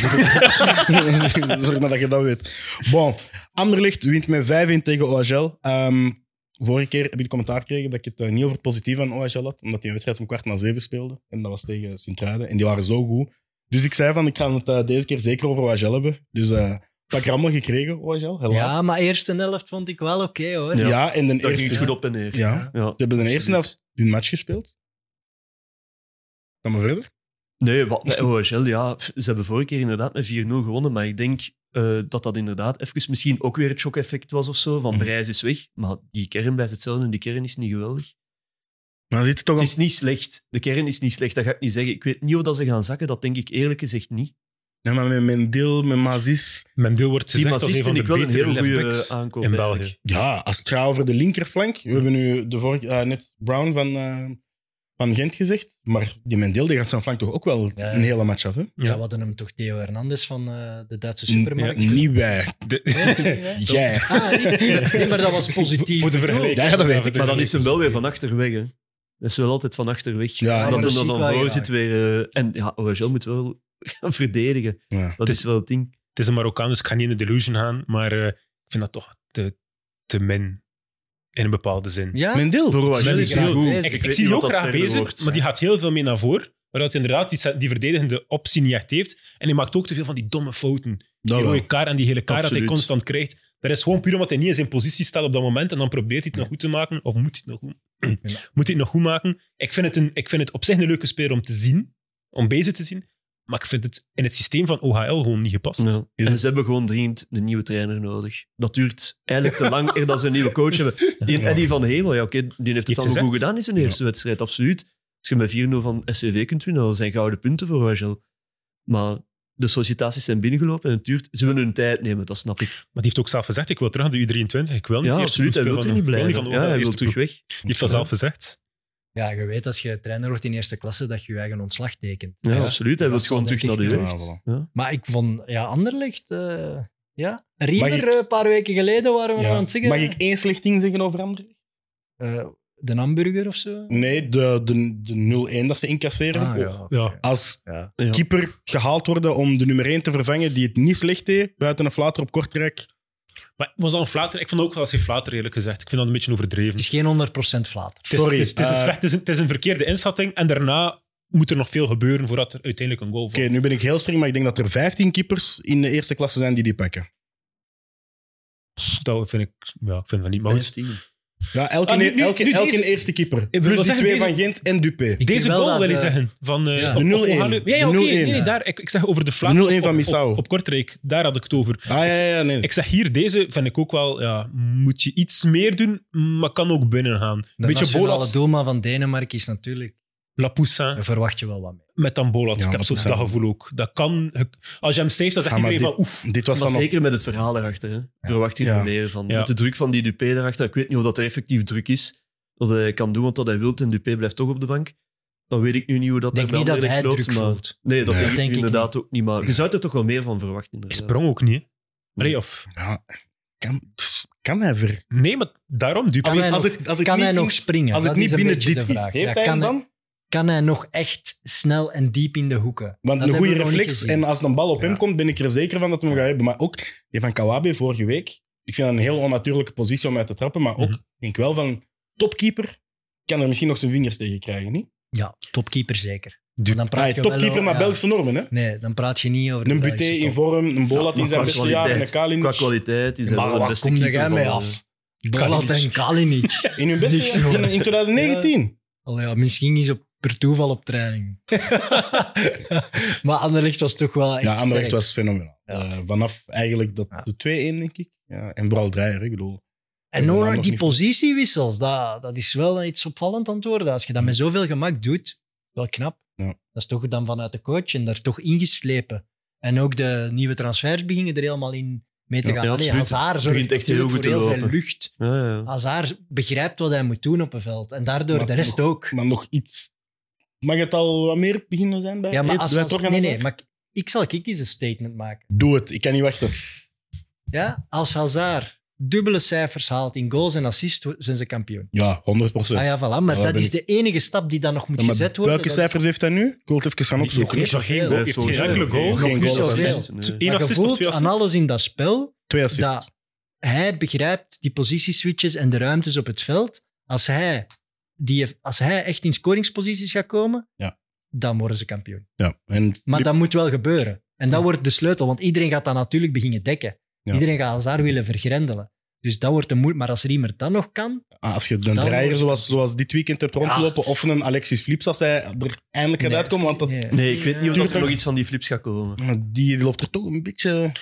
Zorg maar dat je dat weet. Bon, Anderlicht wint met 5-1 tegen OHL. Ehm, vorige keer heb ik de commentaar gekregen dat ik het eh, niet over het positieve aan OHL had, omdat die een wedstrijd om kwart na zeven speelde. En dat was tegen Sint-Truiden. En die waren zo goed. Dus ik zei van, ik ga het eh, deze keer zeker over OHL hebben. Dus eh pak er allemaal gekregen, OHL, helaas.
Ja, maar eerste helft vond ik wel oké hoor.
Ja,
Ja.
en de
Daar ging
eerste...
het goed op en neer.
Ja. Ze
Ja.
hebben de eerste
Absoluut.
helft hun match gespeeld. Ga maar verder.
Nee, wat, met OHL, ja, pff, ze hebben vorige keer inderdaad met 4-0 gewonnen, maar ik denk eh, dat dat inderdaad even misschien ook weer het shock-effect was of zo, van
Mhm.
Brijs is weg, maar die kern blijft hetzelfde en die kern is niet geweldig.
Maar zit het toch
Het
een
is niet slecht, de kern is niet slecht, dat ga ik niet zeggen. Ik weet niet of dat ze gaan zakken, dat denk ik eerlijk gezegd niet.
Nee, maar met Mendil, met Mazis.
Mijn deel wordt
die
gezegd als
Mazis
een van
vind
de
ik wel een
betere
heel eh, goede
left-backs
aankoop.
in
eigenlijk.
België.
Ja, als het gaat over de linkerflank. We hebben nu de vorige, eh, net Brown van, eh, van Gent gezegd. Maar die Mendil die gaat zijn flank toch ook wel
Ja.
een hele match af. Hè?
Ja, we hadden hem toch Theo Hernandez van eh, de Duitse
Mm,
N-
supermarkt.
Niet wij.
De-
Ja.
Jij.
Ah, niet- nee, maar dat was positief.
Voor de vergelijking.
Ja, dat weet ik.
Maar dan is hem wel weer van achter weg, hè. Dat is wel altijd van achter weg.
Ja,
dat
dat
hem
zie
dan
ik
van
wel
voor
graag.
zit weer... eh, en ja, OHL moet wel gaan verdedigen.
Ja.
Dat is wel het ding.
Het is een Marokkaan, dus ik ga niet in de delusion gaan. Maar eh, ik vind dat toch te, te min in een bepaalde zin.
Ja?
Mendil.
Voor
Sven
OHL
is
is heel
heel
goed.
bezig.
Ik, ik
dus weet
zie
niet
die
wat
ook
dat
graag
verder
bezig,
wordt.
maar die gaat heel veel mee naar voren. Waardoor hij inderdaad die, die verdedigende optie niet echt heeft. En hij maakt ook te veel van die domme fouten.
Dat
die
wel.
rode kaart en die hele kaart dat hij
Absoluut.
constant krijgt. Dat is gewoon puur omdat hij niet in zijn positie staat op dat moment. En dan probeert hij het nog goed te maken. Of moet hij het nog goed, moet hij het nog goed maken? Ik vind, het een, ik vind het op zich een leuke speler om te zien. Om bezig te zien. Maar ik vind het in het systeem van OHL gewoon niet gepast.
Ja. En ze hebben gewoon dringend een nieuwe trainer nodig. Dat duurt eigenlijk te lang eer dat ze een nieuwe coach hebben. Die Eddie van Hemel, ja, oké, die heeft het
Heeft
al
gezet.
goed gedaan in zijn eerste wedstrijd, absoluut. Als je met 4-0 van SCV kunt winnen, dat zijn gouden punten voor Wagel. Maar de sollicitaties zijn binnengelopen en het duurt... Ze willen hun tijd nemen, dat snap ik.
Maar die heeft ook zelf gezegd, ik wil terug naar de U23. Ik wil niet
Ja,
eerst
absoluut. Hij
spelen
wil er
van-
niet
ik wil
blijven.
van
ja,
OHL
hij wil
eerste
terug
ploeg.
weg.
Die heeft dat zelf gezegd.
Ja, je weet als je trainer wordt in eerste klasse dat je je eigen ontslag tekent.
Ja,
Ja.
absoluut.
Dat
Hij wil
is
gewoon
wel
terug naar de
denk ik
Ja,
jeugd.
voilà.
Maar ik vond, ja, Anderlecht, eh, ja.
Mag
Riemer,
ik-
eh, een paar weken geleden waren we
Ja.
nog aan het zeggen.
Mag ik één slecht ding zeggen over Anderlecht?
Eh, de hamburger of zo?
Nee, de, de, de 0-1 dat ze incasseren.
Ah, ja.
Ja.
Als
Ja.
Ja.
keeper gehaald worden om de nummer 1 te vervangen die het niet slecht deed, buiten een flater op Kortrijk.
Maar was dat een flater? Ik vond ook wel als hij flater, eerlijk gezegd. Ik vind dat een beetje overdreven.
Het is geen 100% flater.
Het is-
Sorry,
Het is, het, is een
eh,
slecht- het is een, het is een verkeerde inschatting. En daarna moet er nog veel gebeuren voordat er uiteindelijk een goal
Oké,
valt.
nu ben ik heel streng, maar ik denk dat er 15 keepers in de eerste klasse zijn die die pakken.
Dat vind ik, ja, ik vind dat niet. Maar goed.
Vijftien.
Ja, elke,
Ah, nu- nu-
elke,
nu
elke
deze-
eerste keeper.
wil
Plus die
zeggen,
twee
deze-
van Gent en Dupé.
Ik
deze
vind wel
goal
dat,
wil ik
eh,
zeggen. Van, eh,
ja.
op- op-
De
op-
0-1.
Ja, ja, oké.
De 0-1,
nee, nee,
ja.
daar, ik, ik zeg over de
De
flater
0-1
op-
van
op-
Bissau.
Op, Kortrijk, daar had ik het over.
Ah, ja, ja, nee.
Ik zeg hier, deze vind ik ook wel... Ja, moet je iets meer doen, maar kan ook binnen gaan. Een
De
beetje
nationale
Bolat,
doelman van Denemarken is natuurlijk...
Lapoussin,
Daar verwacht je wel wat mee.
met dan Bolat.
Ja,
ik heb zo'n
Lapoussin.
dat gevoel ook. Dat kan... Als je hem safe, dan zegt
Ja, Ah, maar
iedereen van oef.
Dit was
Maar
dan nog...
zeker met het verhaal daarachter. Hè. Verwacht je
Ja.
er meer van.
Ja.
Met de druk van die Dupé daarachter. Ik weet niet of dat er effectief druk is. Dat hij kan doen wat dat hij wil. En Dupé blijft toch op de bank. Dan weet ik nu niet hoe dat
Ik denk
daar
niet
bij
dat hij
Anderlecht
druk
loopt, maar-
voelt.
Nee, dat
Nee.
denk ik
Denk ik
inderdaad ook niet. Maar je zou er toch wel meer van
Hij
verwachten. inderdaad.
sprong ook niet, hè. Allee, of...
Ja, kan, pff, kan hij ver...
Nee, maar daarom... Dupé.
Als
hij
het, als
nog-
het, als het
Kan
niet,
hij nog springen?
als het
Dat
niet
is een
binnen
beetje
dit
de
is,
vraag.
heeft
Ja,
hij hem
kan,
dan?
kan hij nog echt snel en diep in de hoeken?
Want
Dat
een goede
hebben we nog
reflex,
niet gezien.
en als een bal op hem
Ja.
komt, ben ik er zeker van dat we hem gaat hebben. Maar ook die van Kawabe vorige week. Ik vind dat een heel onnatuurlijke positie om uit te trappen. Maar ook,
Mhm.
denk wel van, topkeeper kan er misschien nog zijn vingers tegen krijgen, niet?
Ja, topkeeper zeker. Maar dan praat je
Hey,
wel
topkeeper
over-
met
ja.
Belgische normen, hè?
Nee, dan praat je niet over
Een
de
Buté
Belgische
in
top.
vorm, een Bolat in
Ja,
zijn
maar
beste
qua
jaar en een
kwaliteit- Qua
Kalinic.
kwaliteit is hij
Maar
wel de
waar
beste
kom
keeper
jij
van,
mee
eh,
af?
Kalinic.
Bolat en Kalinic.
In hun beste
Niks,
jaar, in,
jongen.
in 2019.
Allee, ja, misschien is op per toeval op training. maar Anderlecht was toch wel echt
Ja, Anderlecht
sterk.
was fenomenaal. Eh, vanaf eigenlijk dat,
Ja.
de 2-1, denk ik. Ja, en vooral Dreyer, ik bedoel.
En
hebben we dan
Nora,
nog
die
niet-
positiewissels, dat, dat is wel iets opvallend aan het worden. Als je dat met zoveel gemak doet, wel knap.
Ja.
Dat is toch dan vanuit de coach en daar toch ingeslepen. En ook de nieuwe transfers beginnen er helemaal in mee te
Ja,
gaan.
ja,
Allee,
absoluut.
Hazard zorgt
Begint echt
echt
heel
heel
goed
voor
te
heel veel
lopen.
lucht.
eh, Ja, ja.
Hazard begrijpt wat hij moet doen op een veld. En daardoor
Maar
de rest
nog-
ook.
Maar nog iets. Mag het al wat meer beginnen zijn bij
ja, maar
bij
als,
het
als-
orgaan
nee,
van
nee,
het
maar ik, ik zal ik eens een statement maken.
jaar? Doe het, ik kan niet wachten.
Ja? Als Hazard dubbele cijfers haalt in goals en assists, zijn ze kampioen.
Ja, 100
Ah ja, voilà. Maar
daar
dat
ben
is
ik-
de enige stap die dan nog moet
Ja, maar
gezet worden.
welke
Dat is-
cijfers heeft hij nu? Ik wil het even gaan
Heeft
opzoeken.
heeft nog geen goal,
Hij
heeft
heeft
geen
sowieso
enkele
geen
goal.
goal. Geen
Nog
goal.
niet
Zoveel.
zoveel.
Nee.
Eén
Maar
assist
je
of
voelt
twee
aan alles
assists.
in dat spel
Twee assists.
dat hij begrijpt die positieswitches en de ruimtes op het veld. Als hij, die, als hij echt in scoringsposities gaat komen,
Ja.
dan worden ze kampioen.
Ja, en
Maar dat moet wel gebeuren. En dat wordt de sleutel, want iedereen gaat dat natuurlijk beginnen dekken.
Ja.
Iedereen gaat Hazard willen vergrendelen. Dus dat wordt een moeilijk. Maar als er iemand dat nog kan,
Ah, Als je een
Dan
draaier
wordt-
zoals, zoals dit weekend hebt rondlopen, of een Alexis Flips, als hij er eindelijk gaat
Nee,
uitkomen, want dat,
nee.
Nee, ik weet niet of dat er
Tuurlijk.
nog iets van die flips gaat komen.
die loopt er toch een beetje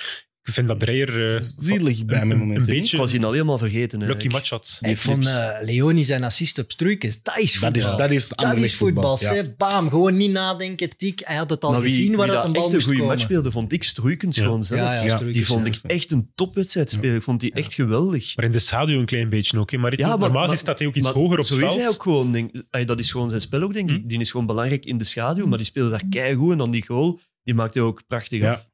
Ik vind dat Dreyer eh,
zielig bij met
een, een, een
momenten.
Ik
beetje
was
een
die al helemaal vergeten.
lucky
eigenlijk.
match had.
Ik vond eh, Leoni zijn assist op Struikens. Dat is voetbal.
Dat is, dat is,
Dat
Anderlecht
is voetbal.
Ja.
hè. Bam, gewoon niet nadenken, tik. Hij had het al
Maar wie,
gezien waar
wie
dat een
dat
bal
echt een
moest
goede
komen.
match speelde, vond ik Struikens
Ja.
gewoon zelf.
Ja, ja,
Ja,
Struikens,
Die vond
ja.
ik echt een topwedstrijd spelen. Ik vond die echt geweldig.
Maar in de schaduw een klein beetje ook. hè. Maar,
Ja, maar-
normaal
maar-
staat hij ook iets
Maar
hoger op het
zo
veld. Hm.
is hij ook gewoon. Denk, ay, dat is gewoon zijn spel ook, denk ik. Die is gewoon belangrijk in de schaduw, maar die speelde daar keigoed. En dan die goal, die maakte hij ook prachtig
Ja.
af.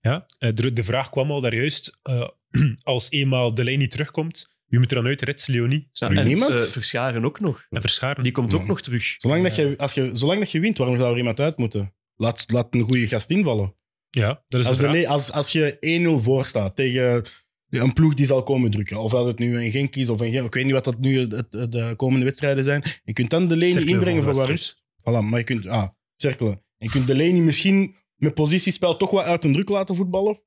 Ja, eh, de, de vraag kwam al daar juist. eh, als eenmaal de lijn niet terugkomt, wie moet er dan uit? Reds, Leonie
Ja,
er
en
niemand?
eh, Verscharen ook nog.
en Verscharen.
Die komt ook
Ja.
nog terug.
Zolang, dat je, als je, zolang dat je wint, waarom zou er iemand uit moeten? Laat, laat een goede gast invallen.
Ja, dat is
Als,
de vraag.
Belé- als, als je 1-0 voor staat tegen een ploeg die zal komen drukken, of dat het nu een Genk is of een Genk, ik weet niet wat dat nu het- het- de komende wedstrijden zijn, je kunt dan de lane
Cirkel
inbrengen
van
voor waar
Westerus.
Voilà, maar je kunt ah, cirkelen. En je kunt Delaney misschien met positiespel toch wat uit de druk laten voetballen.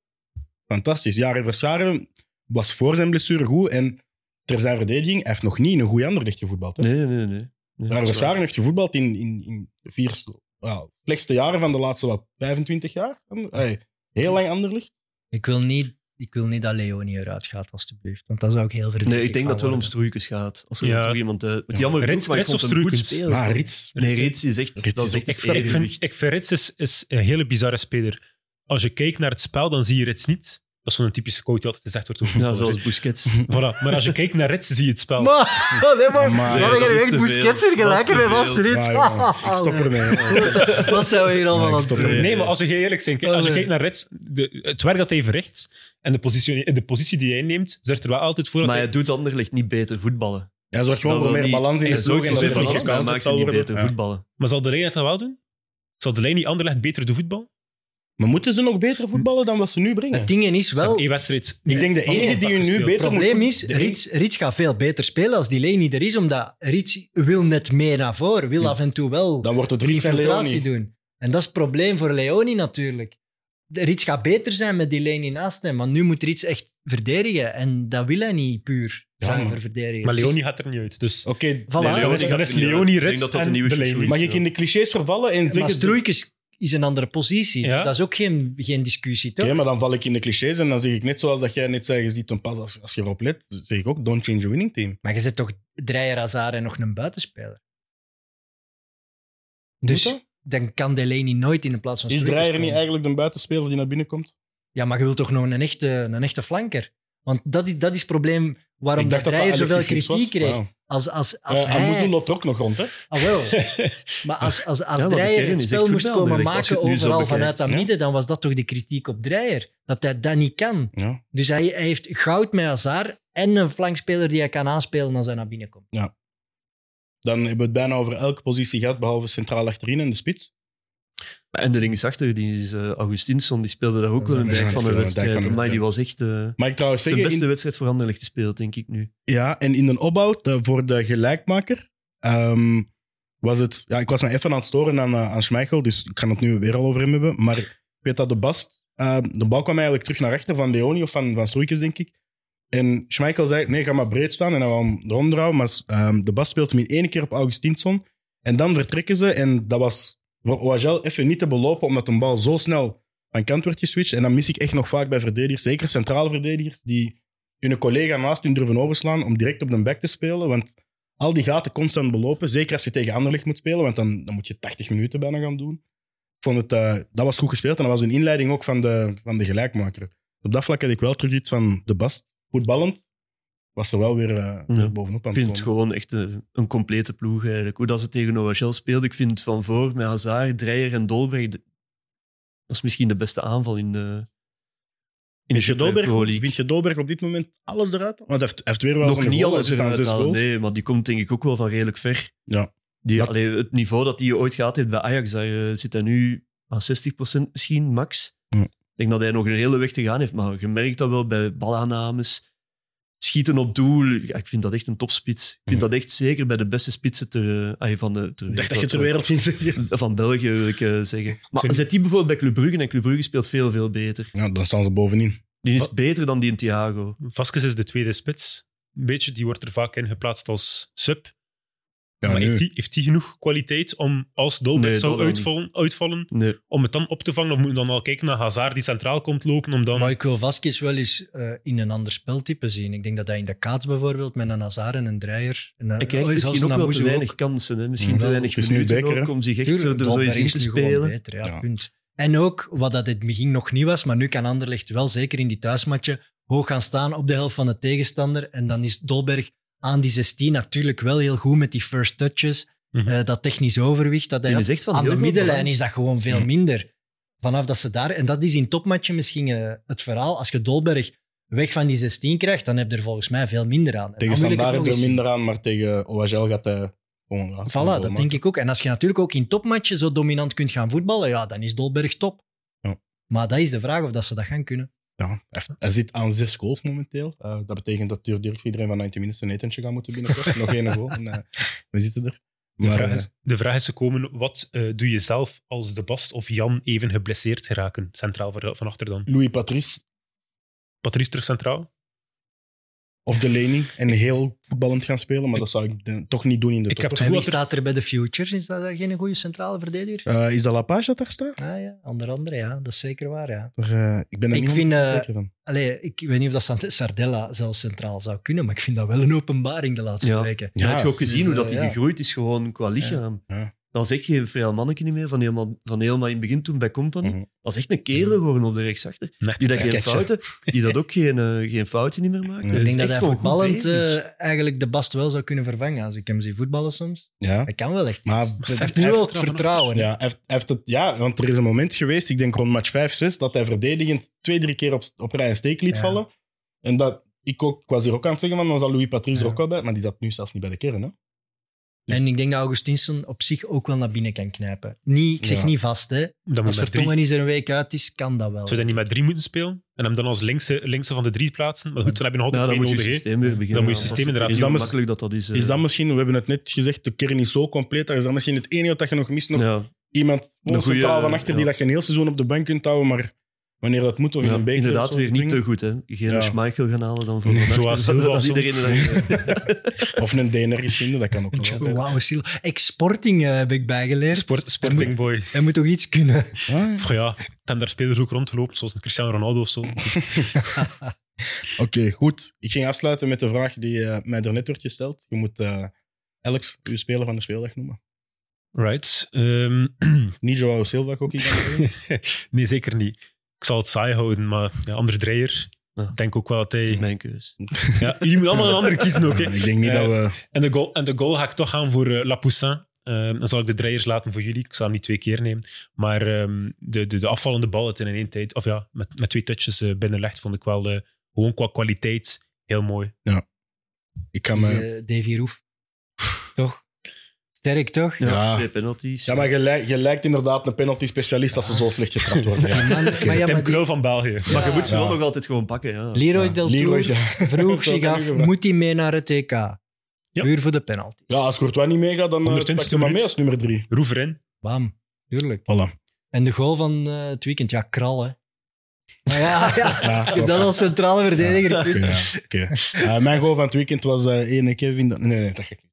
Fantastisch. Jaren Versaren was voor zijn blessure goed en ter zijn verdediging hij heeft nog niet in een goede Anderlecht gevoetbald. Hè?
Nee, nee, nee. nee.
Jaren
dat is waar.
Versaren heeft gevoetbald in, in, in de vier ja, slechtste jaren van de laatste wat, 25 jaar. Hey, heel lang Anderlecht.
Ik wil niet, ik wil niet dat Leoni eruit gaat, alstublieft. Want dat zou ik heel verdrietig
Nee, ik denk
van
dat het wel om
worden.
Struikens gaat. Als er
Ja.
toch iemand uit.
Ja.
Met jammer genoeg,
Rits-
maar ik
Rits
vond
of
hem goed
Struikens?
spelen.
Ah, Rits.
Nee, Rits is echt.
Rits
dat
is
is
ook
Ik,
echt een
vind- ik vind,
evenwicht.
ik vind Rits is, is een hele bizarre speler. Als je kijkt naar het spel, dan zie je Rits niet. Dat is zo'n typische quote die altijd gezegd wordt. over
Ja,
voetballers,
zoals Busquets.
hè. Voilà. Maar als je kijkt naar Rits, zie je het spel.
Maar, nee, maar,
Maar-
maar
Nee,
dan
dat
ga
is
je echt
te
Busquets
veel.
vergelijken
Dat
met
is te
Ja,
Wat
veel.
Rits.
jongen, ik stop ermee.
Wat Ah, zou hier allemaal
Ja, ik
aan
stop
doen?
ermee.
Nee, maar als je heel eerlijk bent, kijk, als je
Oh, nee.
kijkt naar Reds, de, het werk dat hij verricht en de positie, de positie die hij neemt, zorgt er wel altijd voor dat
Maar
hij...
hij doet Anderlecht niet beter voetballen.
Hij zorgt gewoon
Dat
voor
wil
meer
niet-
balans in
Hij
de ploeg.
zorgt
en
voor
dat
meer
er niet
balans, maar hij
gecounterd
maakt ze
zal
niet
worden.
beter
Ja.
voetballen.
Maar zal de Lijn dat dan wel doen? Zal de Lijn niet Anderlecht beter doen voetbal?
Maar moeten ze nog beter voetballen dan wat ze nu brengen?
Het ding is wel...
Eén wedstrijd.
Ik denk de
Van
enige die
contact
je nu
gespeeld.
beter
Het probleem
moet
is,
voetballen-
Rits, Rits gaat veel beter spelen als die Leni er is, omdat Rits wil net meer naar voren, wil
Ja.
af en toe wel
Dan wordt het
die
Rits en
infiltratie
Leoni.
doen. En dat is het probleem voor Leoni natuurlijk. De Rits gaat beter zijn met die Leni naast hem, want nu moet Rits echt verdedigen. En dat wil hij niet puur,
Ja,
zuiver
maar-
verdedigen.
Maar Leonie gaat er niet uit. Dus
Oké,
Voilà.
Nee, Leoni
dan is-
gaat
dan
er
is
niet uit.
Leonie,
Ik denk
Rits
dat dat
en
een nieuwe
de Leni.
Sjoerd
Mag
is,
ik
ja.
in de clichés vervallen en
maar
zeggen...
Struikens is een andere positie,
Ja.
dus dat is ook geen, geen discussie, toch?
Oké, maar dan val ik in de clichés en dan zeg ik net zoals dat jij net zei, je ziet een pas als, als je erop let, zeg ik ook, don't change your winning team.
Maar je zet toch Dreyer, Hazard en nog een buitenspeler?
Moet
Dus-
dat?
Dan kan de Leni nooit in de plaats van
Is
Struikens
Dreyer niet
komen.
eigenlijk de buitenspeler die naar binnen komt?
Ja, maar je wilt toch nog een echte, een echte flanker? Want dat is, dat is het probleem waarom
ik
dat
dacht
Dreyer
dat
zoveel
Alexis Flips
kritiek
was.
kreeg.
Wauw.
Als, als, als
Eh,
hij...
Amoezu loopt er ook nog rond, hè?
Ah, wel. Maar als, als, als
maar de
Dreyer
kern
het
is
spel
echt
moest
voetbal,
komen
Dirk, als je
maken
het nu zo
overal
bekijkt,
vanuit dat
ja.
midden, dan was dat toch de kritiek op Dreyer. Dat hij dat niet kan.
Ja.
Dus hij, hij heeft goud met Hazard en een flankspeler die hij kan aanspelen als hij naar binnen komt.
Dan hebben we het bijna over elke positie gehad, behalve centraal achterin en de spits.
En de linksachter, die is eh, Augustinsson, die speelde daar ook
Dat
wel
is
een
een
dijk
dijk
van
van
een
een dijk van
wedstrijd.
een
Maar die was echt eh,
Maar ik trouwens
zijn
zeggen... in-
beste wedstrijd voor Anderlecht gespeeld, denk ik nu.
Ja, en in de opbouw eh, voor de gelijkmaker ehm, was het... Ja, ik was me even aan het storen aan, eh, aan Schmeichel, dus ik ga het nu weer al over hem hebben. Maar ik weet dat de Bast... eh, de bal kwam eigenlijk terug naar rechter van Leoni of van, van Stroeikens, denk ik. En Schmeichel zei, nee, ga maar breed staan. En dan wou hem eronder houden. Maar ehm, de Bast speelt hem in één keer op Augustinsson. En dan vertrekken ze. En dat was voor OHL even niet te belopen, omdat een bal zo snel van kant werd geswitcht. En dat mis ik echt nog vaak bij verdedigers. Zeker centrale verdedigers, die hun collega naast hun durven overslaan om direct op de back te spelen. Want al die gaten constant belopen. Zeker als je tegen Anderlecht moet spelen, want dan, dan moet je 80 minuten bijna gaan doen. Ik vond het, eh, dat was goed gespeeld. En dat was een inleiding ook van de, van de gelijkmaker. Op dat vlak had ik wel terug iets van de Bast. Voetballend was er wel weer eh,
Ja.
bovenop aan
Ik
het
vind het
komen.
gewoon echt eh, een complete ploeg eigenlijk. Hoe dat ze tegen OHL speelde, ik vind van voor met Hazard, Dreyer en Dolberg. de- Dat is misschien de beste aanval in de. In
Vind je,
Pro
Dolberg,
League.
vind je Dolberg op dit moment alles eruit? Want hij heeft, hij heeft weer wel
Nog
zo'n
niet
goal,
alles
hij zit aan
eruit
zes
halen,
goals.
nee, maar die komt denk ik ook wel van redelijk ver.
Ja.
Die,
Dat-
allee, het niveau dat hij ooit gehad heeft bij Ajax, daar eh, zit hij nu aan 60% misschien, max.
Ja.
Ik denk dat hij nog een hele weg te gaan heeft, maar je merkt dat wel bij balaannames, schieten op doel. Ja, ik vind dat echt een topspits. Ik vind
Ja.
dat echt zeker bij de beste spitsen ter, eh, allee, van, de, ter
Ik dacht dat je ter wereld
wereld.
ging zeggen.
Van België, wil ik eh, zeggen. Maar
Sorry.
zet die bijvoorbeeld bij Club Brugge, en Club Brugge speelt veel, veel beter.
Ja, dan staan ze bovenin.
Die is beter dan die in Thiago.
Vasquez is de tweede spits. Een beetje, die wordt er vaak in geplaatst als sub.
Ja,
maar
nu.
heeft die, heeft die genoeg kwaliteit om, als Dolberg
Nee, dat
zou
wel
uitvallen, uitvallen,
Nee.
om het dan op te vangen? Of moet je dan al kijken naar Hazard die centraal komt lopen, om dan...
Maar ik wil Vasquez wel eens eh, in een ander speltype zien. Ik denk dat hij in de kaats bijvoorbeeld met een Hazard en een Dreyer... En, eh, oh,
Hij krijgt misschien ook wel te weinig kansen. Hè? Misschien
Ja,
te weinig
het is nu
minuten
Becker, hè.
ook om zich echt
Tuurlijk,
zo er zo
Dolberg
eens in
is
te
nu gewoon
spelen.
Beter, ja,
Ja.
Punt. En ook, wat dat het begin nog niet was, maar nu kan Anderlecht wel zeker in die thuismatje hoog gaan staan op de helft van de tegenstander. En dan is Dolberg aan die 16 natuurlijk wel heel goed met die first touches.
Mhm.
eh, dat technisch overwicht dat hij
Die
had.
is echt van
Aan
heel
de
goed
middenlijn
belang.
is dat gewoon veel
Ja.
minder. Vanaf dat ze daar... En dat is in topmatchen misschien eh, het verhaal. Als je Dolberg weg van die 16 krijgt, dan heb je er volgens mij veel minder aan. En
Tegen
dan wil ik het
Standaard
nog
er
eens zien.
minder aan, maar tegen OHL gaat hij gewoon... Ja,
Voilà, dat denk ik ook. En als je natuurlijk ook in topmatchen zo dominant kunt gaan voetballen, ja, dan is Dolberg top.
Ja.
Maar dat is de vraag of dat ze dat gaan kunnen.
Ja, hij heeft- hij zit aan zes goals momenteel. Eh, dat betekent dat Tuur Dirks iedereen van 90 minuten een etentje gaat moeten binnenkort. Nog één goal en eh, we zitten er.
De
Maar,
vraag,
eh,
is, de vraag is gekomen, wat eh, doe je zelf als De Bast of Jan even geblesseerd geraken, centraal van van achter dan?
Louis Patrice
Patrice terug centraal?
of Delaney en heel voetballend gaan spelen, maar dat zou ik denk- toch niet doen in de
Ik
top.
heb het
En
gevoel
wie
dat er...
staat er bij de Futures? Is dat daar geen goede centrale verdediger?
Eh, is dat Lapage dat daar staat?
Ah, ja, onder andere, ja. Dat is zeker waar, ja.
Maar, eh, ik ben er
Ik
niet
vind,
100%
eh,
zeker van.
Allee, ik weet niet of dat Sant- Sardella zelfs centraal zou kunnen, maar ik vind dat wel een openbaring de laatste
Ja.
weken.
Ja,
Ja, heb je ook
dus,
gezien hoe
eh,
dat hij
ja.
gegroeid is, gewoon qua lichaam.
Ja.
Dat is echt geen vrij manneke niet meer, van helemaal, van helemaal in het begin toen bij Company.
Mhm.
Dat is echt een kerel gewoon op de rechtsachter. Die dat, geen,
pakketje.
fouten, die dat ook geen, eh, geen fouten niet meer maakt.
Ik
Dat
Ik
is
denk dat hij
echt gewoon goed
voetballend
bezig.
eh, eigenlijk de Bast wel zou kunnen vervangen. Als ik hem zie voetballen soms.
Ja.
Hij kan wel echt
Maar
iets.
hij
Hij heeft
heeft-
nu
hij
wel
heeft
het vertrouwen. hè.
Ja, hij heeft, hij heeft het, ja, want er is een moment geweest, ik denk rond match 5-6, dat hij verdedigend twee, drie keer op, op rij een steek liet
Ja.
vallen. En dat, ik, ook, ik was hier ook aan het zeggen, van, dan zal Louis Patrice
Ja.
er ook wel bij, maar die zat nu zelfs niet bij de kern. Hè?
En ik denk dat Augustinsson op zich ook wel naar binnen kan knijpen. Niet, ik zeg
Ja.
niet vast, hè.
Dan moet
Als
met drie.
Vertongen is er een week uit is, kan dat wel.
Zou je dat niet met drie moeten spelen? En hem dan als linkse, linkse van de drie plaatsen? Maar goed, dan heb je nog
Nou,
altijd
dan moet
twee
je
nodig. hè.
systeem weer beginnen.
Dan moet je
aanpassen.
systeem inderdaad
Is
zien.
dat makkelijk dat dat
Dus-
is. eh,
Is dat misschien, we hebben het net gezegd, de kern is zo compleet, daar is dat misschien het enige dat je nog mist. Nog
ja,
iemand
Een goeie,
centraal van achter die
ja.
dat je een heel seizoen op de bank kunt houden, maar wanneer dat moet, of in
ja,
een beker
inderdaad,
of zo,
weer niet te
ding.
goed. Hè. Geen
Ja.
Schmeichel gaan halen dan voor
Nee,
vannacht.
Joao
Dat-
Silva
Dat
of zo.
iedereen dat-
Of een DNR vinden, dat kan ook nog altijd.
Wauw, Sil. Exporting eh, heb ik bijgeleerd.
Sport, sporting boy.
Hij moet toch iets kunnen?
Ah, ja.
Of ja, het hebben daar spelers ook rondgelopen, zoals een Cristiano Ronaldo of zo.
Oké, goed. Ik ging afsluiten met de vraag die eh, mij daarnet werd gesteld. Je moet eh Alex, uw speler van de speeldag noemen.
Right. Ehm,
Niet Joao Silva, ik ook iets
nee, zeker niet. Ik zal het saai houden, maar ja, Anders Dreyer.
Ja.
Ik denk ook wel dat hij...
Mijn keus.
Ja, jullie moeten allemaal een andere kiezen ook. Hè.
Ik denk niet
Eh,
dat we...
En de, goal, en de goal ga ik toch gaan voor eh, Lapoussin. Ehm, dan zal ik de Dreyers laten voor jullie. Ik zal hem niet twee keer nemen. Maar ehm, de, de, de afvallende bal het in één tijd, of ja, met, met twee touches eh, binnenlegt, vond ik wel eh, gewoon qua kwaliteit heel mooi.
Ik kan
Dus,
me...
eh, Davy Roef. toch? Sterk, toch?
Ja,
Ja.
Twee penalties.
Ja, maar je lijkt, je lijkt inderdaad een penalty-specialist als ze zo slecht getrapt worden.
Die
Ja.
man- maar ja,
Tim
maar die-
Krul van België.
Maar je moet ze wel
Ja.
nog altijd gewoon pakken. Ja.
Leroy
Ja.
Del
Leroy,
Tour
ja.
vroeg
Dat
zich
had ik
af,
gevraagd.
moet hij mee naar het TK?
Ja.
Puur voor de penalty.
Ja, als Courtois niet meegaat, dan eh,
120ste
pakt hij maar mee
minuut.
als nummer drie.
Roever in.
Bam. Tuurlijk.
Voilà.
En de goal van eh, het weekend, ja, kral, hè. Maar ja, ja.
Ja,
Als je dat als centrale verdediger
Ja,
kunt.
Oké, ja, oké. Eh, mijn goal van het weekend was eh ene Kevin... de- Nee, nee, dat ga ik niet.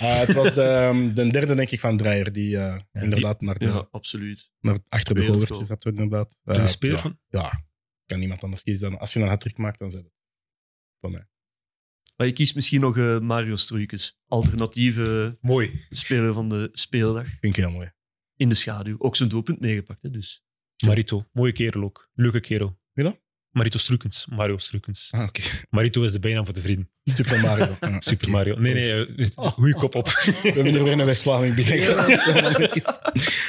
Eh, het was de, ehm, de derde, denk ik, van Dreyer, die eh, inderdaad naar, de,
Ja, absoluut.
naar achter de goal werd
Wereldgoal.
getrapt, inderdaad.
en
Eh,
de speler
ja,
van...
Ja, kan niemand anders kiezen dan... Als je een hat maakt, dan zet het. Van mij.
Maar je kiest misschien nog eh, Mario Struikens. Alternatieve
Mooi.
speler van de speeldag.
Vind ik heel mooi.
In de schaduw. Ook zijn doelpunt meegepakt, hè, dus.
Marito. Mooie kerel ook. Leuke kerel.
Wie dan?
Marito Strukens. Mario Strukens.
Ah, oké.
Marito is de bijnaam voor de vrienden.
Super Mario. Ja.
Super Mario. Nee, nee. eh,
Oh.
het is een Goeie kop op.
We hebben er weer een West-Vlaming binnen.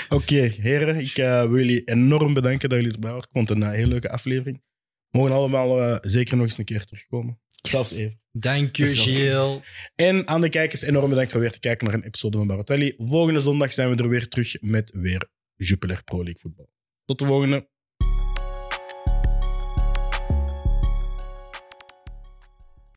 Oké, heren. Ik eh, wil jullie enorm bedanken dat jullie erbij waren. Ik vond het een eh, heel leuke aflevering. Mogen allemaal eh, zeker nog eens een keer terugkomen. Zelfs even.
Dank je,
Dat is wel
Gilles.
En aan de kijkers, enorm bedankt voor weer te kijken naar een episode van Barotelli. Volgende zondag zijn we er weer terug met weer Jupiler Pro League voetbal. Tot de volgende.